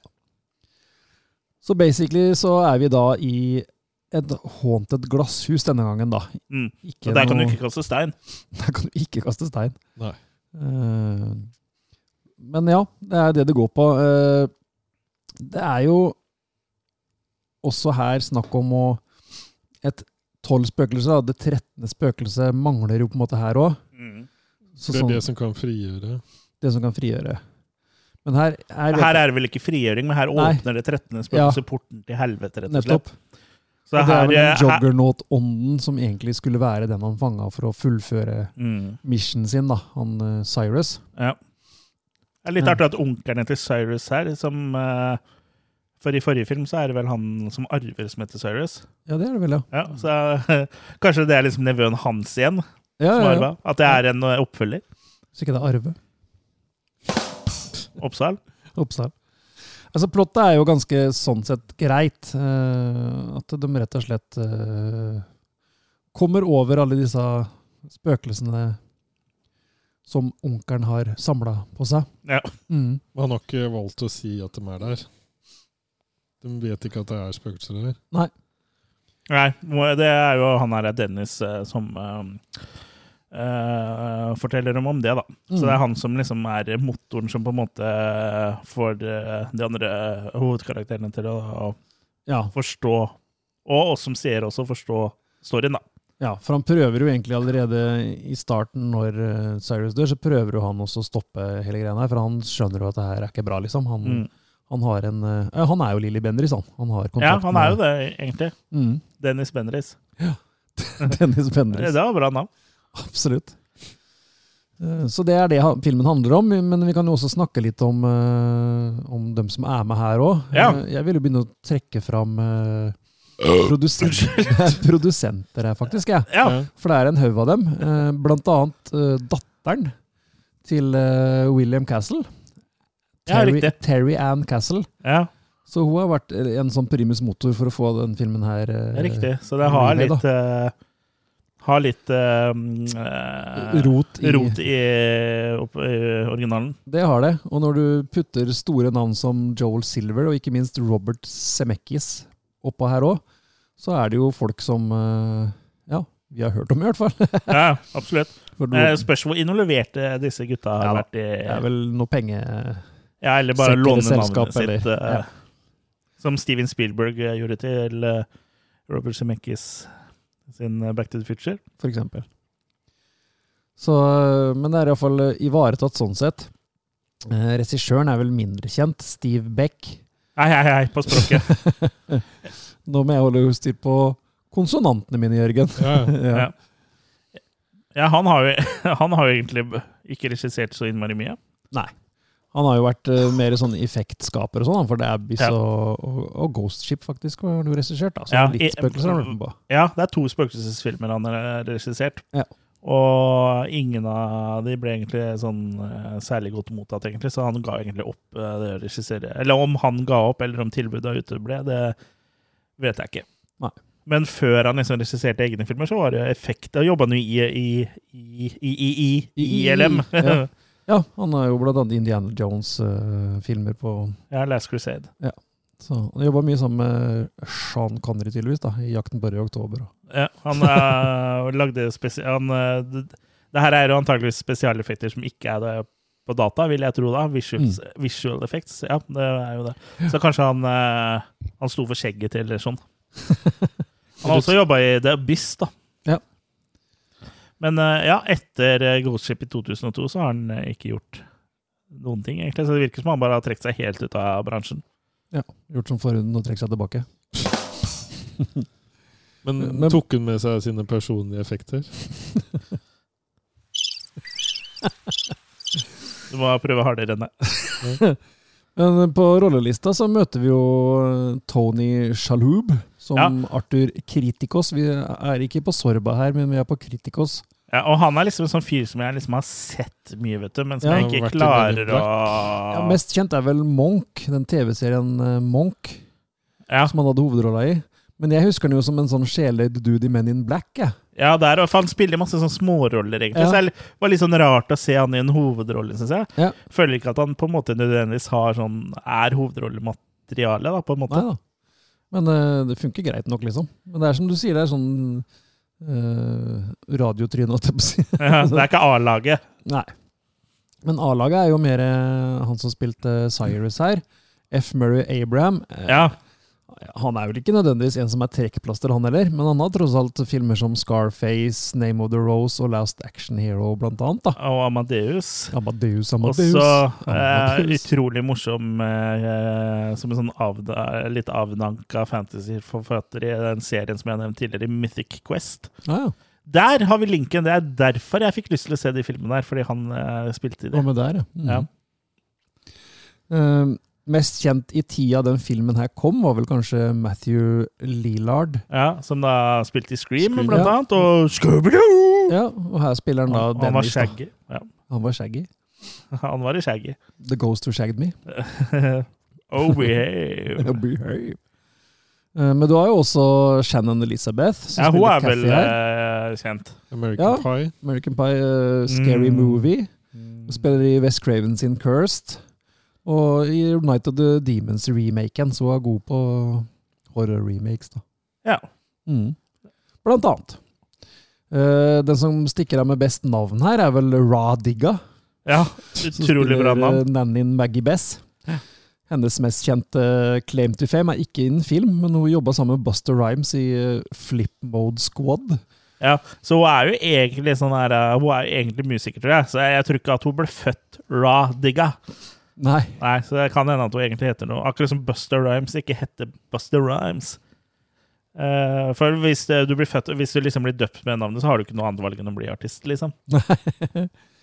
B: Så basically så er vi da i et haunted glasshus denne gangen, da.
A: Mm. Så der kan du
B: noe-
A: ikke kaste stein.
B: Der kan du ikke kaste stein.
C: Nei.
B: Eh, men ja, det er det det går på. Eh, det er jo også her snakk om å Et tolv spøkelser, da. Det trettende spøkelset mangler jo på en måte her òg.
A: Mm.
C: For det er det som kan frigjøre.
B: det som kan frigjøre. Men her er,
A: Her er det vel ikke frigjøring, men her
B: Nei.
A: åpner det 13.
B: Ja.
A: spøkelset porten til helvete, rett og
B: Nettopp.
A: slett. Så
B: Og det er
A: her,
B: vel
A: eh,
B: den
A: her
B: juggernaut-ånden som egentlig skulle være den han fanga for å fullføre
A: Mm.
B: missionen sin, da, han eh, Cyrus.
A: ja. Det er litt
B: Ja.
A: artig at onkelen til Cyrus her, som eh, For i forrige film så er det vel han som arver som heter Cyrus.
B: Ja, det er det vel, ja.
A: Ja, så eh, kanskje det er liksom nevøen hans igjen
B: Ja,
A: som
B: ja, ja.
A: arva? At det er en eh, oppfølger?
B: Så ikke det er arve.
A: Oppsal?
B: Oppsal. Altså, plottet er jo ganske sånn sett greit. eh, at de rett og slett eh, kommer over alle disse spøkelsene som onkelen har samla på seg.
A: Ja.
B: Mm.
C: Men han har ikke valgt å si at de er der. De vet ikke at det er spøkelser der.
A: Nei, må- det er jo han her Dennis eh, som eh, eh, forteller dem om det, da. Så
B: Mm.
A: det er han som liksom er motoren som på en måte får eh, de andre hovedkarakterene til å, å
B: Ja.
A: forstå, og oss som ser også forstå storyen, da.
B: Ja, for han prøver jo egentlig allerede i starten, når eh, Cyrus dør, så prøver jo han også å stoppe hele greia her, for han skjønner jo at det her er ikke bra, liksom. Han,
A: Mm.
B: han har en eh, ja, Han er jo Lilly Bendriss, han. Han har
A: Ja,
B: kontakt
A: han er jo det, egentlig.
B: Mm.
A: Dennis Bendriss.
B: med Dennis
A: Det
B: Bendriss.
A: var bra navn.
B: Absolutt. Eh, Så det er det han- filmen handler om, men vi kan jo også snakke litt om, eh, om dem som er med her òg.
A: Ja.
B: Jeg vil jo begynne å trekke fram eh, produsent, produsenter her, faktisk. jeg.
A: Ja.
B: For det er en haug av dem. eh, Blant annet eh, datteren til eh, William Castle.
A: Ja,
B: Terry,
A: riktig.
B: Terry Ann Castle.
A: Ja.
B: Så hun har vært en sånn primus motor for å få den filmen her eh,
A: Det er riktig. Så det har
B: remade, da.
A: litt eh, Har litt eh, eh,
B: Rot i-
A: rot i, opp, i originalen.
B: Det har det. Og når du putter store navn som Joel Silver og ikke minst Robert Zemeckis oppå her òg, så er det jo folk som eh, Ja, vi har hørt om i hvert fall.
A: Ja, absolutt.
B: For
A: Eh,
B: det
A: spørs hvor involverte disse gutta har
B: Ja da.
A: vært i
B: er vel noe penge...
A: Ja, eller bare
B: Sekk eller
A: låne
B: selskap,
A: navnet sitt.
B: eller-
A: eh,
B: ja.
A: Som Steven Spielberg eh, gjorde til eh, Robert Zemeckis sin eh, Back to the Future.
B: for eksempel. Så, eh, men det er iallfall ivaretatt sånn sett. Eh, Regissøren er vel mindre kjent, Steve Beck.
A: Hei, hei, hei, på språket.
B: Nå må jeg holde styr på konsonantene mine, Jørgen.
A: ja.
C: Ja,
A: ja, han har jo han har jo egentlig ikke regissert så innmari mye.
B: Nei. Han har jo vært eh, mer sånn effektskaper og sånn, han, for det er Abyss
A: Ja.
B: og, og, og Ghost Ship faktisk har han jo regissert. da, Så
A: Ja,
B: litt
A: i-
B: spøkelser har han vært med på.
A: Ja, det er to spøkelsesfilmer han har regissert.
B: Ja.
A: Og ingen av de ble egentlig sånn eh, særlig godt mottatt, egentlig, så han ga egentlig opp eh, det å regissere. Eller om han ga opp, eller om tilbudet uteble, det vet jeg ikke.
B: Nei.
A: Men før han liksom regisserte egne filmer, så var det jo effekt. Da jobba han jo i, i, i, i, i, i ILM.
B: Ja. ja, han har jo blant annet Indiana Jones-filmer på
A: ja, Last Crusade.
B: Ja. Så han jobba mye sammen med Sean Connery, tydeligvis, da, i 'Jakten på rød oktober'. og-
A: Ja, han eh, lagde spesial... Han, eh, det, det her er jo antakeligvis spesialeffekter som ikke er det på data, vil jeg tro da. Visuals, Visual effects, ja, det er jo det. Så kanskje han, eh, han sto for skjegget til eller sånn. Han har også jobba i The Abyss, da.
B: Ja.
A: Men eh, ja, etter eh, Ghost Ship i 2002 så har han eh, ikke gjort noen ting, egentlig. Så det virker som han bare har trukket seg helt ut av bransjen.
B: Ja, Gjort som forhuden og trekker seg tilbake.
C: Men,
B: Men-
C: tok hun med seg sine personlige effekter?
A: Du må prøve hardere enn det.
B: Men eh, på rollelista så møter vi jo eh, Tony Shalhoub som Arthur Kritikos. Vi er ikke på Sorba her, men vi er på Kritikos.
A: Ja, og han er liksom en sånn fyr som jeg liksom har sett mye, vet du, men som
B: Ja.
A: jeg
C: Han har
A: ikke
C: vært i Men
A: klarer
C: in
A: å
B: Ja, mest kjent er vel Monk, den TV-serien eh, Monk,
A: Ja.
B: som han hadde hovedrolla i. Men jeg husker han jo som en sånn sjeløyd dude i Men in Black. Jeg.
A: Ja, der, og for han spiller masse sånne småroller, egentlig.
B: Ja.
A: Så det var litt sånn rart å se han i en hovedrolle, syns jeg.
B: Ja.
A: Føler ikke at han på en måte nødvendigvis har sånn er hovedrollemateriale, da, på en måte.
B: Nei da. Men eh, det funker greit nok, liksom. Men det er som du sier, det er sånn eh, radiotryne, holdt jeg på å si.
A: Ja, det er ikke A-laget.
B: Nei. Men A-laget er jo mer eh, han som spilte Cyrus her. F. Murray Abraham. Eh,
A: Ja.
B: Han er vel ikke nødvendigvis en som er trekkplaster, han heller, men han har tross alt filmer som Scarface, Name of the Rose og Last Action Hero, blant annet. da.
A: Og Amadeus.
B: Amadeus,
A: Og
B: Amadeus.
A: så eh,
B: Amadeus.
A: utrolig morsom eh, som en sånn avda, litt avdanka fantasyforfatter i den serien som jeg nevnte tidligere, Mythic Quest.
B: Ah, Ja, ja.
A: Der har vi linken! Det er derfor jeg fikk lyst til å se de filmene her, fordi han eh, spilte i
B: Og
A: det.
B: med der, ja. Mm.
A: Ja.
B: Eh, mest kjent i tida den filmen her kom, var vel kanskje Matthew Lillard.
A: Ja, som da spilte i Scream,
B: Scream,
A: blant
B: ja.
A: annet, og Scooby-Doo!
B: Ja, og her spiller han da
A: Han, han var
B: Dennis. da.
A: shaggy. Ja,
B: Han var shaggy.
A: han var i shaggy.
B: The Ghost Who Shagged Me.
A: oh, behave.
B: Behave. Eh, Men du har jo også Shannon Elizabeth. Som
A: Ja, hun
B: spiller
A: er vel
B: Kathy her.
A: eh, kjent.
C: American
B: Ja.
C: Pie?
B: American Pie, eh, Scary
A: Mm.
B: Movie. Hun Spiller i West Craven sin Cursed. Og i Night of the Demons-remaken, så hun er god på horror-remakes, da.
A: Ja.
B: Mm. Blant annet. Eh, den som stikker av med best navn her, er vel Ra Digga.
A: ja.
B: som
A: Utrolig bra
B: spiller, eh,
A: navn.
B: Nannyn Maggie Bess. Hennes mest kjente eh, claim to fame er ikke innen film, men hun jobba sammen med Buster Rhymes i eh, Flip Mode Squad.
A: Ja, så hun er jo egentlig sånn her eh, Hun er jo egentlig musiker, tror jeg. Så jeg, jeg tror ikke at hun ble født ra digga.
B: Nei,
A: Nei, så det kan hende at hun egentlig heter noe. Akkurat som Buster Rhymes ikke heter Buster Rhymes. Eh, for hvis eh, du blir født Hvis du liksom blir døpt med navnet, så har du ikke noe annet valg enn å bli artist, liksom.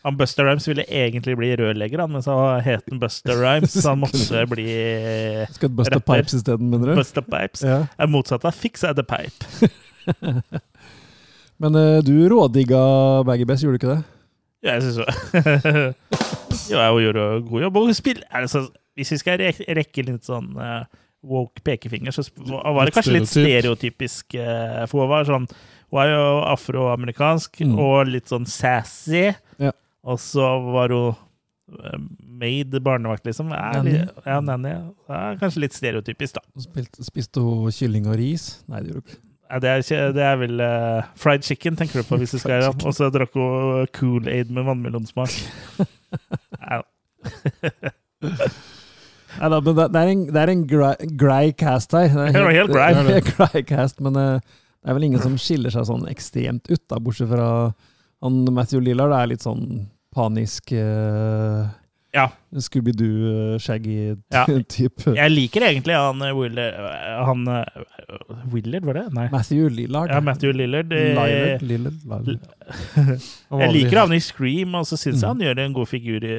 A: Han Buster Rhymes ville egentlig bli rørlegger, han, men så het han Buster Rhymes, så han måtte bli
B: skal Buster
A: Rapper.
B: Pipes isteden, mener du?
A: Buster Pipes.
B: Ja.
A: Det er motsatt av Fix the Pipe.
B: Men eh, du rådigga Maggie Bess, gjorde du ikke det?
A: Ja, jeg syns jo Jo, hun gjorde jo god jobb. Og hun spiller altså, Hvis vi skal rek- rekke litt sånn eh, woke pekefinger, så sp- var det
C: Litt
A: kanskje litt stereotypisk. eh, for hun var sånn Hun er jo afroamerikansk
B: Mm.
A: og litt sånn sassy.
B: Ja.
A: Og så var hun eh, maid barnevakt, liksom. Er,
B: Nanny.
A: litt- Ja, nanny. Ja, kanskje litt stereotypisk, da.
B: Hun spilte- Spiste hun kylling og ris? Nei, det gjorde hun ikke.
A: Ja, det, er, ikke- det er vel eh, fried chicken, tenker du på, hvis du skal
B: Fried
A: ja.
B: chicken.
A: Og så drakk hun Cool-Aid med vannmelonsmak. Nei,
B: Nei da, men det, det er en, det er en grei, grei cast her. Det
A: Det var helt grei.
B: det er en grei cast, men eh, det er vel ingen som skiller seg sånn ekstremt ut, da, bortsett fra han Matthew Lillard er litt sånn panisk eh,
A: Ja. Ja.
B: Scooby-Doo-shaggy-type.
A: Jeg liker egentlig han eh, Willard eh, Han eh, Willard, var det? Nei.
B: Matthew Lillard.
A: Ja, Matthew Lillard. eh,
B: Lillard, Lillard, Lillard. Mm.
A: Jeg liker han i Scream, og så syns jeg han gjør en god figur i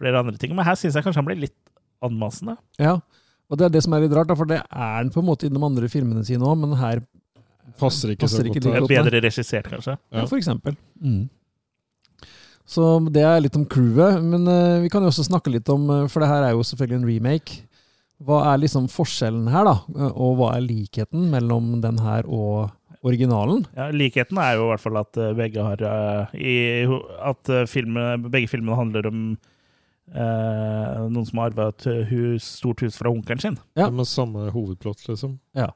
A: flere andre ting. Men her syns jeg kanskje han ble litt anmassende.
B: Ja, og det er det som er litt rart, da, for det er den på en måte i de andre filmene sine òg, men her
C: Passer ikke så godt
B: like
C: her.
B: godt. nei.
A: Bedre regissert, kanskje.
B: Ja, for eksempel. Mm. Så det er litt om crewet, men eh, vi kan jo også snakke litt om eh, For det her er jo selvfølgelig en remake. Hva er liksom forskjellen her, da? Eh, Og hva er likheten mellom den her og originalen?
A: Ja, likheten er jo i hvert fall at eh, begge har eh, i, ho- At eh, filmene, begge filmene handler om eh, noen som har arva et hus, stort hus fra onkelen sin.
B: Ja.
C: Med samme hovedplott, liksom.
B: Ja.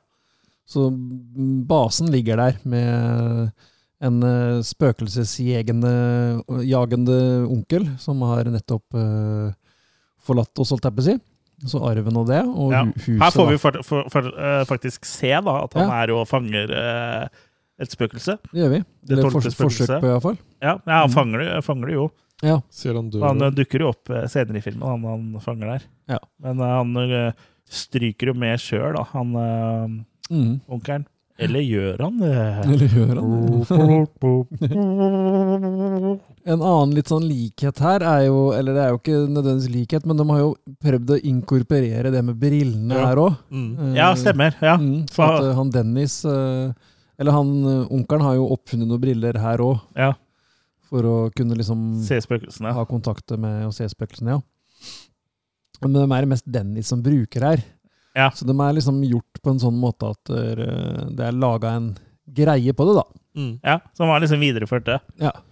B: Så mm, basen ligger der med en eh, spøkelsesjegende jagende onkel som har nettopp eh, forlatt oss, holdt jeg på å si. Så arven og det, og
A: Ja.
B: hu- huset.
A: Her får vi
B: da.
A: fort- for, for, eh, faktisk se da, at han er og fanger eh, et spøkelse.
B: Det gjør vi.
A: Det
B: Eller
A: tolvte
B: fors- forsøk
A: spøkelset.
B: på, i hvert fall.
A: Ja, ja han fanger det, fanger det jo.
B: Ja.
C: Ser han dør
A: Han eh,
C: og-
A: dukker jo opp eh, senere i filmen, han, han fanger der.
B: Ja.
A: Men eh, han eh, stryker jo med sjøl, da, han eh,
B: Mhm.
A: onkelen. Eller gjør han det?
B: Eller gjør han En annen litt sånn likhet her er jo Eller det er jo ikke nødvendigvis likhet, men de har jo prøvd å inkorporere det med brillene
A: Ja.
B: her òg.
A: Mm. Ja, stemmer, ja.
B: så at eh, han Dennis eh, Eller han eh, onkelen har jo oppfunnet noen briller her òg.
A: Ja.
B: For å kunne liksom
A: Se spøkelsene.
B: ha kontakt med og se spøkelsene, ja. Men de er det mest Dennis som bruker her.
A: Ja.
B: Så de er liksom gjort på en sånn måte at eh, det er laga en greie på det, da.
A: Ja, så han har liksom videreført det.
B: Ja.
C: mm.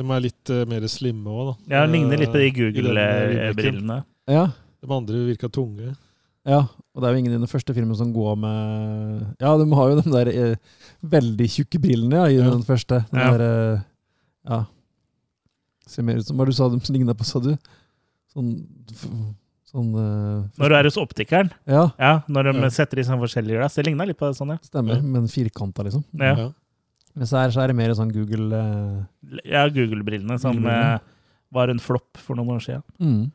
C: De er litt eh, mer slimme òg, da.
A: Ja, han ligner litt på de
C: Eh, i den remaken.
A: Google-brillene.
B: Ja.
C: De andre virka tunge.
B: Ja, og det er jo ingen i den første filmen som går med Ja, de har jo de der eh, veldig tjukke brillene ja, i den første. Den
A: Ja.
B: der, eh, ja. Ser mer ut som Hva du sa de ligna på, sa du? Sånn, f- sånn eh,
A: Når du er hos optikeren,
B: Ja.
A: når de
B: Ja.
A: setter i sånne forskjellige glass, det ligner litt på det sånn, ja.
B: Stemmer, men firkanta, liksom.
A: Ja. Ja.
B: Men så er, så er det mer sånn Google eh,
A: Ja, Google-brillene som
B: Google-brillene.
A: eh, var en flopp for noen år siden.
B: Mm.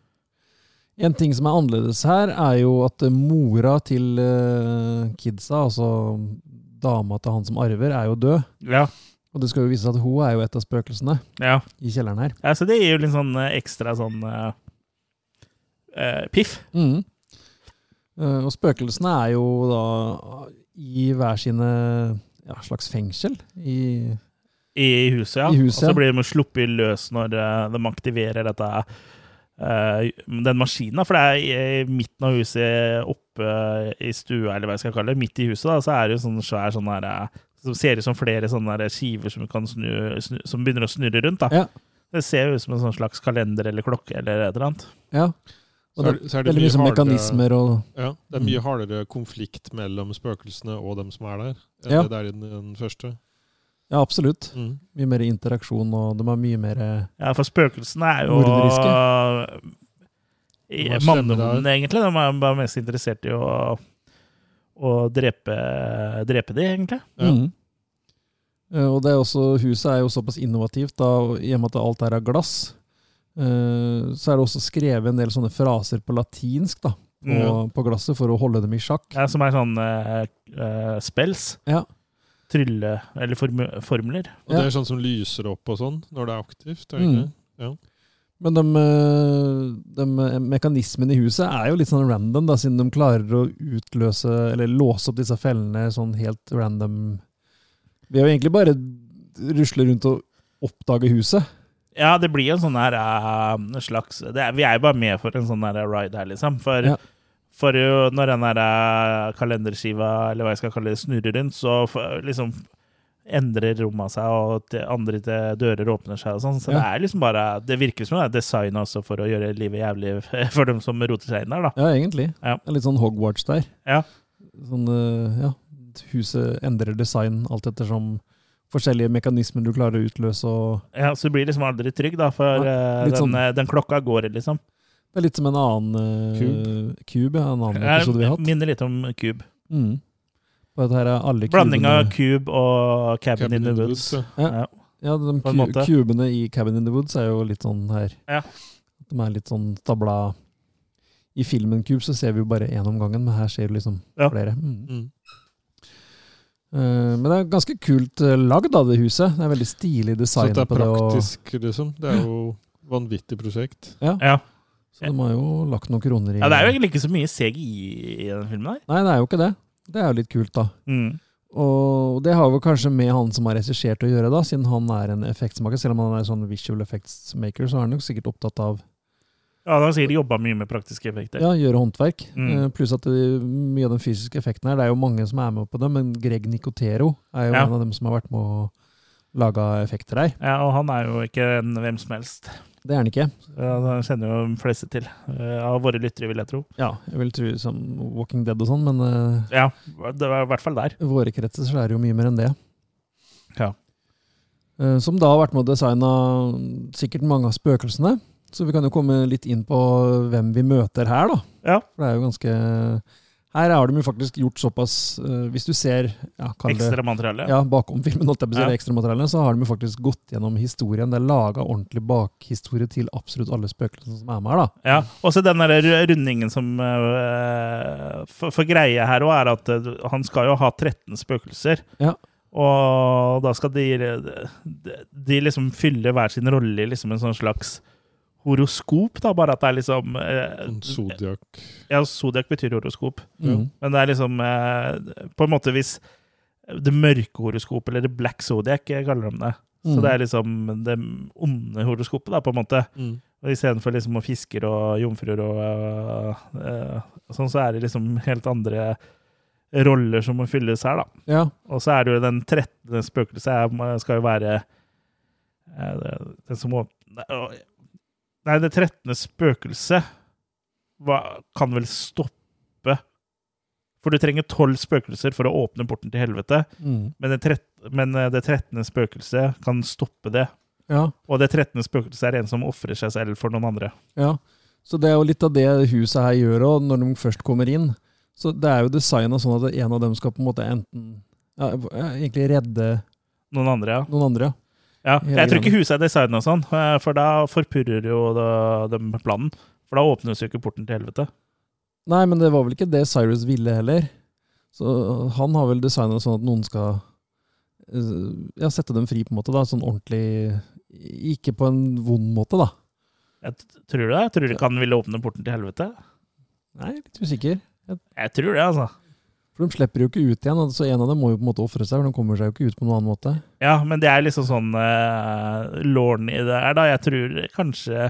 B: En ting som er annerledes her, er jo at eh, mora til eh, kidsa, altså dama til han som arver, er jo død.
A: Ja.
B: Og det skal jo vise seg at hun er jo et av spøkelsene
A: Ja.
B: i kjelleren her.
A: ja, så det gir jo litt sånn eh, ekstra sånn eh, eh, piff.
B: Mm. Eh, og spøkelsene er jo da i hver sine ja, slags fengsel. I,
A: I huset, ja.
B: I huset,
A: Og
B: ja.
A: så blir de sluppet løs når eh, de aktiverer dette eh, den maskinen, da. for det er i midten av huset, oppe i stua, eller hva jeg skal kalle det, midt i huset, da, så er det jo sånn svær sånn her eh, Som ser ut som flere sånne her skiver som, kan snu, snu, som begynner å snurre rundt, da.
B: Ja.
A: Det ser jo ut som en sånn slags kalender eller klokke eller et eller annet.
B: ja. Og
C: Så er-
B: det,
C: så er
B: veldig mye Mm. sånn mekanismer og
C: Ja, det er mye hardere konflikt mellom spøkelsene og dem som er der, enn
B: Ja.
C: det det er i den, den første.
B: Ja, absolutt.
C: Mm.
B: Mye mer interaksjon, og de er mye mer eh,
A: Ja, for spøkelsene er jo eh,
B: Morderiske.
A: I-
C: De er slemme
A: Mannehoden,
C: der.
A: egentlig. De er bare mest interessert i å, å drepe, drepe de, egentlig.
B: Mhm. Eh, Og det er også, huset er jo såpass innovativt, da, og i og med at alt her er glass. eh, Så er det også skrevet en del sånne fraser på latinsk da, på,
A: Ja.
B: på glasset for å holde dem i sjakk.
A: Ja, som er sånn eh, eh, spells.
B: Ja.
A: Trylle Eller formu- formler.
C: Og det er sånn som lyser opp og sånn når det er aktivt. Er det
B: Mm.
C: ikke? det? Ja.
B: Men de, eh, de mekanismene i huset er jo litt sånn random, da, siden de klarer å utløse eller låse opp disse fellene sånn helt random. Vi er jo egentlig bare rusle rundt og oppdage huset.
A: Ja, det blir jo en sånn her eh, slags det er, Vi er jo bare med for en sånn her ride her, liksom. For,
B: Ja.
A: for jo når den her eh, kalenderskiva, eller hva jeg skal kalle det, snurrer rundt, så f- liksom endrer romma seg, og til andre til dører åpner seg og sånn. Så
B: Ja.
A: det er liksom bare Det virker som det er design også for å gjøre livet jævlig for dem som roter seg inn der, da.
B: Ja, egentlig.
A: Ja.
B: Det er Litt sånn Hogwarts der.
A: Ja.
B: Sånn, eh, ja, huset endrer design alt ettersom forskjellige mekanismer du klarer å utløse. Og
A: Ja, så du blir liksom aldri trygg, da, for eh,
B: litt
A: den,
B: sånn-
A: eh, den klokka går, liksom.
B: det er litt som en annen kube, kube ja, en annen
A: Jeg
B: episode vi har hatt.
A: minner litt om Cube.
B: Mm. Og dette her er alle
A: Blanding av
B: kubene-
A: Cube og Cabin,
C: Cabin
A: in the Woods.
B: Ja, ja
A: På
B: de
A: en
B: ku-
A: måte.
B: kubene i Cabin in the Woods er jo litt sånn her.
A: Ja.
B: De er litt sånn stabla I filmen Cube så ser vi jo bare én om gangen, men her ser du liksom
A: Ja.
B: flere. Mm.
C: Mm.
B: Eh, Men det er ganske kult eh, lagd, da, det huset. Det er veldig stilig
C: Så
B: design
C: at det er
B: på det. og-
C: praktisk, liksom. Det er jo vanvittig prosjekt.
B: Ja.
A: Ja.
B: Så de har jo lagt noen kroner i
A: Ja, det er jo egentlig ikke så mye CGI i den filmen der.
B: Nei, det er jo ikke det. Det er jo litt kult, da.
A: Mm.
B: Og det har jo kanskje med han som har regissert å gjøre, da, siden han er en effektsmaker. Selv om han er sånn visual effects maker, så er han nok sikkert opptatt av
A: Ja, da sier de jobba mye med praktiske effekter.
B: ja, gjøre håndverk.
A: Mm.
B: Eh, Pluss at det, mye av den fysiske effekten her, det er jo mange som er med på det, men Greg Nicotero er jo
A: Ja.
B: en av dem som har vært med å lage effekter her.
A: Ja, og han er jo ikke en hvem som helst.
B: Det er han ikke.
A: Ja, Han kjenner jo de fleste til. eh, Av våre lyttere, vil jeg tro.
B: Ja, jeg vil tro som Walking Dead og sånn, men eh,
A: Ja, det var i hvert fall der.
B: i våre kretser så er det jo mye mer enn det.
A: Ja.
B: Eh, Som da har vært med å designe sikkert mange av spøkelsene. Så vi kan jo komme litt inn på hvem vi møter her, da.
A: Ja.
B: For det er jo ganske Her har de jo faktisk gjort såpass eh, Hvis du ser ja, kall det-
A: Ekstra materiale.
B: Ja, bakom filmen, holdt jeg på å si,
A: Ja.
B: eller ekstramaterialet, så har de jo faktisk gått gjennom historien. Det er laga ordentlig bakhistorie til absolutt alle spøkelsene som er med her, da.
A: Ja, og så den der rundingen som eh, For, for greia her òg er at eh, han skal jo ha 13 spøkelser.
B: Ja.
A: Og da skal de, de, de liksom fylle hver sin rolle i liksom en sånn slags horoskop, da, bare at det er liksom eh,
C: Zodiac.
A: Ja, Zodiac betyr horoskop.
B: Mm.
A: Men det er liksom eh, På en måte hvis det mørke horoskopet, eller det black zodiac, jeg kaller de det. Så
B: Mm.
A: det er liksom det onde horoskopet, da, på en måte.
C: Mm.
A: Og istedenfor liksom å fisker og jomfruer og eh, eh, sånn, så er det liksom helt andre roller som må fylles her, da.
B: Ja.
A: Og så er det jo den 13. spøkelset er- skal jo være eh, det- den som åp- Nei, å- Nei, det 13. spøkelset hva- kan vel stoppe For du trenger tolv spøkelser for å åpne porten til helvete,
B: Mm.
A: men, det 13, men eh, det 13. spøkelset kan stoppe det.
B: Ja.
A: Og det 13. spøkelset er en som ofrer seg selv for noen andre.
B: Ja, så det er jo litt av det huset her gjør òg, når de først kommer inn. Så det er jo designa sånn at en av dem skal på en måte enten ja, egentlig redde
A: Noen andre, ja.
B: noen andre.
A: ja.
B: Hele
A: Jeg tror ikke
B: greia.
A: huset er designa sånn, eh, for da forpurrer jo da- dem planen. For da åpnes jo ikke porten til helvete.
B: Nei, men det var vel ikke det Cyrus ville heller. Så han har vel designa sånn at noen skal eh, ja, sette dem fri, på en måte. da, Sånn ordentlig Ikke på en vond måte, da.
A: Jeg t- tror det. Jeg tror ikke han ville åpne porten til helvete.
B: Nei, litt usikker.
A: Jeg tror det, altså.
B: For de slipper jo ikke ut igjen, så en av dem må jo på en måte ofre seg. for De kommer seg jo ikke ut på noen annen måte.
A: Ja, men det er liksom sånn uh, lorden i det her, da. Jeg tror kanskje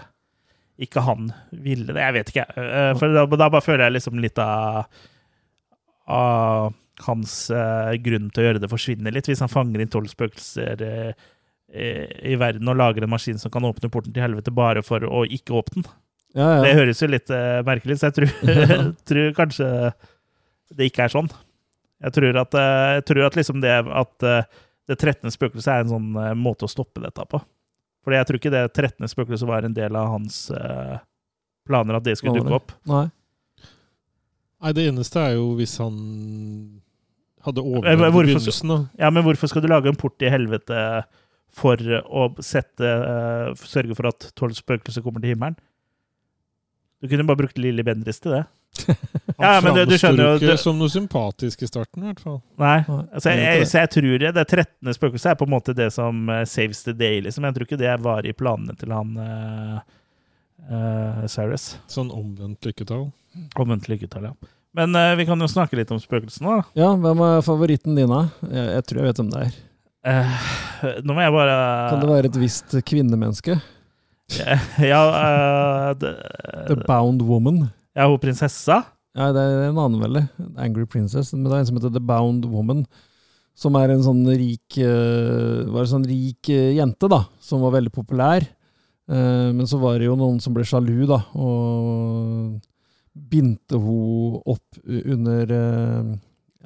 A: ikke han ville det. Jeg vet ikke, jeg. Eh, for da, da bare føler jeg liksom litt av, av hans eh, grunn til å gjøre det forsvinner litt, hvis han fanger inn tolv spøkelser eh, eh, i verden og lager en maskin som kan åpne porten til helvete bare for å ikke åpne den.
B: Ja, ja.
A: Det høres jo litt eh, merkelig ut, så jeg tror, tror kanskje det ikke er sånn. Jeg tror at, eh, jeg tror at liksom det at eh, det 13. spøkelset er en sånn eh, måte å stoppe dette på. Fordi jeg tror ikke det 13. spøkelset var en del av hans eh, planer at det skulle dukke opp.
B: Nei.
C: Nei, det eneste er jo hvis han
A: Eh, men
C: hadde overlevd i
A: hvorfor-
C: begynnelsen, da.
A: Ja, men hvorfor skal du lage en port i helvete for å sette eh, Sørge for at tolv spøkelser kommer til himmelen? Du kunne bare brukt Lilly Bendriss til det.
C: Han
A: Ja, men du- du
C: framstår
A: skjønner jo-
C: ikke
A: du-
C: som noe sympatisk i starten, i hvert fall.
A: Nei.
B: Nei,
A: Altså,
B: jeg
A: jeg,
B: vet
A: jeg,
B: det.
A: så jeg tror det, det 13. spøkelset er på en måte det som eh, saves the day, liksom. Jeg tror ikke det var i planene til han uh, Cyrus.
C: Sånn omvendt lykketall.
A: Omvendt lykketall, ja. Men eh, vi kan jo snakke litt om spøkelsene, da.
B: Ja, hvem er favoritten din, da? Jeg, jeg tror jeg vet hvem det er.
A: Eh, nå må jeg bare
B: Kan det være et visst kvinnemenneske?
A: Ja, eh, det,
B: The Bound Woman?
A: ja hun prinsessa.
B: Nei, det er en annen veldig. Angry Princess. Men det er en som heter The Bound Woman. Som er en sånn rik eh, Var en sånn rik eh, jente, da. Som var veldig populær. Eh, Men så var det jo noen som ble sjalu, da. Og bindte hun opp u- under eh,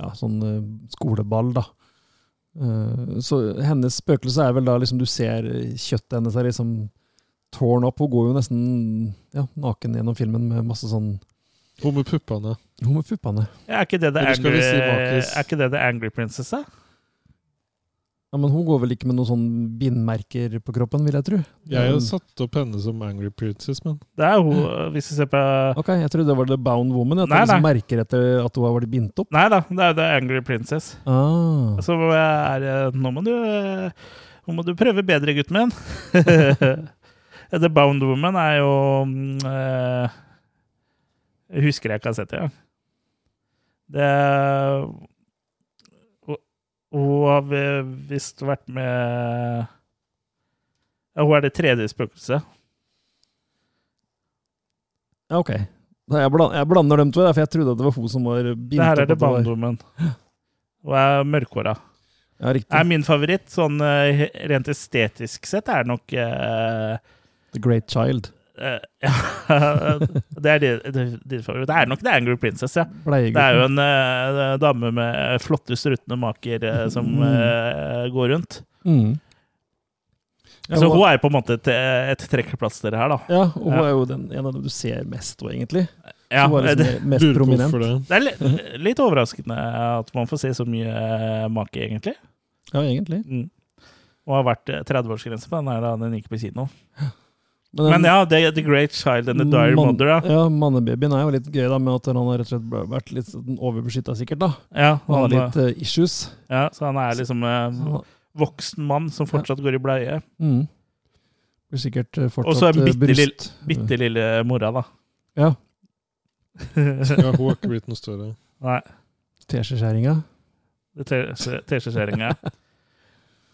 B: ja, sånn eh, skoleball, da. Eh, Så hennes spøkelse er vel da liksom Du ser eh, kjøttet hennes er liksom torn opp. Hun går jo nesten ja, naken gjennom filmen med masse sånn
C: Hun med puppene.
B: hun med puppene.
A: Ja, er, ikke det the
C: Eller skal
A: angry,
C: vi si bakis?
A: er ikke det The Angry Princess, da?
B: Ja, men hun går vel ikke med noen sånn bindmerker på kroppen, vil jeg tro.
C: Jeg
A: Mm.
C: har satt opp henne som Angry Princess, men
A: Det er hun, hvis vi ser på
B: Ok, jeg trodde det var The Bound Woman. At
A: Nei,
B: hun liksom
A: nei.
B: merker etter at hun har vært bindt opp.
A: Nei da, det er The Angry Princess.
B: Ah.
A: Så er det- Nå må du eh, Nå må du prøve bedre, gutten min. The Bound Woman er jo mm, eh, Husker jeg ikke har sett det engang. Det Hun- Hun har vi- visst vært med ja, Hun er det tredje spøkelset.
B: Ja, ok. Nei, Jeg, bland, jeg blander dem to, for jeg trodde at det var hun som var bindt
A: Det her
B: opp
A: er det
B: at var-
A: barndommen. Hun er mørkhåra.
B: Ja, riktig.
A: Er min favoritt, sånn eh, rent estetisk sett, er nok eh,
B: The Great Child.
A: eh, ja, det er din, det- din favoritt. Det er nok The Angry Princess, ja.
B: Bleiegutten.
A: Det er jo en eh, dame med flotte, struttende maker eh, som
B: Mm.
A: eh, går rundt.
B: Mm. Ja,
A: Så
B: hun-
A: hun er på en måte et, et trekkplaster her, da.
B: Ja, og hun
A: Ja.
B: er jo den, en av dem du ser mest, og egentlig.
A: Ja,
B: hun er
A: det-
B: liksom mest
C: Lurer på
B: prominent.
C: hvorfor det.
A: Det er li- litt overraskende at man får se så mye eh, make, egentlig.
B: Ja, egentlig.
A: Mm. Og har vært eh, 30-årsgrense på den her da den gikk på kino.
B: Men
A: Men,
B: den-
A: ja, The, the Great Child and the Dire
B: Mann-
A: Mother, da.
B: Ja, mannebabyen er jo litt gøy, da, med at han har rett og slett ble- vært litt overbeskytta, sikkert. da.
A: Ja,
B: han har
A: han
B: litt eh, issues. Mm.
A: Ja, så han er liksom eh,
B: Så-
A: voksen mann som fortsatt går i bleie.
B: Mm. Blir sikkert eh, fortsatt
A: Og så en
B: eh,
A: bitte, lille,
B: bryst.
A: bitte lille mora, da.
B: Ja.
C: Ja, hun har ikke blitt noe større.
A: Nei.
B: Teskjeskjæringa.
A: Det ter- Teskjeskjæringa.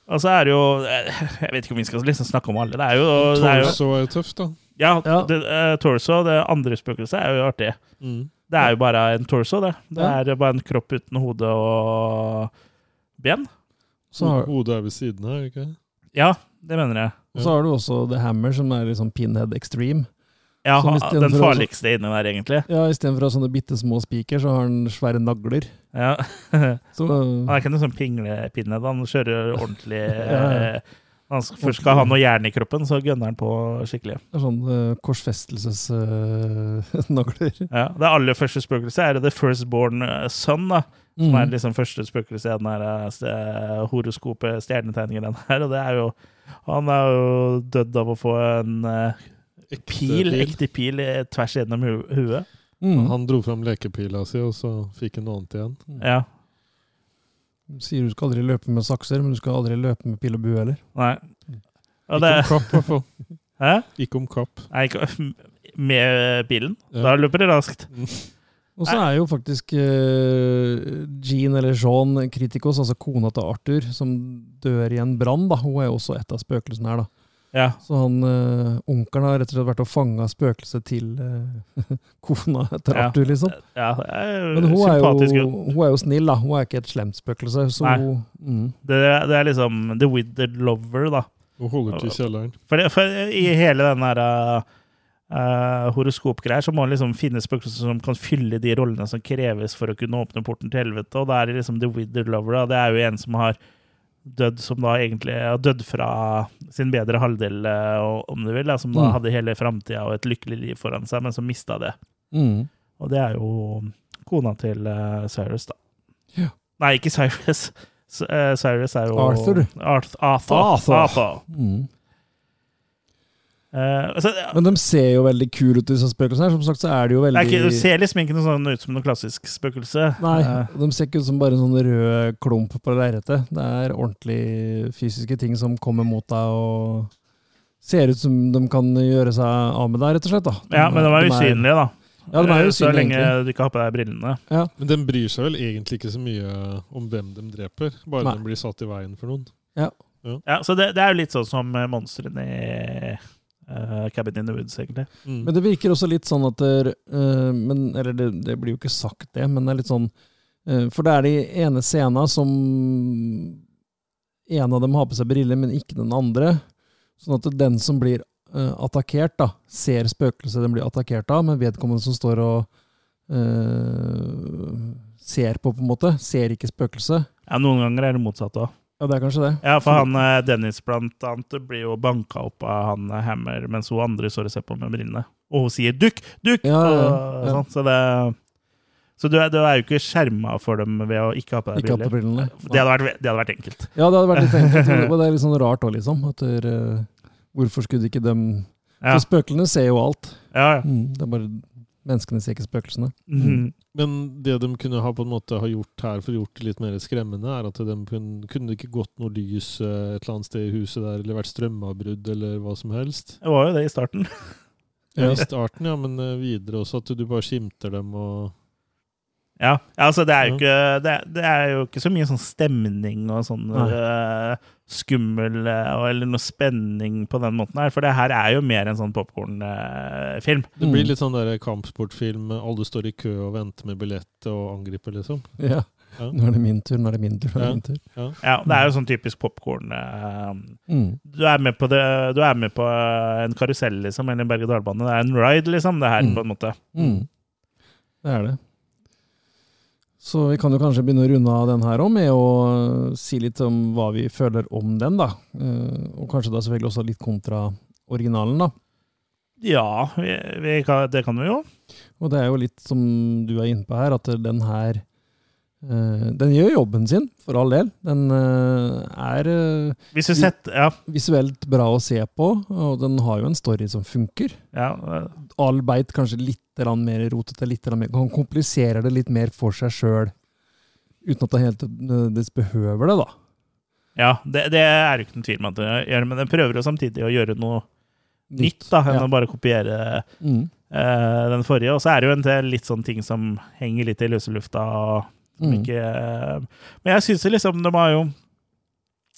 A: Og så er det jo eh, Jeg vet ikke om vi skal liksom snakke om alle. Det er jo, det er jo
C: Torso er jo tøft, da.
A: Ja, Det, eh, torso, det andre spøkelset, er jo artig.
C: Mm.
A: Det er jo bare en torso, det. Det
B: Ja.
A: er bare en kropp uten hode og ben.
B: Så har,
C: Hodet er ved siden av, er det ikke det?
A: Ja, det mener jeg.
B: og så har du også The Hammer, som er liksom pinhead extreme.
A: Ja,
B: Som i
A: ha-
B: stedet
A: Den
B: for å-
A: farligste inni der, egentlig.
B: Ja, Istedenfor å ha sånne bitte små spiker, så har han svære nagler.
A: Ja. Han
B: Så, eh,
A: er ikke noe sånn pinglepinne. da. Han kjører ordentlig
B: Ja, ja.
A: eh, Når han sk- først skal ha noe jern i kroppen, så gønner han på skikkelig.
B: Det er sånn eh, korsfestelsesnagler.
A: Ja, Det aller første spøkelset er The Firstborn eh, Son, da. Som
B: Mhm.
A: er liksom første spøkelse i den her eh, ste- horoskopet, stjernetegningen den her. Og det er jo Han er jo dødd av å få en eh,
C: Ekte
A: pil,
C: pil.
A: ekte pil, eh, tvers gjennom hu huet.
B: Mm.
C: Han dro fram lekepila si, og så fikk han noe annet igjen.
A: Ja.
B: Han sier du skal aldri løpe med sakser, men du skal aldri løpe med pil og bue heller.
A: Nei.
B: Mm.
A: Og det
C: Ikke om kapp, i hvert fall.
A: Hæ?
C: Ikke om kapp.
A: Nei, ikke Med bilen?
C: Ja.
A: Da løper det raskt.
B: Og så er jo faktisk eh, Jean eller Jean Kritikos, altså kona til Arthur, som dør i en brann. da. Hun er jo også et av spøkelsene her. da.
A: Ja.
B: Så han eh, onkelen har rett og slett vært og fanga spøkelset til eh, kona til
A: Ja.
B: Arthur, liksom.
A: ja det er
B: Men hun er,
A: sympatisk
B: jo,
A: grunn.
B: hun er jo snill, da. Hun er ikke et slemt spøkelse. Så
A: Nei.
B: hun, mm.
A: Det, det er liksom The Withered Lover, da.
C: Og holder til i kjelleren.
A: For, det, for i hele den der eh, horoskopgreier så må man liksom finne spøkelser som kan fylle de rollene som kreves for å kunne åpne porten til helvete, og da er det liksom The Withered Lover, da. Det er jo en som har dødd som da egentlig har dødd fra sin bedre halvdel, eh, og- om du vil, da, som da
B: Mm.
A: hadde hele framtida og et lykkelig liv foran seg, men som mista det.
B: Mm.
A: Og det er jo kona til eh, Cyrus, da.
B: Ja.
A: Nei, ikke Cyrus. S eh, Cyrus er jo
B: Arthur.
A: Arth Arthur.
B: Arthur.
A: Arthur.
B: Mm.
A: Eh, altså, det-
B: Men de ser jo veldig kule ut, disse spøkelsene. her. Som sagt så er de jo
A: det er
B: veldig
A: ikke, du ser liksom ikke noe sånn ut som noe klassisk spøkelse.
B: Nei,
A: Eh,
B: De ser ikke ut som bare en sånn rød klump på lerretet. Det er ordentlig fysiske ting som kommer mot deg og ser ut som de kan gjøre seg av med deg, rett og slett. da.
A: ja, men de er usynlige, da.
B: Ja, de er
A: Eh, Så
B: usynlige,
A: lenge
B: egentlig.
A: du ikke har på deg brillene.
C: Men den bryr seg vel egentlig ikke så mye om hvem de dreper, bare
B: Nei.
C: den blir satt i veien for noen.
A: Ja, så det, det er jo litt sånn som eh, monstrene i eh, Cabin in the Woods, egentlig.
C: Mm.
B: Men det virker også litt sånn at der, eh, men, Eller det, det blir jo ikke sagt, det, men det er litt sånn eh, For det er de ene scena som En av dem har på seg briller, men ikke den andre. Sånn at den som blir eh, attakkert, da, ser spøkelset den blir attakkert av, men vedkommende som står og eh, ser på, på en måte, ser ikke spøkelset.
A: Ja, Noen ganger er det motsatt òg.
B: Ja, det er kanskje det.
A: Ja, for han eh, Dennis blant annet blir jo banka opp av han eh, Hammer, mens hun andre står og ser på med brillene. Og hun sier 'dukk, dukk!'
B: Ja, ja,
A: og
B: ja.
A: sånn, så det, så du, er, du er jo ikke skjerma for dem ved å ikke ha på deg
B: Ikke hatt
A: briller.
B: på brillene.
A: Det hadde, vært, det hadde vært enkelt.
B: Ja, det hadde vært litt enkelt. men det- Og det er litt sånn rart òg, liksom. At der, eh, hvorfor skulle de ikke dem
A: Ja,
B: For spøkene ser jo alt.
A: ja, Mhm. ja.
B: Mm, det er bare Menneskene ser ikke spøkelsene.
C: Men det de kunne ha på en måte ha gjort her for å gjort det litt mer skremmende, er at de kunne, kunne det ikke gått noe lys eh, et eller annet sted i huset der, eller vært strømavbrudd eller hva som helst.
A: Det var jo det i starten.
C: Ja, I starten, ja, men eh, videre også at du bare skimter dem og
A: Ja, altså det er jo ikke, det, er- det er jo ikke så mye sånn stemning og sånn eh, skummel eh, og- eller noe spenning på den måten her, for det her er jo mer en sånn popkornfilm.
B: Mm.
C: Det blir litt sånn der kampsportfilm. eh, Alle står i kø og venter med billett og angriper, liksom.
B: Ja.
C: Ja.
B: Nå er det min tur, nå er det min tur, nå er det
C: Ja.
B: min tur.
C: Ja.
A: Ja, det er jo sånn typisk popkorn. eh, um,
B: Mm.
A: Du, er med på det- du er med på en karusell, liksom, eller en berg-og-dal-bane. Det er en ride, liksom, det her, på en måte.
B: Mm. Det er det. Så vi kan jo kanskje begynne å runde av den her òg, med å eh, si litt om hva vi føler om den, da. Eh, Og kanskje da selvfølgelig også litt kontra originalen, da.
A: Ja, vi, vi kan, det kan vi jo.
B: Og det er jo litt som du er inne på her, at den her eh, Den gjør jobben sin, for all del. Den eh, er eh,
A: Hvis vi setter- ja.
B: visuelt bra å se på, og den har jo en story som funker.
A: Ja, eh,
B: Albeit kanskje litt grann mer rotete, litt grann mer, han kompliserer det litt mer for seg sjøl. Uten at det helt nødvendigvis behøver det, da.
A: Ja, det, det er jo ikke noen tvil om at det gjør, men den prøver jo samtidig å gjøre noe nytt, da, enn
B: ja.
A: å bare kopiere
B: Mm.
A: eh, den forrige. Og så er det jo en del litt sånn ting som henger litt i løse lufta. og som
B: Mm.
A: ikke, eh, men jeg syns liksom de har jo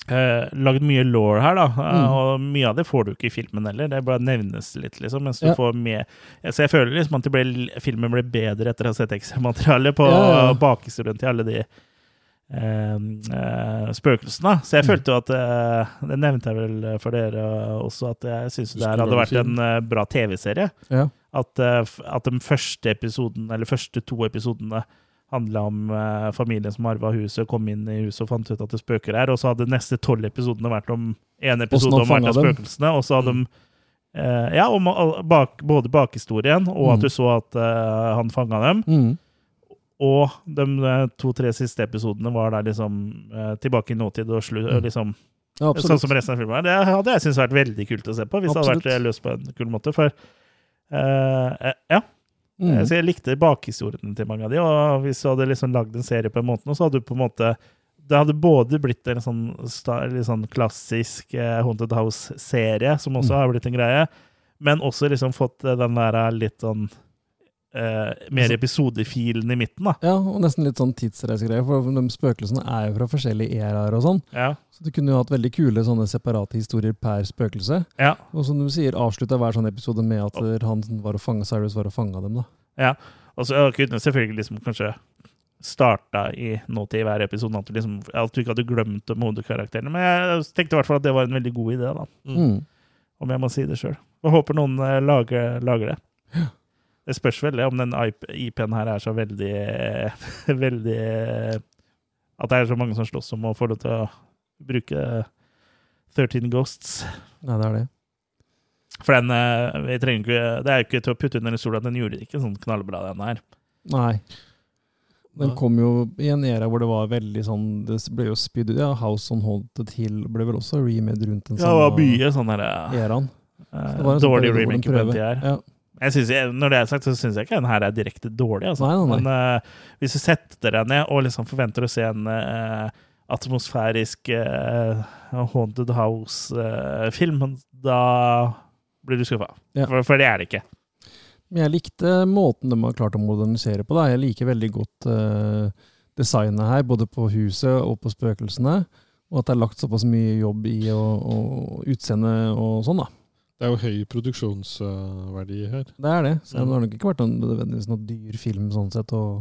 A: eh, lagd mye law her, da. eh,
B: Mm.
A: Og mye av det får du ikke i filmen heller. Det bare nevnes litt, liksom. Mens du
B: Ja.
A: får med Så jeg føler liksom at det ble, filmen ble bedre etter å ha sett ekstramateriale på
B: Ja, ja.
A: bakhistorien til alle de eh, eh, spøkelsene. Så jeg
B: Mm.
A: følte jo at eh, Det nevnte jeg vel for dere også, at jeg syns
C: Du
A: det
C: skulle
A: her hadde
C: lage
A: vært en eh, bra TV-serie.
B: Ja.
A: At, eh, f- at de første episoden, eller første to episodene handla om eh, familien som arva huset, kom inn i huset og fant ut at det spøker her. Og så hadde neste tolv episodene vært om én episode
B: han
A: om hvert av
B: fanget dem. Mm.
A: spøkelsene. Og så hadde de eh, Ja, om all- bak, både bakhistorien og
B: Mm.
A: at du så at eh, han fanga dem.
B: Mm.
A: Og de eh, to-tre siste episodene var der liksom eh, tilbake i nåtid og slu, og liksom
B: Ja, Mm. absolutt.
A: Sånn som resten av filmen. er. Det hadde jeg syntes vært veldig kult å se på, hvis det hadde vært
B: Absolutt.
A: eh, løst på en kul måte. For eh, eh, ja.
B: Mm.
A: Eh, Så jeg likte bakhistoriene til mange av de, og hvis du hadde liksom lagd en serie på en måte nå, så hadde du på en måte det hadde både blitt en sånn, sta- litt sånn klassisk eh, Haunted House-serie, som også
B: Mm.
A: har blitt en greie, men også liksom fått eh, den der eh, litt sånn eh, mer
B: Altså
A: episodefilen i midten, da.
B: Ja, og nesten litt sånn tidsreisegreier, for de spøkelsene er jo fra forskjellige æraer og sånn.
A: Ja.
B: Så du kunne jo hatt veldig kule sånne separate historier per spøkelse.
A: Ja.
B: Og som du sier, avslutta hver sånn episode med at eh, han var og fanget, Cyrus var og fanga dem, da.
A: Ja, og så kunne selvfølgelig liksom kanskje starta i nåtid i hver episode, at du, liksom, at du ikke hadde glemt om hovedkarakterene. Men jeg tenkte i hvert fall at det var en veldig god idé, da.
B: Mm.
A: Om jeg må si det sjøl. Og håper noen eh, lager, lager det. Det spørs veldig om den IP IP-en her er så veldig eh, Veldig eh, At det er så mange som slåss om å få lov til å bruke 13 Ghosts.
B: Nei, det er det.
A: For den eh, vi trenger ikke, Det er jo ikke til å putte under en stol at den gjorde ikke sånn knallbra, den her.
B: Nei. Den
A: Nei.
B: kom jo i en era hvor det var veldig sånn Det ble jo spydd ut. Ja, House on Haunted Hill ble vel også remade rundt den
A: Ja, det var mye sånn her eh,
B: eraen. Så det var en sånn
A: dårlig
B: periode hvor de
A: remake på
B: prøver.
A: de her.
B: Ja.
A: Jeg synes, jeg- når det er sagt, så syns jeg ikke den her er direkte dårlig. Altså.
B: Nei, nei, nei.
A: Men eh, hvis du setter deg ned og liksom forventer å se en eh, atmosfærisk eh, Haunted House-film, da blir du skuffa.
B: Ja.
A: For, for det er det ikke.
B: Men jeg likte måten de har klart å modernisere på. Da. Jeg liker veldig godt eh, designet her, både på huset og på spøkelsene. Og at det er lagt såpass mye jobb i å, å utseende og sånn, da.
C: Det er jo høy produksjonsverdi her.
B: Det er det. Så det har nok ikke vært noen, nødvendigvis noen dyr film sånn sett, og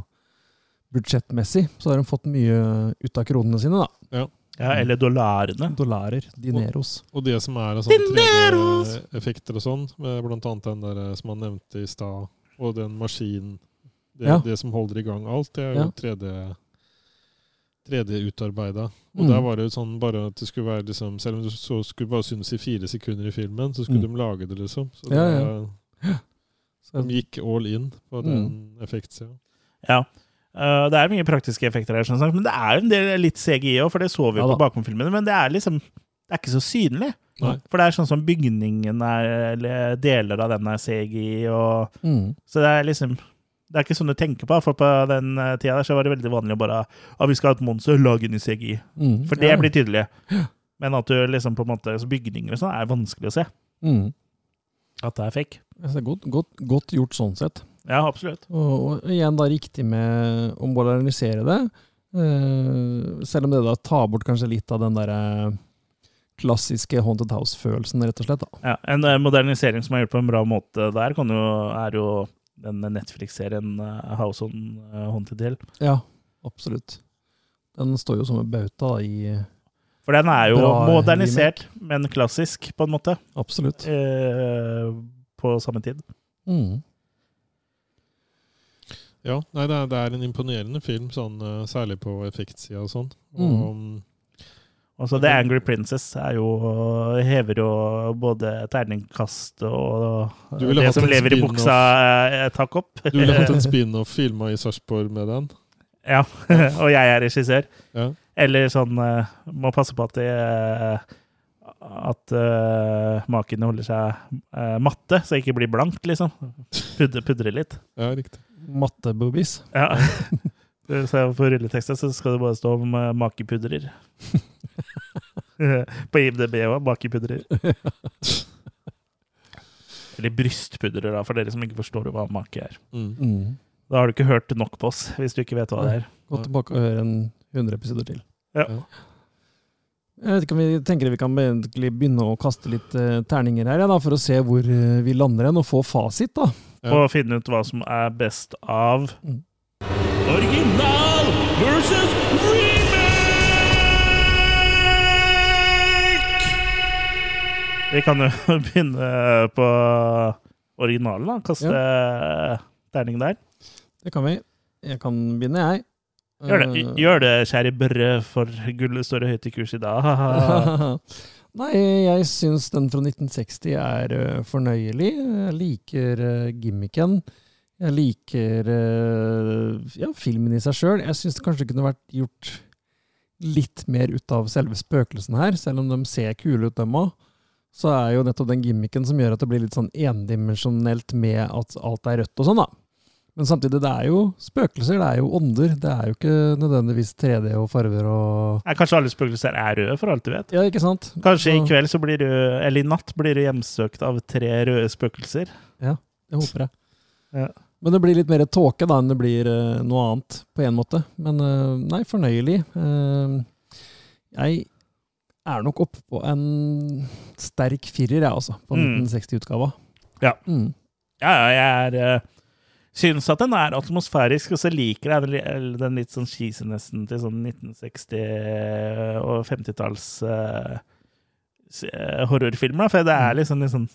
B: budsjettmessig. Så har de fått mye ut av kronene sine, da.
C: Ja.
A: Ja,
B: Mm.
A: eller dollarene.
B: Dollarer. Dineros.
C: Og det som er av
B: Dineros!
C: sånne 3D-effekter og sånn, med blant annet den der eh, som han nevnte i stad, og den maskinen det,
B: Ja.
C: det som holder i gang alt, det er jo
B: Ja.
C: 3D 3D-utarbeida. Og
B: Mm.
C: der var det jo sånn bare at det skulle være liksom Selv om du så skulle bare synes i fire sekunder i filmen, så skulle
B: Mm.
C: de lage det, liksom. Så det,
B: Ja, Mm.
C: De gikk all in på den effektsida.
A: Ja. Eh, det er mye praktiske effekter her, som sagt, men det er jo en del litt CGI òg, for det så vi
B: Ja
A: jo
B: da.
A: på bakgrunnsfilmene. Men det er liksom Det er ikke så synlig.
C: Nei.
A: For det er sånn som bygningen er, eller deler av den er CGI, og
B: Mm.
A: Så det er liksom Det er ikke sånn du tenker på, for på den eh, tida der så var det veldig vanlig å bare ah, vi skal ha et monster, lag en i CGI.
B: Mm,
A: For det
B: ja.
A: blir tydelig. Men at du liksom på en måte så Bygninger og sånn er vanskelig å se.
B: Mm.
A: At det er fake.
B: Jeg synes det er godt, godt, godt gjort sånn sett.
A: Ja, absolutt.
B: Og, og igjen da riktig med å modernisere det. eh, selv om det da tar bort kanskje litt av den der eh, klassiske Haunted House-følelsen, rett og slett. da.
A: Ja, en eh, modernisering som er gjort på en bra måte der, kan jo, er jo den Netflix-serien eh, House on eh, Haunted Hill.
B: Ja, absolutt. Den står jo som en bauta da, i eh,
A: For den er jo
B: Bra
A: modernisert, men klassisk, på en måte.
B: Absolutt.
A: Eh, på samme tid.
B: Mm.
C: Ja, nei, det er, det er en imponerende film, sånn, eh, særlig på effektsida og sånn. Og,
B: Mm.
A: Altså,
C: Mm.
A: The Angry Princess er jo, øh, hever jo både terningkastet og
C: Du ville
A: det
C: hatt
A: som
C: en
A: lever i
C: spin-off.
A: buksa, eh, takk opp.
C: Du ville hatt en spin-off filma i Sarpsborg med den?
A: Ja, og jeg er regissør.
C: Ja.
A: Eller sånn eh, Må passe på at det, eh, at eh, makene holder seg eh, matte, så jeg ikke blir blankt, liksom. Pudre, pudre litt.
C: Ja, riktig.
B: Matteboobies.
A: Ja. Så på rulleteksten så skal det bare stå om eh, makepudrer. På IMDb òg, makepudrer. Eller brystpudrer, da, for dere som ikke forstår hva make er.
C: Mm.
B: Mm.
A: Da har du ikke hørt nok på oss, hvis du ikke vet hva det er.
B: Gå tilbake og hør en 100 episoder til.
A: Ja.
B: Jeg vet ikke om vi tenker vi kan egentlig begynne å kaste litt eh, terninger her, ja, da, for å se hvor eh, vi lander hen, og få fasit, da.
C: Ja.
A: Og finne ut hva som er best av
B: Mm.
A: Original versus remake! Vi kan jo begynne på originalen, da. Kaste terning der.
B: Det kan vi. Jeg kan begynne, jeg.
A: Gjør det,
B: Eh,
A: gjør det kjære Børre, for gullet står høyt i kurs i dag.
B: Eh, Nei, jeg syns den fra 1960 er eh, fornøyelig. Jeg liker eh, gimmicken. Jeg liker eh, ja, filmen i seg sjøl. Jeg syns det kanskje kunne vært gjort litt mer ut av selve spøkelsen her, selv om de ser kule ut, dem òg. Så er jo nettopp den gimmicken som gjør at det blir litt sånn endimensjonelt med at alt er rødt og sånn, da. Men samtidig, det er jo spøkelser, det er jo ånder. Det er jo ikke nødvendigvis 3D og farger og
A: Nei, Kanskje alle spøkelser er røde, for alt du vet.
B: Ja, ikke sant?
A: Kanskje i
B: Så-
A: kveld så blir du, eller i natt blir du hjemsøkt av tre røde spøkelser.
B: Det håper jeg.
A: Ja.
B: Men det blir litt mer tåke da enn det blir eh, noe annet, på en måte. Men eh, nei, fornøyelig. Eh, jeg er nok oppe på en sterk firer, jeg, altså, på
A: Mm.
B: 1960-utgava.
A: Ja.
B: Mm.
A: Ja, ja, jeg er eh, Syns at den er atmosfærisk, og så liker jeg den, li- eller den litt sånn cheesinessen til sånn 1960- og 50-talls eh, s- eh, horrorfilmer. da, For det
B: Mm.
A: er liksom litt sånn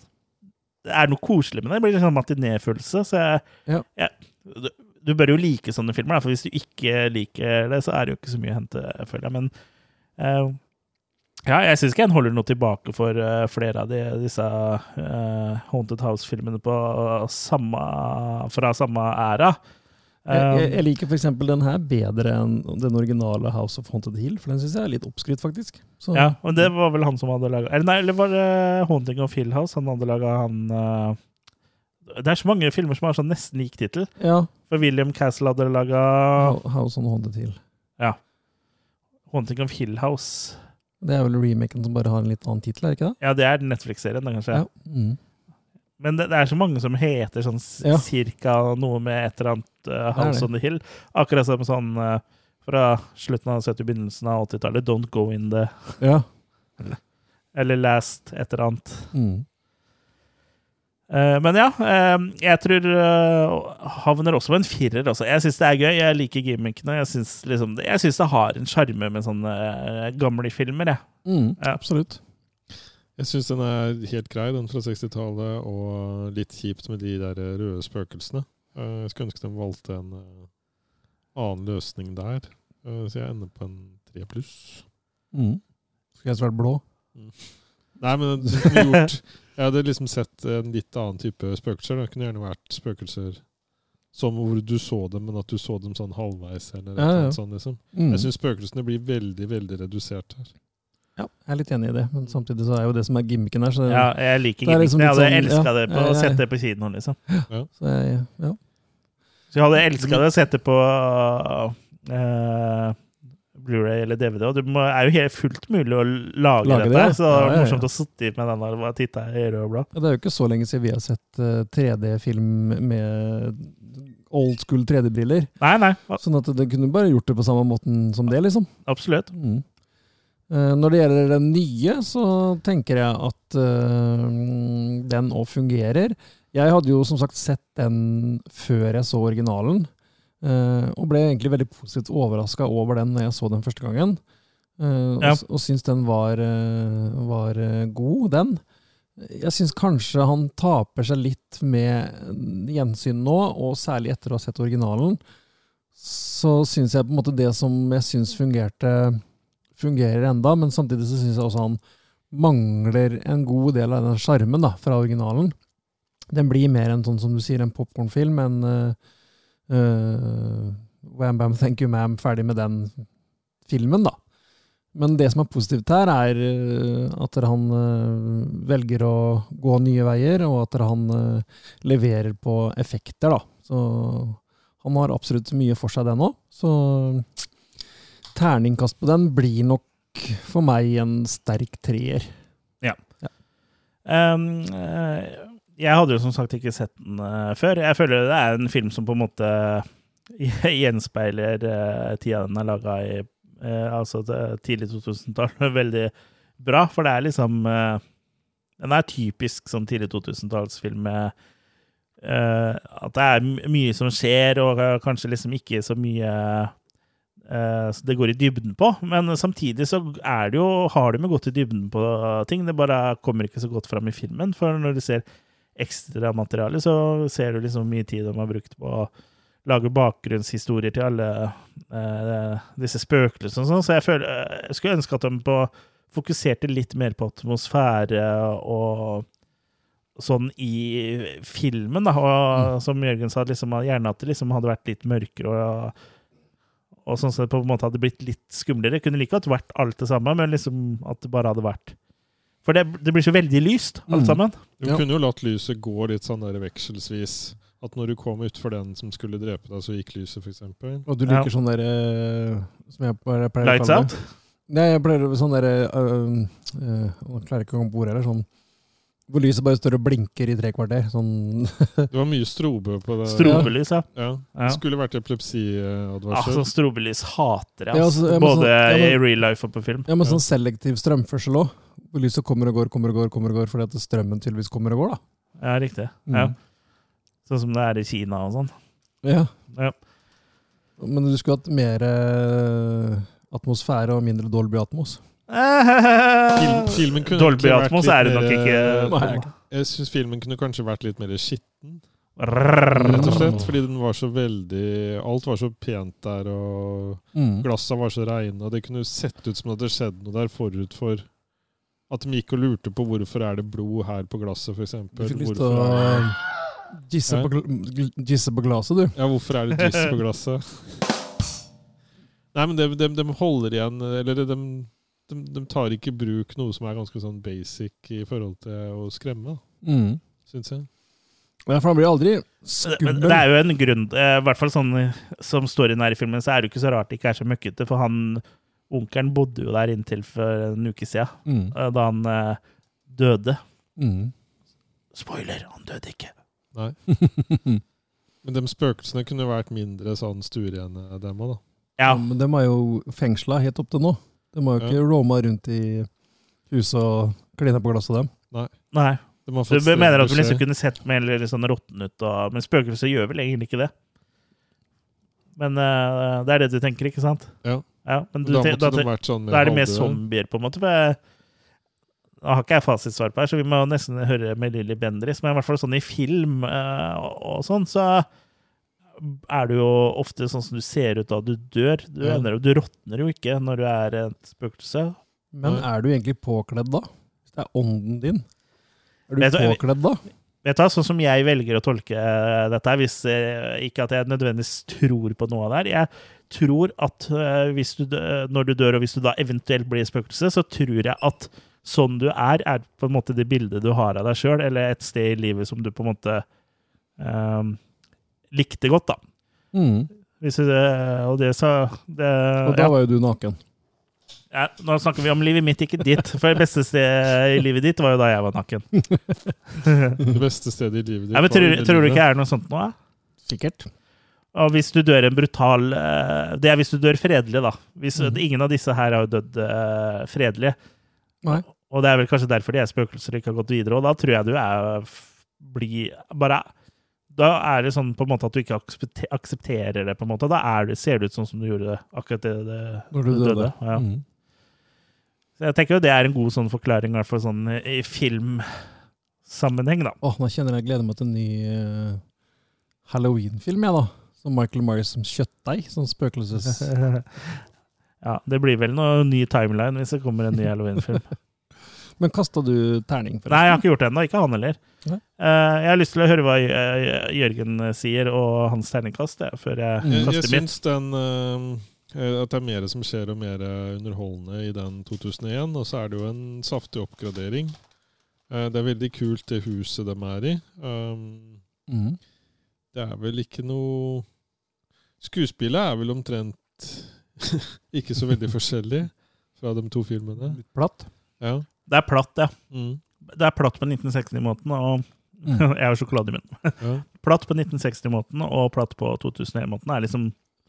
A: Det er noe koselig med det. Det blir litt sånn matinéfølelse. Så jeg,
B: Ja.
A: jeg- du, du bør jo like sånne filmer, da, for hvis du ikke liker det, så er det jo ikke så mye å hente, føler jeg. Men eh, ja, jeg syns ikke en holder noe tilbake for eh, flere av de, disse eh, Haunted House-filmene på samme, fra samme æra.
B: Jeg, jeg,
A: Eh,
B: jeg liker f.eks. den her bedre enn den originale House of Haunted Hill, for den syns jeg er litt oppskrytt, faktisk. Så,
A: ja, og det var vel han som hadde laga Eller nei, eller var det Haunting of Hill House han hadde laga han eh, Det er så mange filmer som har sånn nesten lik tittel.
B: ja.
A: For William Castle hadde laga
B: Ho- House on Haunted Hill.
A: Haunting of Hill House.
B: Det er vel remaken som bare har en litt annen tittel, er det ikke det?
A: Ja, det er Netflix-serien, da, kanskje.
B: Mm.
A: Men det, det er så mange som heter sånn s-
B: Ja.
A: cirka noe med et eller annet eh,
B: Det er
A: House
B: det.
A: on the Hill. Akkurat som sånn eh, fra slutten av 70- begynnelsen av 80-tallet. Don't go in the
B: ja.
A: Eller Last, et eller annet.
B: Mm.
A: Eh, men ja, eh, jeg tror eh, havner også på en firer. Også. Jeg syns det er gøy. Jeg liker gimmickene. Jeg syns liksom, det- jeg syns det har en sjarme med sånne eh, gamle filmer, jeg.
B: Mm.
A: Ja.
B: Absolutt.
C: Jeg syns den er helt grei, den fra 60-tallet, og litt kjipt med de der røde spøkelsene. Eh, Jeg skulle ønske de valgte en eh, annen løsning der, Eh, så jeg ender på en tre pluss.
B: Mm. Skulle helst vært blå.
C: Nei, men det kunne gjort Jeg hadde liksom sett en litt annen type spøkelser. da. Det kunne gjerne vært spøkelser som hvor du så dem, men at du så dem sånn halvveis, eller et
B: Ja,
C: eller
B: ja.
C: annet sånt, liksom.
B: Mm.
C: Jeg syns spøkelsene blir veldig, veldig redusert her.
B: Ja, jeg er litt enig i det, men samtidig så er jo det som er gimmicken her. Så
A: Ja, jeg liker
B: det
A: gimmicken.
B: er liksom
A: jeg
B: litt
A: hadde
B: sånn-
A: elsket
B: ja,
A: det på
B: ja,
A: å
B: ja,
A: sette
B: ja.
A: det på kinoen, liksom.
C: Ja.
B: Så jeg, ja.
A: Så jeg hadde elsket det å sette på eh, Blu-ray eller DVD, og det må, er jo helt fullt mulig å lage,
B: Lage
A: dette.
B: det?
A: Så det
B: Ja,
A: var
B: ja, ja.
A: morsomt å sitte med den der og bare titte i rød og blå.
B: Ja, Det er jo ikke så lenge siden vi har sett eh, 3D-film med old school 3D-briller.
A: Nei, nei.
B: Sånn at det kunne bare gjort det på samme måten som det, liksom.
A: Absolutt.
B: Mm. Eh, Når det gjelder den nye, så tenker jeg at eh, den òg fungerer. Jeg hadde jo som sagt sett den før jeg så originalen, eh, og ble egentlig veldig positivt overraska over den når jeg så den første gangen. eh,
A: Ja.
B: Og, og syns den var, eh, var eh, god, den. Jeg syns kanskje han taper seg litt med gjensyn nå, og særlig etter å ha sett originalen. Så syns jeg på en måte det som jeg syns fungerte fungerer enda, men samtidig så syns jeg også han mangler en god del av den sjarmen da, fra originalen. Den blir mer en sånn som du sier, en popkornfilm, en eh, eh, Wham Bam Thank You Ma'am, ferdig med den filmen, da. Men det som er positivt her, er eh, at han eh, velger å gå nye veier, og at han eh, leverer på effekter, da. Så han har absolutt mye for seg, den òg. Så terningkast på den blir nok for meg en sterk treer.
A: Ja. Um, eh, jeg hadde jo som sagt ikke sett den eh, før. Jeg føler det er en film som på en måte gjenspeiler eh, tida den er laga i, eh, altså det tidlig 2000-tall, veldig bra. For det er liksom eh, Den er typisk sånn tidlig 2000-tallsfilm med eh, at det er my- mye som skjer, og eh, kanskje liksom ikke så mye eh, så det går i dybden på. Men samtidig så er det jo, har de jo gått i dybden på ting. Det bare kommer ikke så godt fram i filmen. For når du ser ekstramateriale, så ser du liksom hvor mye tid de har brukt på å lage bakgrunnshistorier til alle eh, disse spøkelsene og sånn. Så jeg, føler, eh, jeg skulle ønske at de på, fokuserte litt mer på atmosfære og sånn i filmen, da. Og
B: Mm.
A: som Jørgen sa, liksom, gjerne at det liksom hadde vært litt mørkere og og sånn sett på en måte hadde blitt litt skumlere. Kunne like godt vært alt det samme, men liksom at det bare hadde vært For det, det blir så veldig lyst,
B: Mm.
A: alt sammen.
C: Du kunne jo latt lyset gå litt sånn der vekselvis. At når du kom utfor den som skulle drepe deg, så gikk lyset, f.eks.
B: Og du liker sånn derre som jeg bare pleier
C: Lights
B: å kalle
C: out?
B: det. Nei, jeg pleier å- sånn derre øh, øh, Jeg klarer ikke å komme på ordet heller. Sånn hvor lyset bare står og blinker i tre kvarter. Sånn
C: Det var mye strobe på det.
A: Strobelys, ja.
C: ja.
A: Ja.
C: Det skulle vært epilepsiadvarsel.
A: Altså, strobelys hater jeg,
B: Ja,
A: altså.
B: altså, jeg må
A: både
B: sånn- jeg må-
A: i real life og på film.
B: Ja, men sånn selektiv strømførsel òg. Hvor lyset kommer og går, kommer og går, kommer og går, fordi at strømmen tydeligvis kommer og går, da.
A: Ja, riktig.
B: Mm.
A: Ja. Sånn som det er i Kina og sånn.
B: Ja.
A: Ja.
B: Men du skulle hatt mer eh, atmosfære og mindre Dolby Atmos.
C: Film, filmen kunne
A: Dolby
C: egentlig vært
A: Atmos
C: litt
A: er det nok
C: mer- eh,
A: ikke.
C: Jeg syns filmen kunne kanskje vært litt mer skitten.
A: Rrrr.
C: Rett og slett, fordi den var så veldig Alt var så pent der, og
B: Mm.
C: glassa var så reine, og det kunne jo sett ut som det hadde skjedd noe der forut for At de gikk og lurte på hvorfor er det blod her på glasset, f.eks.
B: Du fikk lyst til å eh, gisse på, gl- gl- gisse på glaset, du.
C: Ja, hvorfor er det juice på glasset? Nei, men de, de, de holder igjen Eller de, de, de tar ikke i bruk noe som er ganske sånn basic i forhold til å skremme, da.
B: Mm.
C: syns jeg.
B: Ja, for han blir aldri
A: Men
B: skummel.
A: det er jo en grunn eh, I hvert fall sånn eh, som storyen er i filmen, så er det jo ikke så rart det ikke er så møkkete, for han onkelen bodde jo der inntil for en uke siden,
B: Mm.
A: eh, da han eh, døde.
B: Mm.
A: Spoiler, han døde ikke.
C: Nei. Men de spøkelsene kunne vært mindre sånn stuerene, dem òg, da.
A: Ja.
B: Men de er jo fengsla helt opp til nå. De har jo ikke roama rundt i huset og klina på glasset, dem.
C: Nei.
A: Nei.
C: De har
A: Så
C: fått
A: du mener at de
C: beskjed.
A: liksom kunne sett mer litt sånn råtten ut, og, men spøkelser gjør vel egentlig ikke det? Men eh, det er det du tenker, ikke sant?
C: Ja.
A: men
C: Men
A: du,
C: da
A: te- da,
C: måtte de vært sånn mer
A: da er det mer
C: halvdøde.
A: zombier, på en måte. for jeg- Nå har ikke jeg fasitsvar på her, så vi må nesten høre med Lilly Bendriss, men i hvert fall sånn i film eh, og, og sånn, så er du jo ofte sånn som du ser ut da du dør. Du,
B: Ja.
A: ender, opp- du råtner jo ikke når du er et spøkelse.
B: Men er du egentlig påkledd da? Hvis det er ånden din? Er
A: Vet
B: du
A: du-
B: påkledd da?
A: Vet du hva, sånn som jeg velger å tolke eh, dette, her, hvis eh, ikke at jeg nødvendigvis tror på noe av det her Jeg tror at eh, hvis du, dø- når du dør, og hvis du da eventuelt blir spøkelse, så tror jeg at sånn du er, er på en måte det bildet du har av deg sjøl, eller et sted i livet som du på en måte eh, likte godt, da.
B: Mm.
A: Hvis du, eh, og det sa det,
B: Og da
A: ja.
B: var jo du naken.
A: Ja, nå snakker vi om livet mitt, ikke ditt. For det beste stedet i livet ditt var jo da jeg var naken.
C: Det beste stedet i livet ditt
A: Nei, men
C: var
A: tror,
C: under
A: tror du
C: livet.
A: ikke det er noe sånt nå? da?
B: Sikkert.
A: Og hvis du dør en brutal eh, Det er hvis du dør fredelig, da. Hvis,
B: Mm.
A: Ingen av disse her har jo dødd eh, fredelig.
B: Nei.
A: Og det er vel kanskje derfor de er spøkelser og ikke har gått videre. Og da tror jeg du er f- bli, bare Da er det sånn på en måte at du ikke aksepte- aksepterer det, på en måte. Da er det, ser det ut sånn som du gjorde akkurat det, det,
B: Når du
A: det
B: døde.
A: Ja.
B: Mm.
A: Så jeg tenker jo det er en god sånn forklaring, i hvert fall sånn i filmsammenheng, da.
B: Åh, nå kjenner jeg gleder meg til en ny eh, Halloween-film, jeg, da. Som Michael Myers som kjøttdeig. Sånn spøkelses...
A: Ja, det blir vel noe ny timeline hvis det kommer en ny Halloween-film.
B: Men kasta du terning, forresten?
A: Nei, jeg har ikke gjort det ennå. Ikke han heller.
B: Nei.
A: Eh, jeg har lyst til å høre hva eh, Jørgen sier, og hans terningkast, jeg, før jeg
C: Jeg, jeg
A: kaster mitt.
C: syns den eh, at det er mer som skjer og mer eh, underholdende i den 2001. Og så er det jo en saftig oppgradering. Eh, det er veldig kult, det huset de er i. Um,
B: Mhm.
A: Mm.
C: det er vel ikke noe Skuespillet er vel omtrent ikke så veldig forskjellig fra de to filmene.
B: Platt.
C: Ja.
A: Det er platt, ja.
C: Mm.
A: Det er platt på 1960-måten, og
B: Mm.
A: jeg har sjokolade i munnen.
C: Ja.
A: Platt på 1960-måten og platt på 2001-måten er liksom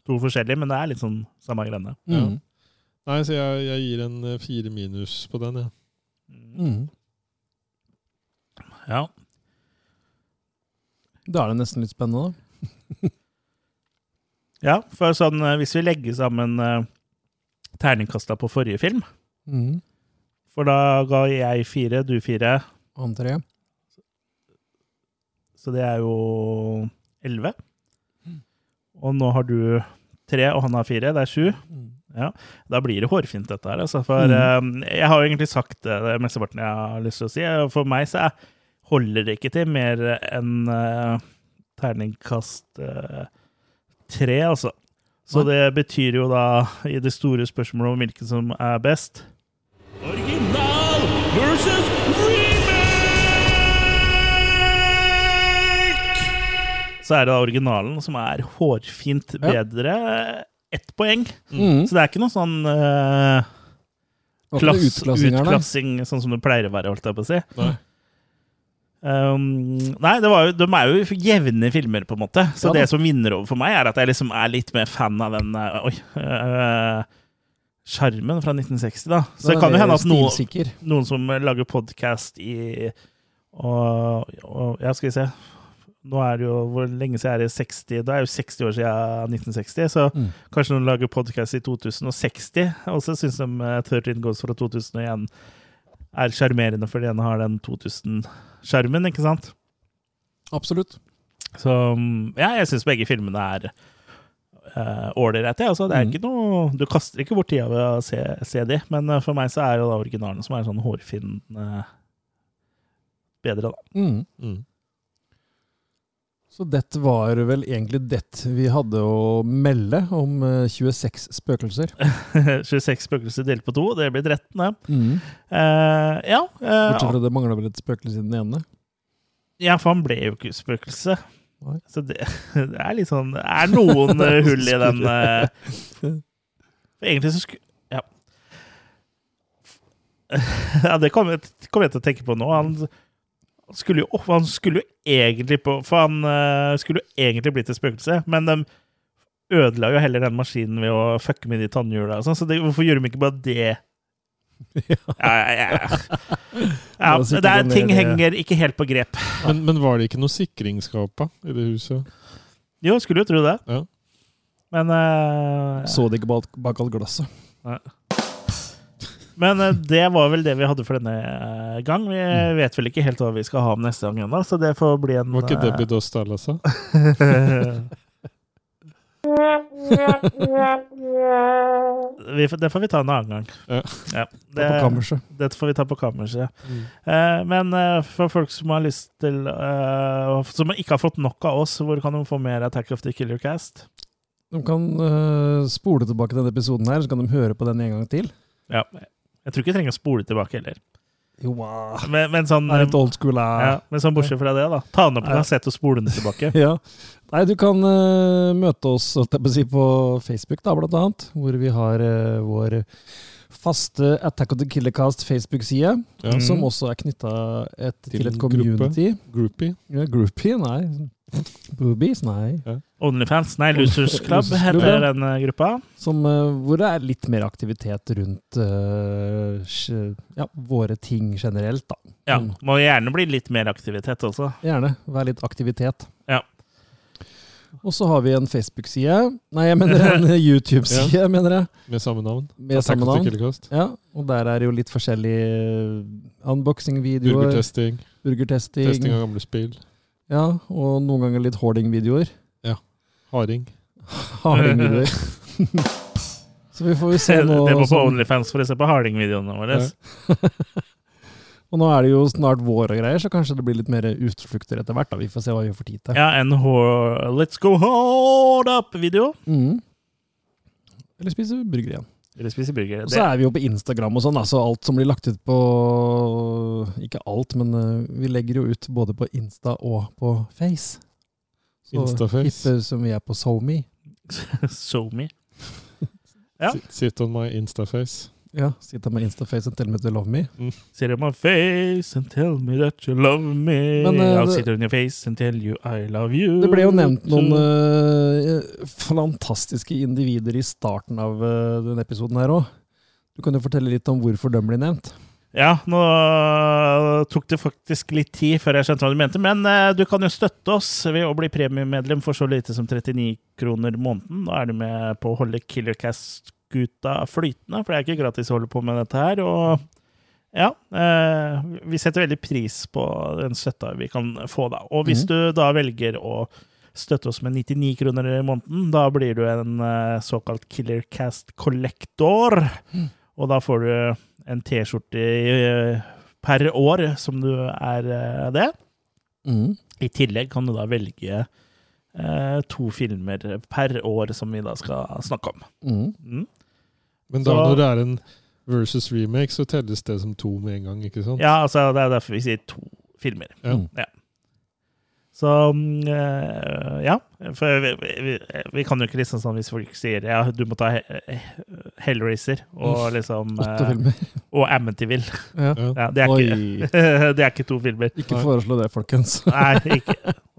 A: to forskjellige, men det er litt sånn samme greiene.
C: Ja.
B: Mm.
C: Nei, så jeg, jeg gir en eh, fire minus på den, jeg.
B: Mm.
A: Ja.
B: Da er det nesten litt spennende, da.
A: ja, for sånn eh, hvis vi legger sammen eh, terningkasta på forrige film,
B: Mm.
A: for da ga jeg fire, du fire,
B: Han tre.
A: så det er jo elleve. Og nå har du tre, og han har fire, det er sju. Ja, Da blir det hårfint, dette her. Altså, for eh, jeg har jo egentlig sagt det, det mesteparten jeg har lyst til å si. og For meg så er- holder det ikke til mer enn eh, terningkast eh, tre, altså. Så det betyr jo da, i det store spørsmålet om hvilken som er best Original versus Så er det da originalen som er hårfint bedre. eh, Ett poeng.
B: Mm.
A: Så det er ikke noe sånn eh,
B: Og
A: klass,
B: utklassinger, da.
A: utklassing, sånn som det pleier å være, holdt jeg på å si.
C: Nei.
A: Um, nei, det var jo, de er jo jevne filmer, på en måte. Så
B: Ja da.
A: det som vinner over for meg, er at jeg liksom er litt mer fan av den eh, Oi. eh, Sjarmen fra 1960, da. Så det
B: Den
A: kan jo
B: er
A: hende at noen,
B: Stilsikker.
A: noen som lager podkast i og, og Ja, skal vi se. Nå er det jo Hvor lenge siden er det? 60? Det er jo 60 år siden 1960, så
B: Mm.
A: kanskje noen lager podkast i 2060. Og så syns de eh, 13 Goes fra 2001 er sjarmerende fordi den har den 2000-skjermen, ikke sant?
B: Absolutt.
A: Så mm, ja, jeg syns begge filmene er eh, ålreite. altså, det er
B: Mm.
A: ikke noe Du kaster ikke bort tida ved å se, se de, men eh, for meg så er jo da originalen som er sånn hårfin eh, bedre, da.
B: Mm.
C: Mm.
B: Så dette var vel egentlig det vi hadde å melde om eh, 26 spøkelser.
A: 26 spøkelser delt på to, det blir 13, det.
B: Mm.
A: Eh, ja, eh,
B: Bortsett fra det mangla vel et spøkelse i den ene.
A: ja, for han ble jo ikke spøkelse.
B: Nei.
A: Så det, det er litt sånn Det er noen eh, hull i den eh, For egentlig så skulle Ja. ja det kom, jeg- kom jeg til å tenke på nå. Han han skulle jo, opp- han skulle jo egentlig på For han eh, skulle jo egentlig blitt et spøkelse, men de ødela jo heller den maskinen ved å fucke med de tannhjula og sånn, så det, hvorfor gjorde de ikke bare det? Ja, ja, ja. ja
B: Det er sikkert
A: det er,
B: en
A: ting
B: del-
A: henger ikke helt på grep.
C: Men, men var det ikke noe sikringsskap da, i det huset?
A: Jo, skulle jo tro det.
C: Ja.
A: Men eh,
B: Så det ikke bak, bak alt glasset.
A: Men eh, det var vel det vi hadde for denne eh, gang. Vi
B: Mm.
A: vet vel ikke helt hva vi skal ha om neste gang ennå, så det får bli en
C: Var ikke
A: eh,
C: Debbie Dost der, Lasse?
A: vi, får- det får vi ta en annen gang.
C: Ja.
A: Ja,
B: På Mm. kammerset.
A: Dette får vi ta på kammerset. Eh, men eh, for folk som har lyst til eh, Som ikke har fått nok av oss, hvor kan de få mer Attack of the Killer Cast?
B: De kan eh, spole tilbake denne episoden her, så kan de høre på den en gang til.
A: Ja. Jeg tror ikke jeg trenger å spole tilbake heller.
B: Jo,
A: Men, men sånn,
B: Det er litt old school, eh.
A: ja, men sånn bortsett fra det, da. Ta den opp på
B: Ja.
A: kassett og spole den tilbake.
B: ja. Nei, du kan eh, møte oss holdt jeg på, å si, på Facebook, da, blant annet, hvor vi har eh, vår faste Attack of the Killercast Facebook-side,
C: Ja.
B: som
C: Mhm.
B: også er knytta til,
C: Til gruppe.
B: et community.
C: Groupie.
B: Ja, groupie, nei. Boobies, nei.
A: Onlyfans, nei, Losers Club
B: Losers Club,
A: heter
B: ja.
A: den eh, gruppa.
B: Som, eh, hvor det er litt mer aktivitet rundt eh, sj- ja, våre ting generelt, da.
A: Ja,
B: Mm.
A: Må gjerne bli litt mer aktivitet også.
B: Gjerne. Vær litt aktivitet.
A: Ja.
B: Og så har vi en Facebook-side. Nei, jeg mener en YouTube-side,
C: Ja.
B: mener jeg.
C: Med samme navn.
B: Med
C: Attack
B: samme
C: of the
B: navn.
C: Killer-cast.
B: Ja, og der er jo litt forskjellige unboxing-videoer.
C: Burgertesting.
B: Burgertesting.
C: Testing av gamle spill.
B: Ja, og noen ganger litt hoarding-videoer.
C: Ja. Harding.
B: Harding-videoer. så vi får jo se sånn- nå.
A: det må på
B: som-
A: Onlyfans for å se på harding-videoene våre.
B: og nå er det jo snart vår og greier, så kanskje det blir litt mer utflukter etter hvert. da. Vi får se hva vi får tid til.
A: Ja, en hår- Let's go hard up-video.
B: Mhm. Eller spise burger igjen.
A: Eller spise burger.
B: Og
A: Det,
B: så er vi jo på Instagram og sånn, da, så alt som blir lagt ut på Ikke alt, men eh, vi legger jo ut både på Insta og på Face. Så
C: Instaface.
B: hippe som vi er på SoMe.
A: so me. Ja.
C: Ja. Sit on my instaface.
B: Ja, sitter med Instaface and tell me to love me.
A: Sit on my face and tell me that you love me.
B: Men, eh,
A: I'll
B: det-
A: sit on your face and tell you I love you.
B: Det ble jo nevnt noen
A: too.
B: eh, fantastiske individer i starten av eh, denne episoden her òg. Du kan jo fortelle litt om hvorfor de blir nevnt.
A: Ja, nå eh, tok det faktisk litt tid før jeg skjønte hva du mente, men eh, du kan jo støtte oss ved å bli premiemedlem for så lite som 39 kroner måneden. Da er du med på å holde Killercast-skuta flytende, for det er ikke gratis å holde på med dette her. Og ja, eh, vi setter veldig pris på den støtta vi kan få, da. Og hvis
B: Mhm.
A: du da velger å støtte oss med 99 kroner i måneden, da blir du en eh, såkalt Killercast-kollektor. Og da får du en T-skjorte i- eh, per år, som du er eh, det.
B: Mhm.
A: I tillegg kan du da velge eh, to filmer per år som vi da skal snakke om.
B: Mhm.
A: Mm.
C: Men da
A: Så-
C: når det er en versus remake, så telles det som to med en gang, ikke sant?
A: Ja, altså det er derfor vi sier to filmer.
C: Ja.
A: Ja. Så mm, eh, ja, for vi, vi, vi- vi kan jo ikke liksom sånn hvis folk sier ja, du må ta He- He- Hellraiser og liksom
B: Åtte
A: eh,
B: filmer.
A: Og Amityville.
B: Ja.
C: Ja.
A: Ja, det, er
B: Oi.
A: ikke, det er ikke to filmer.
B: Ikke foreslå det, folkens.
A: Nei, ikke.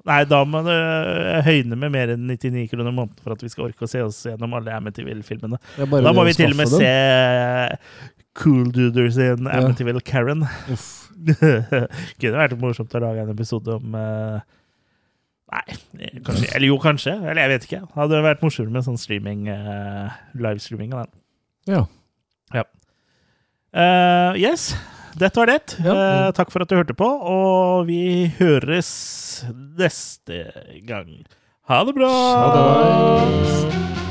A: Nei, da må du eh, høyne med mer enn 99 kroner i måneden for at vi skal orke å se oss gjennom alle Amityville-filmene.
B: Det er bare
A: Da
B: det
A: må
B: å
A: vi til og med
B: skaffe dem.
A: se eh, Cool Duder sin
B: Ja.
A: Amityville Karen.
B: Uff.
A: Kunne vært morsomt å lage en episode om eh, Nei, kanskje. Eller jo, kanskje. Eller jeg vet ikke. Hadde vært morsommere med sånn streaming, eh, livestreaming av den.
B: Ja.
A: Eh, yes, dette var det. Eh, takk for at du hørte på, og vi høres neste gang. Ha det bra!
C: Ha det.